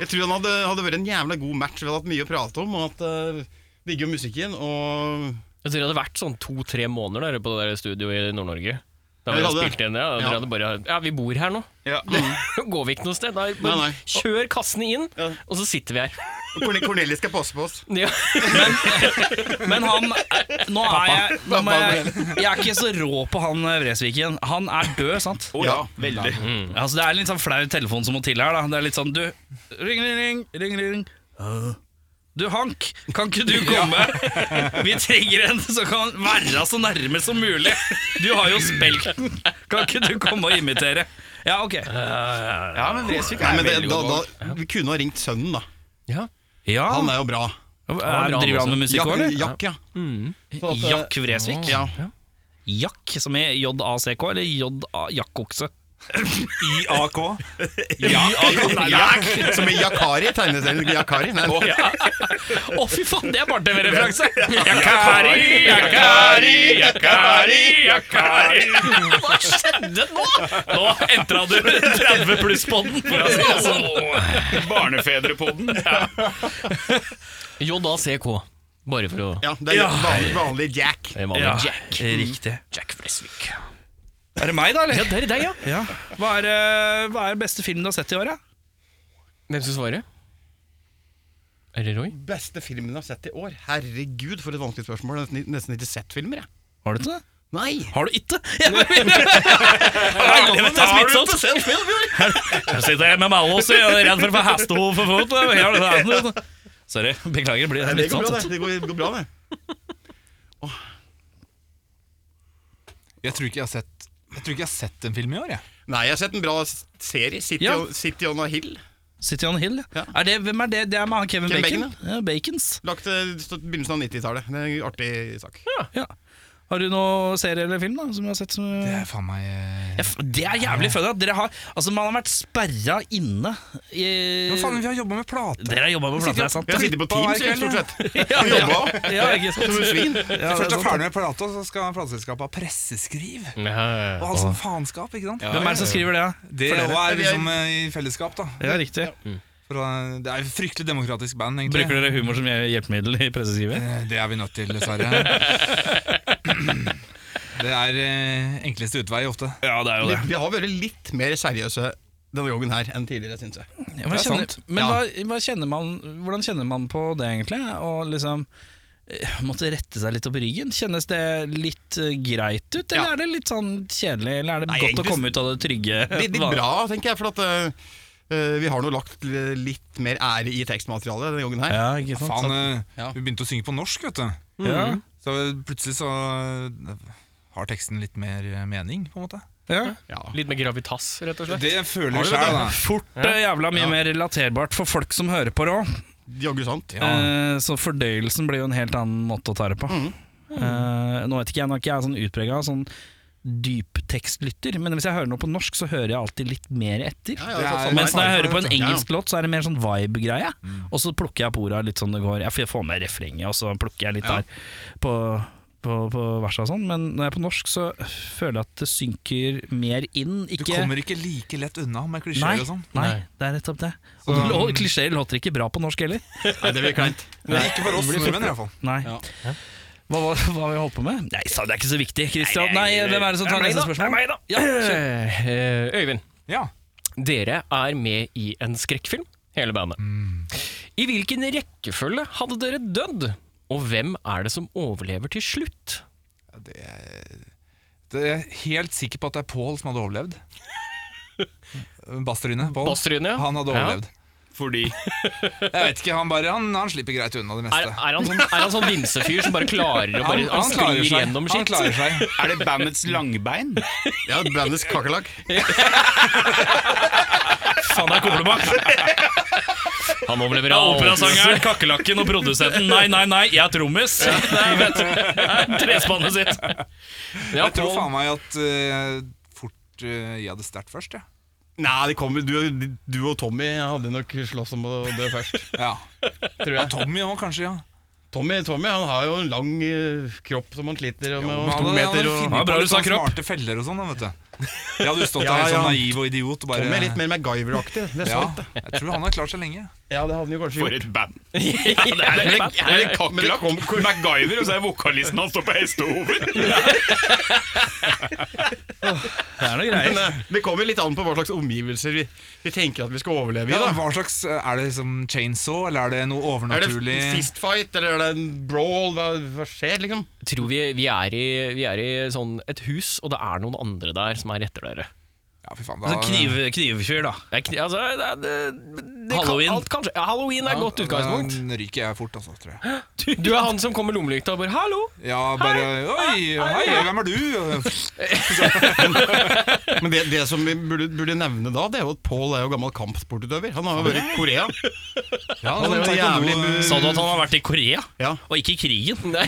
F: Jeg tror han hadde, hadde vært en jævla god match. Vi hadde hatt mye å prate om. Og at eh, digger jo musikken. Og
A: Jeg tror det hadde vært sånn to-tre måneder der på det der studioet i Nord-Norge. Da vi
F: Ja, det
A: hadde
F: hadde-
A: spilt inn det. Ja, dere
F: ja.
A: hadde bare Ja, vi bor her nå.
C: Ja.
A: Går vi ikke noe sted? Nei,
F: Nei, nei.
A: Kjør kassene inn,
F: Ja.
A: og så sitter vi her.
G: Corne- Cornelius skal passe på oss.
A: Ja.
B: Men han eh, Nå er jeg nå må jeg, jeg er ikke så rå på han eh, Vresviken. Han er død, sant?
C: Å ja, veldig.
B: Altså, det er litt sånn flau telefon som må til her. Da. Det er litt sånn Du, ring, ring, ring, ring, ring. «Hæ? Du, Hank, kan ikke du komme? Vi trenger en som kan være så nærme som mulig. Du har jo spilt den. Kan ikke du komme og imitere? Ja, ok.
C: Ja, men Vresvik
F: Nei,
C: er
F: men det,
C: veldig
F: da,
C: god. valg.
F: da, vi kunne ha ringt sønnen, da.
B: Ja,
F: Han er jo bra. altså.
B: er, Driver han med musikk
F: Jack,
B: òg, eller?
F: Jack ja. Så at, eh,
B: Jack Vresvik?
F: Ja.
B: Jack, som i J-A-C-K, eller J-A-Jakk-okse?
G: IAK.
F: Jack, som i Yakari, tegneserien Yakari. Nei,
B: Å, fy faen, det er bare TV-referanse! Jakari, jakari, jakari, jakari Hva skjedde nå? Nå entra du 30 pluss-podden, for å si det sånn.
C: Barnefedrepodden.
A: JACK. Bare for å
F: Ja, det er vanlig, vanlig Jack.
A: Det er vanlig.
B: Ja,
A: Jack.
B: riktig.
A: Jack Flesvig.
B: Er det meg, da, eller?
A: Ja, det er deg, ja.
B: Ja. Hva er, eh, hva er beste film du har sett i år, da?
A: Hvem skal svare? Er det Roy?
F: Beste filmen jeg har sett i år. Herregud, for et vanskelig spørsmål. Jeg har nesten- nesten ikke sett filmer, jeg.
B: Har du ikke det?
F: Nei.
B: Har du ikke? Ja, men- Helvete, smittsomt! Jeg sitter her med Mallos og er redd for å få hestehov for fot. Jeg har det her, vet du. Sorry. Beklager, blir det
F: Det går bra,
B: smittsomt?
F: det. Det går, går bra, det.
G: Jeg tror ikke jeg har sett Jeg tror ikke jeg har sett en film i år, jeg.
F: Nei, jeg har sett en bra s- serie. City,
B: Ja.
F: on, City on a Hill.
B: City on Hill, ja.
F: Ja.
B: Er det, hvem er det? Det er med han Kevin,
F: Kevin
B: Bacon?
F: Bacon,
B: ja, Bacons.
F: Lagt til begynnelsen av 90-tallet. Det er en artig sak.
B: Ja. Har du noen serie eller film da, som du har sett? Som,
G: Det er faen meg eh,
B: Jeg f- det er jævlig fun. at Dere har, altså, man har vært sperra inne i
G: Hva faen, vi har jobba med plate.
B: Dere har jobba på plata, det er sant?
F: Jeg sitter på Teams, jeg, stort sett.
B: Ja, ja.
F: Jobba
B: ja, ikke sant?
F: som et svin.
B: Ja, det
G: Først
B: er
G: er
B: sant.
G: ferdig med plata, så skal plateselskapet ha presseskriv.
B: eh,
G: Og
A: Ja.
G: alt sånn faenskap, ikke sant?
B: Hvem er det som skriver det? da?
G: Det òg er liksom eh, i fellesskap, da.
B: Ja, riktig.
G: For, eh, det er et fryktelig demokratisk band, egentlig.
B: Bruker dere humor som hjelpemiddel i presseskrivet?
G: Eh, Det er vi nødt til, dessverre. Det er eh, enkleste utvei ofte.
B: Ja, det er jo det.
F: Vi har vært litt mer seriøse denne gangen her enn tidligere, syns jeg.
B: Ja, hva
G: Det er
B: kjenner,
G: sant.
B: men
F: Ja.
B: hva, hva kjenner man, hvordan kjenner man på det egentlig? Og liksom eh, Måtte rette seg litt opp i ryggen? Kjennes det litt eh, greit ut, eller
F: Ja.
B: er det litt sånn kjedelig? Eller er det
F: Nei,
B: godt
F: egentlig-
B: å komme ut av det trygge?
F: Litt, litt bra, tenker jeg, for at eh, eh, vi har nå lagt l- litt mer ære i tekstmaterialet denne gangen her.
B: Ja, ikke sant?
G: Faen, eh,
F: Ja.
G: vi begynte å synge på norsk, vet du.
B: ja.
G: Så plutselig så eh, har teksten litt mer eh, mening, på en måte.
B: Ja.
A: Litt med gravitas, rett og slett.
G: Det føler vi sjøl, da.
B: Fort eh, jævla mye mer relaterbart for folk som hører på det òg.
F: Jaggu sant.
B: Eh, så fordøyelsen blir jo en helt annen måte å ta det på. Eh, nå vet ikke jeg, nå er ikke jeg sånn utprega sånn dyptekstlytter, men hvis jeg hører noe på norsk, så hører jeg alltid litt mer etter.
F: Ja, ja,
G: Det
F: sånn
G: er-
F: som
B: Mens
F: her.
B: når jeg hører på en engelsk låt, så er det mer sånn vibe-greie. Og så plukker jeg på orda litt sånn det går. Jeg får- jeg får med refrenget, og så plukker jeg litt der på, på, på versa og sånn. Men når jeg er på norsk, så føler jeg at det synker mer inn.
G: Du
B: Ikke
G: kommer ikke like lett unna
B: nei,
G: med klisjeer og sånn.
B: nei, det er nettopp det. Og
G: Så-
B: lå- klisjeer låter ikke bra på norsk heller.
F: Nei, det blir kleint.
G: Men Ikke for oss nordmenn, iallfall.
B: Nei.
F: Ja.
B: Hva, hva, hva har vi holdt på med? Nei, sa det er ikke så viktig, Christian. Nei, hvem er det som tar neste spørsmål?
A: meg, da. Ja, kjør. Eh, Øyvind,
G: Ja.
A: dere er med i en skrekkfilm, hele bandet.
B: Mm.
A: I hvilken rekkefølge hadde dere dødd? Og hvem er det som overlever til slutt?
G: Det er, det er jeg helt sikker på at det er Pål som hadde overlevd. Bassryne. Pål.
A: Basterud, ja.
G: Han hadde
A: Ja.
G: overlevd.
C: Fordi
G: Jeg vet ikke, han bare Han, han slipper greit unna
A: Er,
G: det meste.
A: er han sånn, er han sånn vimsefyr som bare klarer å bare, han sklir gjennom
G: Han
A: skitt?
G: klarer seg.
C: Er det bandets langbein?
F: Ja, Brandes kakerlakk.
B: Faen, det er kompliment!
A: Han overlever
B: Operasangeren, kakerlakken og produsenten. Nei, nei, nei, jeg er trommis! Det er vet du. Det er Trespannet sitt.
A: Ja,
G: Jeg tror
A: Paul.
G: faen meg at eh, fort eh, jeg hadde sterkt først, jeg.
F: Nei, det kommer, du, du og Tommy hadde nok slåss om å dø først.
G: Ja. Ja, Tommy òg, kanskje. ja
F: Tommy, Tommy han har jo en lang eh, kropp som han sliter med,
G: Men
F: og to
G: han hadde-
F: meter.
G: han hadde
F: Og,
G: funnet
B: Ja, bra
G: på
B: du
G: litt
B: sa
G: sånn
B: kropp.
G: Smarte feller og sånn, da, vet du. Jeg hadde jo stått
F: Ja,
G: der
F: ja.
G: sånn naiv og idiot og bare
F: Tommy er litt mer MacGyver-aktig. Det er
G: ja,
F: sant, det.
G: Jeg tror han har klart seg lenge.
F: Ja, det hadde han jo kanskje
C: For
F: gjort.
C: et band.
F: Men det- men det kom- men det kom-
C: MacGyver, og så er vokalisten han står på hestehoven.
B: Det er noe greier.
F: Men, eh, det kommer litt an på hva slags omgivelser vi, vi tenker at vi skal overleve i.
G: Ja,
F: da
G: hva slags, Er det liksom chainsaw, eller er det noe
F: Er det
G: overnaturlig?
F: fistfight, eller er det en brawl? Hva, hva skjer, liksom?
A: tror vi, vi, er i, vi er i sånn et hus, og det er noen andre der som er etter dere.
G: Ja, fy faen, da,
B: Altså, kniv, knivfyr, da.
A: Det er, kni- altså, det, er- det, det
B: Halloween.
A: Kan, alt kan skje. Ja, Halloween er et godt utgangspunkt.
G: Da ryker jeg fort, altså, tror jeg.
A: Du, du er han som kommer med lommelykta og bare 'hallo'.
G: Ja, bare Oi, hei, hvem er du?
F: Men det, det som vi burde, burde nevne da, det er jo at Paul er jo gammel kampsportutøver. Han har jo vært i Korea. Ja, han er jo eh, jævlig bu-
D: Sa du at han har vært i Korea?
F: Ja.
D: Og ikke i krigen?
A: Nei,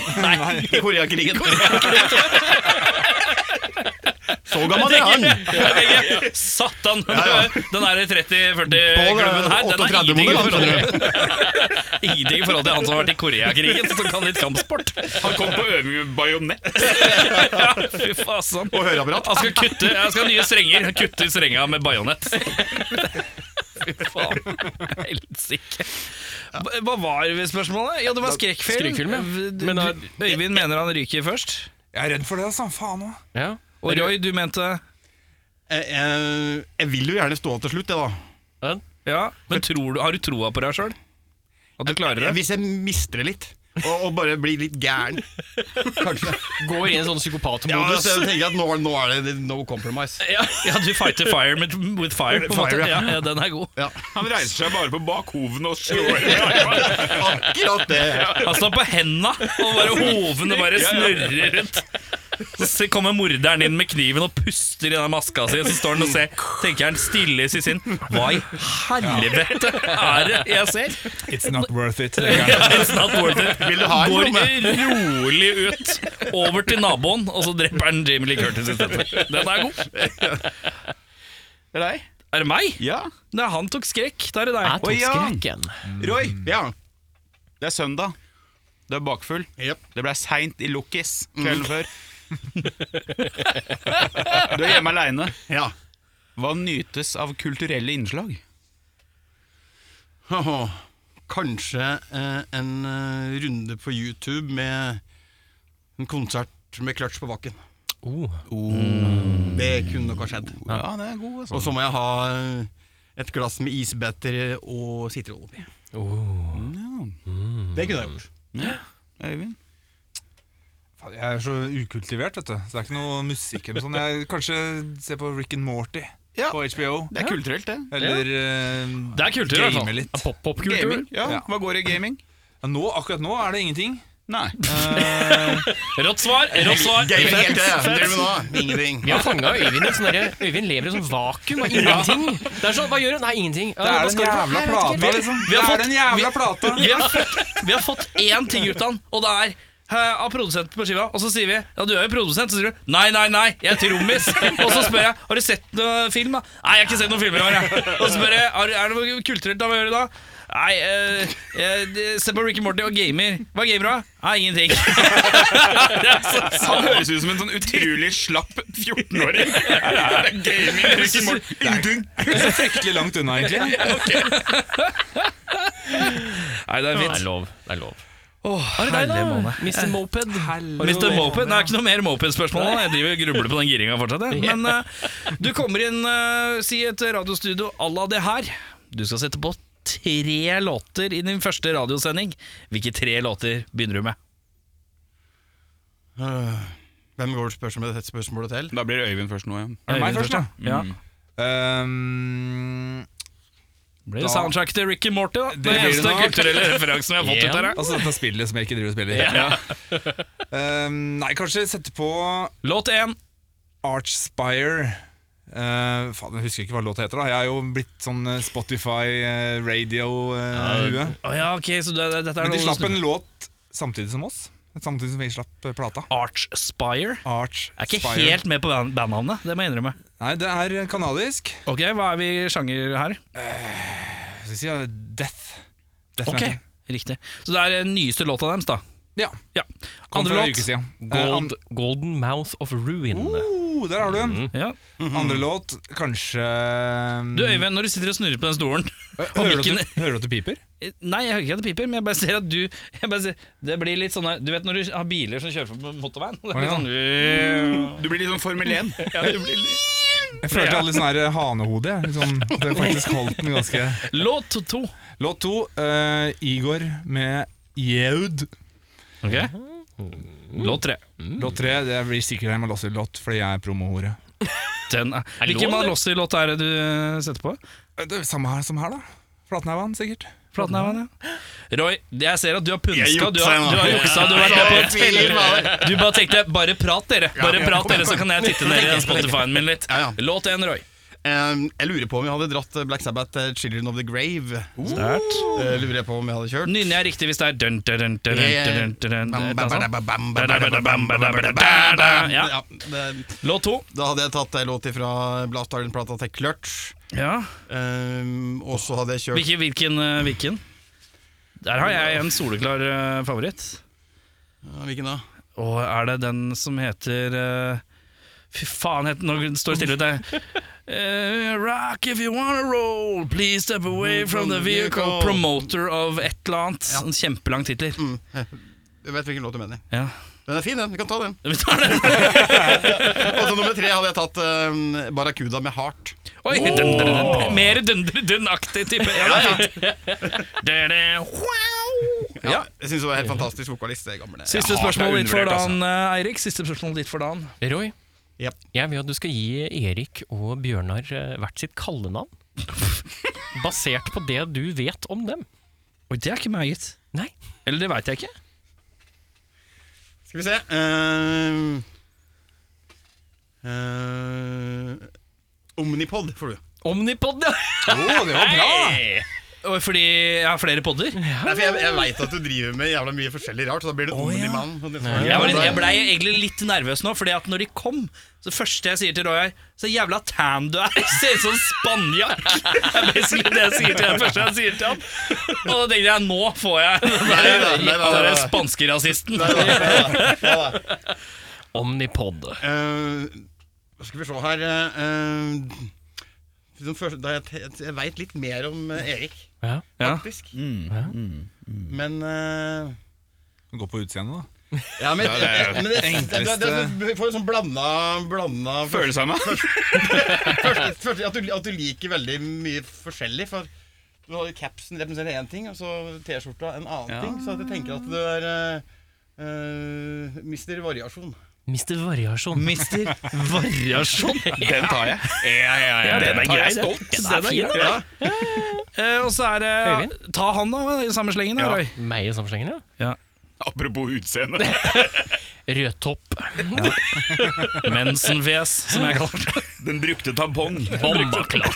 F: I Koreakrigen. Så gammel er han!
D: Satan!
F: Ja, ja.
D: Den der 30-40-klubben
F: Paul
D: her,
F: er
D: Eh, den er
F: 38
D: ingenting i
F: modell,
D: forhold
F: han,
D: til- ingenting i forhold til han som har vært i Koreakrigen, som kan litt kampsport.
C: Han kom på øving med bajonett.
D: Ja, fy fasan.
B: sånn.
F: Og høreapparat.
D: Han skal kutte, jeg skal ha nye strenger. Han Kutter strenga med bajonett. Fy faen. Helsike.
B: Hva var spørsmålet? Ja, det var skrekkfilm.
A: skrekkfilm, ja.
B: Du-
A: Men,
B: du- Øyvind mener han ryker først.
G: Jeg er redd for det, altså. Faen òg.
A: Ja.
B: Og Roy, du mente
F: Jeg, jeg, Eh, jeg vil jo gjerne stå av til slutt, jeg, da.
B: Ja, men tror du, har du troa på deg sjøl? At du klarer det?
F: Hvis jeg mister det litt, og, og bare blir litt gæren. Kanskje.
A: Går i en sånn
F: Ja,
A: psykopatmodus.
F: altså, jeg tenker at nå, nå er det no compromise.
D: Ja, ja du fighter fire with, with fire. På en måte.
F: Fire, ja.
D: Ja, ja, den er god.
C: Han reiser seg bare på bakhoven og slår i armen.
F: Akkurat det.
D: Han står på henda, og bare hovene bare snurrer rundt. Så se- kommer morderen inn med kniven og puster i den maska si. Så står han og ser, tenker han stille i sitt sinn Hva i helvete er det jeg ser?
G: It's not worth it.
D: Ja, it's not worth it.
F: Vil du ha en
D: Går
F: lomme?
D: rolig ut, over til naboen, og så drepper han Jamie Lee Curtis isteden. Den er god.
C: Det er deg?
D: Er det meg?
C: Ja.
B: Nei, han tok skrekk. Da er det deg.
A: Jeg tok
C: Å, ja.
A: skrekken.
C: Roy,
F: Ja.
C: det er søndag. Du er bakfull.
F: Jep.
C: Det ble seint i Lokkis kvelden før. Du er hjemme aleine.
F: ja.
C: Hva nytes av kulturelle innslag?
F: Haha. Kanskje eh, en eh, runde på YouTube med en konsert med clutch på bakken.
B: Oh.
F: Mm. Det kunne nok ha skjedd.
C: Ja, det er god, altså.
F: Og så må jeg ha eh, et glass med isbetter og sitron oppi. Det kunne jeg gjort.
C: Øyvind?
G: Faen, Jeg er så ukultivert, vet du. Så det er ikke noe musikk eller sånn. Jeg kanskje ser på Rick and Morty
C: Ja.
G: på HBO.
C: Det er kulturelt, det.
G: Eller eh,
A: Det er kultur, i hvert fall.
G: game litt.
A: Pop-pop-kultur.
C: Gaming. Ja.
G: Ja.
C: Hva går i gaming?
G: Ja, nå, akkurat nå er det ingenting.
C: Nei.
D: Rått svar. Rått svar.
F: Det er jo helt det. Det gjør vi nå. Ingenting.
A: Vi har fanga Øyvind i et sånn derre- Øyvind lever i et sånt vakuum av ingenting. Det er sånn, Hva gjør du? Nei, ingenting. Ja,
G: Det
A: hva
G: er den
A: skal du få?
G: jævla
A: Nei, jeg vet ikke
G: plata,
A: helt.
G: liksom.
B: Vi
G: Det
B: har fått-
G: er den jævla plata.
B: Vi har fått- Vi har fått én ting ut av han, og det er eh, av produsenten på skiva. Og så sier vi ja, du er jo produsent. Så sier du nei, nei, nei, jeg er trommis. Og så spør jeg har du sett noe film. da? Nei, jeg har ikke sett noen filmer i år. jeg. Og så spør jeg har, er det noe kulturelt da hva gjør du da? Nei, eh, eh, det- se på Ricky Morty og gamer. Hva er gamer da? Nei, ingenting. Det er så- så-
C: Han høres ut som en sånn utrolig slapp 14-åring. Det er gaming. Ricky Morty.
G: Så fryktelig langt unna, egentlig.
B: Nei, det er
A: Det er
B: fint.
A: lov. Det er lov.
B: Har du deg, da?
G: Eh,
A: Mr. Moped.
B: Mr. Moped, Det er ikke noe mer Moped-spørsmål. nå. Jeg driver og grubler på den giringa fortsatt. jeg. Men eh, du kommer inn, eh, si et radiostudio à la det her. Du skal sette på tre låter i din første radiosending. Hvilke tre låter begynner du med?
F: Øh, Hvem går spørsmålet, dette spørsmålet til?
C: Da blir det Øyvind først nå igjen.
G: Er det meg
B: Øyvind
G: først, da?
B: Ja.
G: Ehm,
B: Blir
G: Da-
B: det soundtrack til Ricky Morty, da?
G: blir
B: Den eneste
G: det nok.
B: kulturelle referansen vi har fått
A: Ja.
B: ut her. da.
G: altså dette spillet som jeg ikke driver og spiller. Ehm, nei, kanskje sette på
B: Låt én.
G: Archspire. Eh, faen, jeg husker ikke hva låta heter. da Jeg er jo blitt sånn eh, Spotify-radio-hue.
B: Å ja, ok, så det, det, dette er
G: Men de
B: noe
G: slapp en
B: som-
G: låt samtidig som oss. Samtidig som vi slapp eh, plata.
B: Ah. Archspire.
G: Arch
B: Jeg er ikke
G: Spire.
B: helt med på band- bandnavnet, det må jeg innrømme.
G: Nei, det er kanadisk.
B: Ok, Hva er vi i sjanger her?
G: Hva skal jeg si? eh, Death. Death
B: Ok,
G: metal.
B: Riktig. Så det er den nyeste låta deres, da.
G: Ja.
B: Ja.
G: Kom
B: Andre
G: for en
B: låt.
G: uke siden. Eh,
A: Gold, Golden Mouth of Ruin.
G: an- Oh, der har du den!
B: Ja.
G: Andre låt, kanskje
B: Mhm.
G: ehm,
B: Du Øyvind, når du sitter og snurrer på den stolen
G: Hører du, at du, hører du at det piper?
B: Nei, jeg hører ikke at det piper, men jeg bare ser at du jeg bare ser, Det blir litt sånn Du vet når du har biler som kjører på motorveien? Det blir sånn,
C: Du blir litt sånn Formel 1.
G: Jeg følte alle sånn her hanehode. jeg. Litt sånn- det er faktisk holdt den ganske
B: Låt to.
G: Låt to, eh, Igor med Jeud.
B: Låt tre.
G: Låt tre, det blir sikkert en Malossi-låt, fordi jeg er promohore.
B: Den er,
A: det
B: Hvilken
A: lån, eller?
B: Malossi-låt er det du eh, setter på?
G: Eh, Det er samme her som her, da. Flatnauan, sikkert.
B: Flatnauven, ja. Roy, jeg ser at du har punska.
D: Jeg
B: Du har,
D: juksa,
B: du har
D: jeg nå.
B: juksa, du har vært med på Du bare tenkte 'bare prat, dere', Bare prat dere, så kan jeg titte ned i den Spotify-en min litt.
F: Ja, ja.
B: Låt én, Roy.
F: Um, jeg lurer på om jeg hadde dratt eh, Black Sabbath til Children of the Grave. Eh, lurer jeg på om jeg hadde kjørt.
B: Nynner jeg riktig hvis det er dun, dun, dun, dun, dun, dun, dun, dun, et eller annet sånt? Ja.
F: Ja, det-
B: Låt to.
F: Da hadde jeg tatt ei låt ifra Blast Island-plata til Clutch.
B: Ja.
F: Um, og så hadde jeg kjørt
B: Hvilken, hvilken, eh, hvilken? Der har jeg en soleklar eh, favoritt.
F: Ja, Hvilken da?
B: Og er det den som heter eh, Fy faen, het, nå står det stille ute. Eh, rock if you wanna roll, please step away from the vehicle. Promoter of et eller annet. En kjempelang titler.
F: Du vet hvilken låt du mener.
B: Ja.
F: Den er fin, den. Du kan ta den.
B: Vi tar den.
F: Og så nummer tre hadde jeg tatt um, Barracuda med Heart.
B: Oi, dun, dun, dun. Mer dundre-dund-aktig type. Ja, det er fint. Det er det. Wow.
F: Ja, Jeg syns hun var helt fantastisk vokalist. Det gamle.
B: Siste spørsmål ditt for dagen, eh, Eirik. Siste spørsmål ditt for dagen.
A: Roy,
F: Jep.
A: jeg vil at du skal gi Erik og Bjørnar eh, hvert sitt kallenavn. Basert på det du vet om dem.
B: Oi, det er ikke meg, gitt.
A: Nei.
B: Eller det veit jeg ikke.
F: Skal vi se um, uh, Omnipod får du.
A: Omnipod, ja!
G: Å, det var bra!
B: Og Fordi jeg har flere podder?
F: Nei, for jeg jeg veit at du driver med jævla mye forskjellig rart, så da blir det Omnimann. og det får
B: Jeg, var litt, jeg ble egentlig litt nervøs nå, Fordi at når de kom Så det første jeg sier til Roy er Så jævla tan du er Ser ut som spanjakk Det er basically det jeg sier til han Første jeg sier til han Og da tenkte jeg Nå får jeg Den der,
F: Nei, nei, nei, nei,
B: den der
F: nei.
B: spanske rasisten
A: Omnipod.
F: Eh, Hva skal vi se her eh, eh, liksom først- da Jeg, te- jeg veit litt mer om eh, Erik,
A: Ja.
F: faktisk. Men eh,
G: Gå på utseendet, da.
F: ja, men, men det, det, det, det, Du får en sånn blanda, blanda
C: Føles av meg.
F: først, først, at, du, at du liker veldig mye forskjellig. For du har jo capsen representerer én ting, og så T-skjorta en annen ting. Så at jeg tenker at du er eh, eh, mister variasjon.
A: Mister Variasjon.
B: Mister Variasjon
C: Den tar jeg.
B: Den er grei
A: den. Den er fin,
B: ja. Eh, Og så er det Ta han da I samme slengen da, Roy
A: Meg i sammenhengen, ja.
C: Apropos utseende.
A: Rødtopp.
B: Mensenfjes Som jeg kaller det
C: Den brukte tampong.
A: Bombaklatt.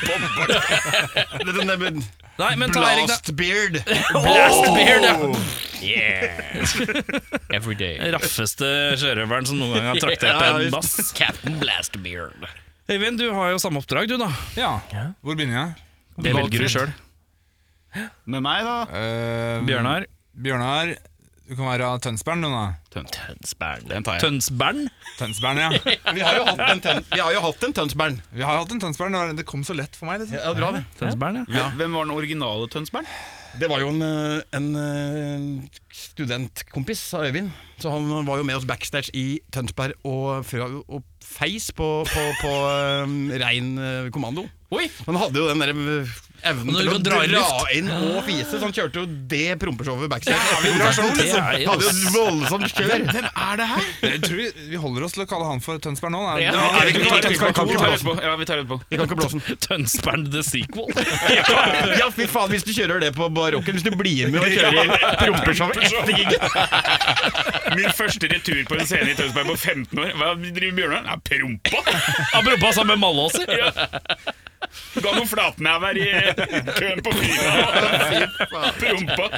F: Det, det, det,
B: Nei, men ta Erik da
F: blast beard.
B: Blast beard ja.
A: Yeah. Every day.
B: Raffeste sjørøveren som noen gang har traktert på en bass
A: Captain Blastbeard.
B: Øyvind, du har jo samme oppdrag, du, da.
G: Ja. Hvor begynner jeg?
B: Det velger du sjøl.
C: Med meg, da.
G: Eh,
B: Bjørnar.
G: Bjørnar, du kan være Tønsberg, du, da.
A: Tønsberg.
C: Den tar jeg.
B: Tønsbern.
G: Tønsberg, ja.
F: Vi har jo hatt en, tøn, vi har jo hatt en Tønsberg.
G: Vi har hatt en Tønsberg, det var- det kom så lett for meg. Liksom.
F: Ja, bra det.
B: Tønsbern, ja.
C: Hvem var den originale Tønsberg?
F: Det var jo en, eh, en eh, studentkompis av Øyvind. Så han var jo med oss backstage i Tønsberg og, fra- og feis på, på, på eh, rein eh, kommando.
A: Oi.
F: Han hadde jo den der eh, evnen
B: Når
F: til
B: du
F: å
B: kan
F: dra,
B: dra i luft.
F: inn og fise, så han kjørte jo det prompeshowet backstage.
B: Det er jo
F: sånn, liksom. Han hadde jo et voldsomt kjør. Hvem er det her?
G: Jeg tror vi, vi holder oss til å kalle han for Tønsberg nå. Da.
A: Ja.
G: Det var-
A: Ja, vi
G: det var Tønsberg to, da.
C: Ja, vi tar etterpå.
F: Vi kan ikke blåse den.
B: Tønsbern the sequel.
F: Ja, fy faen, hvis du kjører det på barokken, hvis du blir med og kjører prompeshowet etter gigen
C: Min første retur på en scene i Tønsberg på 15 år. Hva driver Bjørnar? Nei, prompa!
B: Apropos sammen med Malåser.
C: Ga noen flatnæver i køen på flyet. Prompa.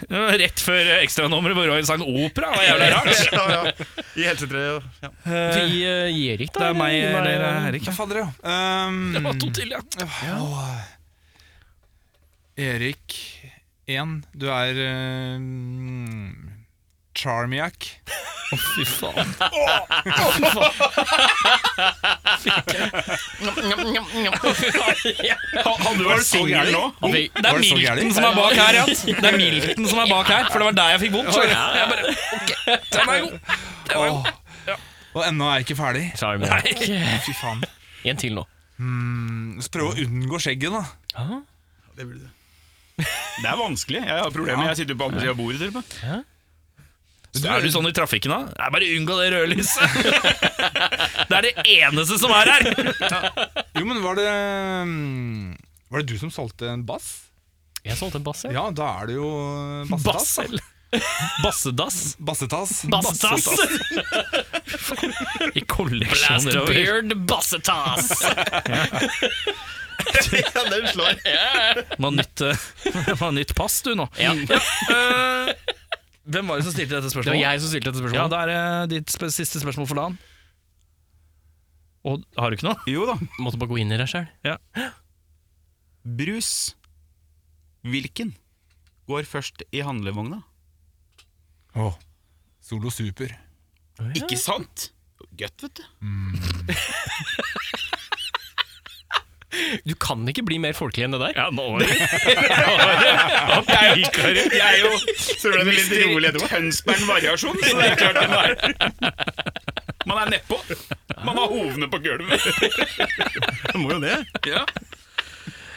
B: Det var Rett før eh, ekstranummeret hvor Roy sang opera. Det var jævlig rart.
F: Ja, ja. I helsetreet. Ja.
A: Vi eh, gir ikke,
B: Det er meg
A: Gi meg,
B: eller
A: eh,
B: Erik.
G: Ja, Fader, ja. Ehm,
B: Det var to til, ja.
G: Erik um, 1, du er uh, Charmiac.
B: Fy faen.
C: Var det så gærent nå?
A: Det
B: Det er Milton som er bak her, ja. Det er Milton som er bak her, for det var der jeg fikk vondt. skjønner du. Jeg bare, ok, den er god.
G: Åh. Og ennå er jeg ikke ferdig.
A: Sorry, men
G: Fy faen.
A: En til nå.
G: Så prøv å unngå skjegget, da.
C: Det er vanskelig. Jeg har problemer. Jeg sitter på andre siden av bordet. Til og med.
B: Er du sånn i trafikken da? Nei, bare unngå det røde lyset. Det er det eneste som er her.
G: Jo, men var det mm, Var det du som solgte en bass? Eh,
A: Jeg solgte en bass, jeg.
G: Ja, da er det jo bassetass.
A: Bass, eller? Bassedass?
G: Bassetass.
A: Bassetass!
B: I kolleksjoner over.
A: bassetass!
B: Må ha nytt, eh, må ha nytt pass du nå.
A: Ja.
B: Eh, Hvem var det som stilte dette
A: Det var
B: spørsmålet?
A: jeg som stilte dette
B: Ja,
A: spørsmålet.
B: da er det ditt sp siste spørsmål for dagen. Og har du ikke noe?
C: Jo da.
A: Måtte bare gå inn i deg sjøl.
C: Brus. Hvilken går først i handlevogna?
G: Åh, Solo Super.
C: Ikke sant? Gøtt, vet du.
A: Du kan ikke bli mer folkelig enn det der.
D: Ja, nå var det
C: Jeg er jo Mr. Tønsberg-variasjon, så det er klart den er Man er nedpå. Man har hovene på gulvet.
F: må jo det.
C: Ja.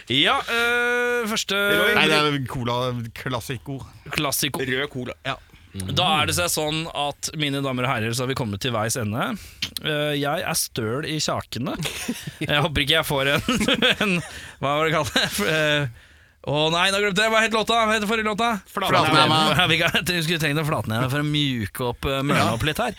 B: Ja, øh, første
F: Nei, det er cola-klassikko.
B: klassiko.
C: Rød cola. Ja.
B: Da er det seg sånn at mine damer og herrer, så har vi kommet til veis ende. Eh, Jeg er støl i kjakene. Jeg håper ikke jeg får en, en Hva var det kalt? Eh, Å nei, nå glemte jeg! Hva het låta? Hva het forrige låta?
F: Flatnæma.
B: Ja, vi kan- Jeg skulle trengt en flatnæma for å mjuke opp eh, mørne opp litt her.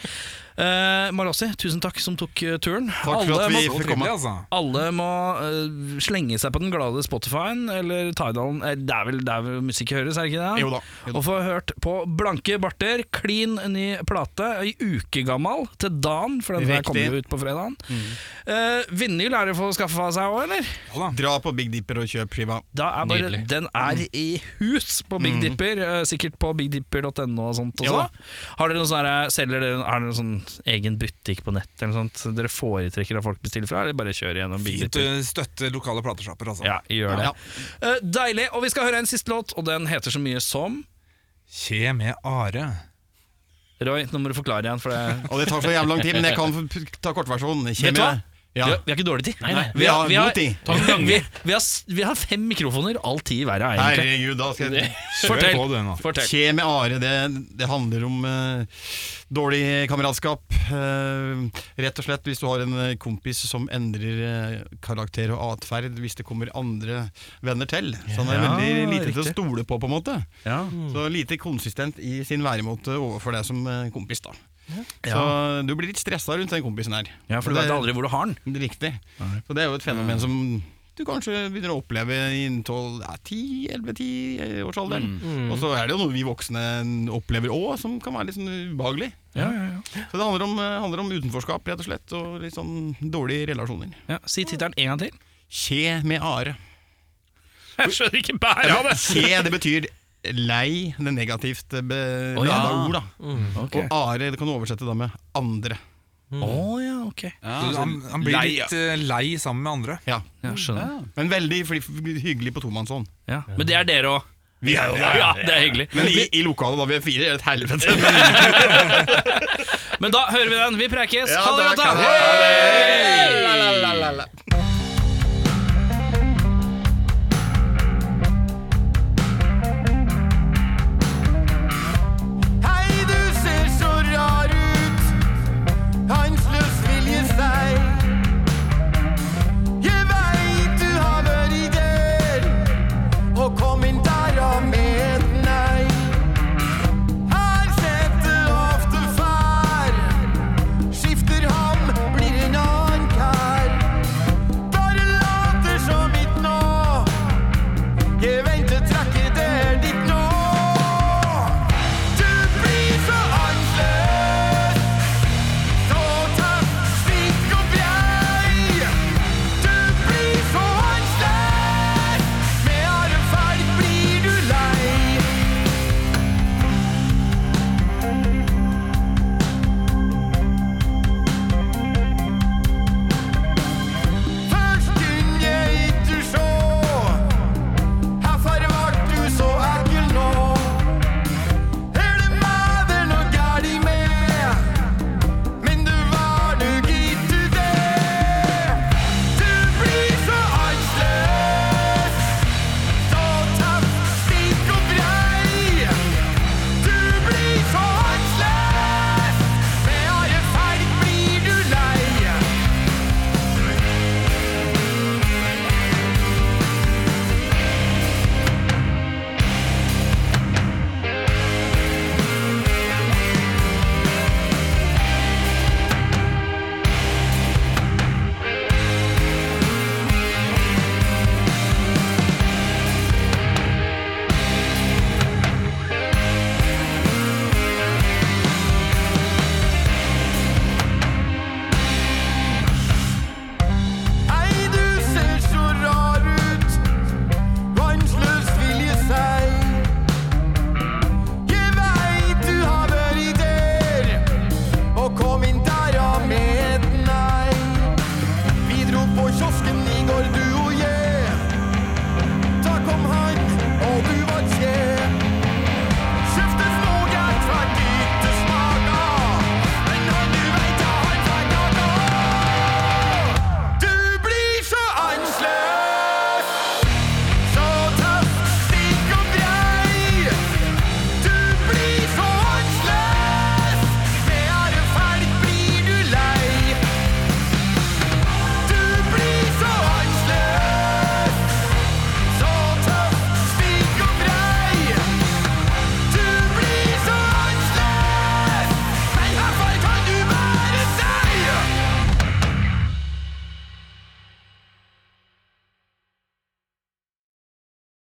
B: Eh, Malossi, tusen takk som tok eh, turen.
F: Takk for at vi
G: Så
F: fikk
G: trivelig,
F: komme.
G: altså.
B: Alle må eh, slenge seg på den glade Spotify-en eller Tidalen. Eh, Det er vel der vel musikk høres, er det ikke det?
F: Jo da, jo da.
B: Og få hørt på Blanke barter, klin ny plate, ei uke gammal til dagen, for den her
F: Riktig. Mm.
B: kommer jo ut på fredagen. Eh, vinyl er det for å skaffe av seg òg, eller?
F: Dra på Big Dipper og kjøp skiva.
B: Da er bare,
A: Nydelig.
B: Den er i hus på Big Dipper, eh, sikkert på bigdipper.no og sånt også.
F: Ja Mm. da.
B: Har dere noen sånne, selger dere har dere noen sånn egen butikk på nett eller noe sånt dere foretrekker at folk bestiller fra, eller bare kjører gjennom Big
G: Fint
F: eh,
B: Dipper?
G: å støtte lokale platesjapper, altså.
B: Ja, gjør det.
F: Ja.
B: Eh, deilig. Og vi skal høre en siste låt, og den heter så mye som
G: Kje med are.
B: Roy, nå må du forklare igjen, for det
F: Og det tar så jævlig lang tid, men jeg kan f- ta kortversjonen.
B: Vet du hva?
F: Kjemie. Ja.
B: vi, har, vi har ikke dårlig tid.
A: Nei, nei.
F: Vi har
B: vi, har,
F: god tid.
B: vi, vi, har, s- vi har fem mikrofoner, all ti i hver er egentlig.
F: Herregud, da skal jeg
B: Fortell.
G: Hør på det nå.
B: Fortell.
F: Skje med Are, det, det handler om eh, dårlig kameratskap. Eh, rett og slett hvis du har en eh, kompis som endrer eh, karakter og atferd hvis det kommer andre venner til. Så han er
B: Ja,
F: veldig lite til å
B: riktig.
F: stole på, på en måte.
B: Ja.
F: Så lite konsistent i sin væremåte overfor deg som eh, kompis, da. Så du blir litt stressa rundt den kompisen her.
B: ja, for du
F: Og
B: veit
F: det-
B: aldri hvor du har den.
F: det er Riktig. Så det er jo et fenomen som du kanskje begynner å oppleve inntil ja, 10-11-10 årsalderen.
B: Mm.
F: Og så er det jo noe vi voksne opplever òg, som kan være litt sånn ubehagelig. Så det handler om, eh, handler om utenforskap, rett og slett, og litt sånn dårlige relasjoner.
B: Ja, si tittelen en gang til.
F: Kje med are.
B: Jeg skjønner ikke bæret av det!
F: Kje, det betyr lei, det negativt eh, be,
B: Å, ja. Mm.
F: lada ord, da.
B: Ok.
F: Og are, det kan du oversette da med andre.
B: Å ja, ok.
G: Så han, han blir
C: Lei, ja.
G: litt eh, lei sammen med andre.
F: Ja.
B: Ja, skjønner.
F: Men veldig fli- hyggelig på tomannshånd.
B: Ja. Men det er dere òg.
F: Vi er jo der.
B: Ja, det er hyggelig.
F: Men i, i lokalet da vi er fire, er det et helvete.
B: Men da hører vi den. Vi prekes.
F: Ja,
B: Ha det
F: der
B: godt,
F: kan-
B: da!
F: la, la, la, la.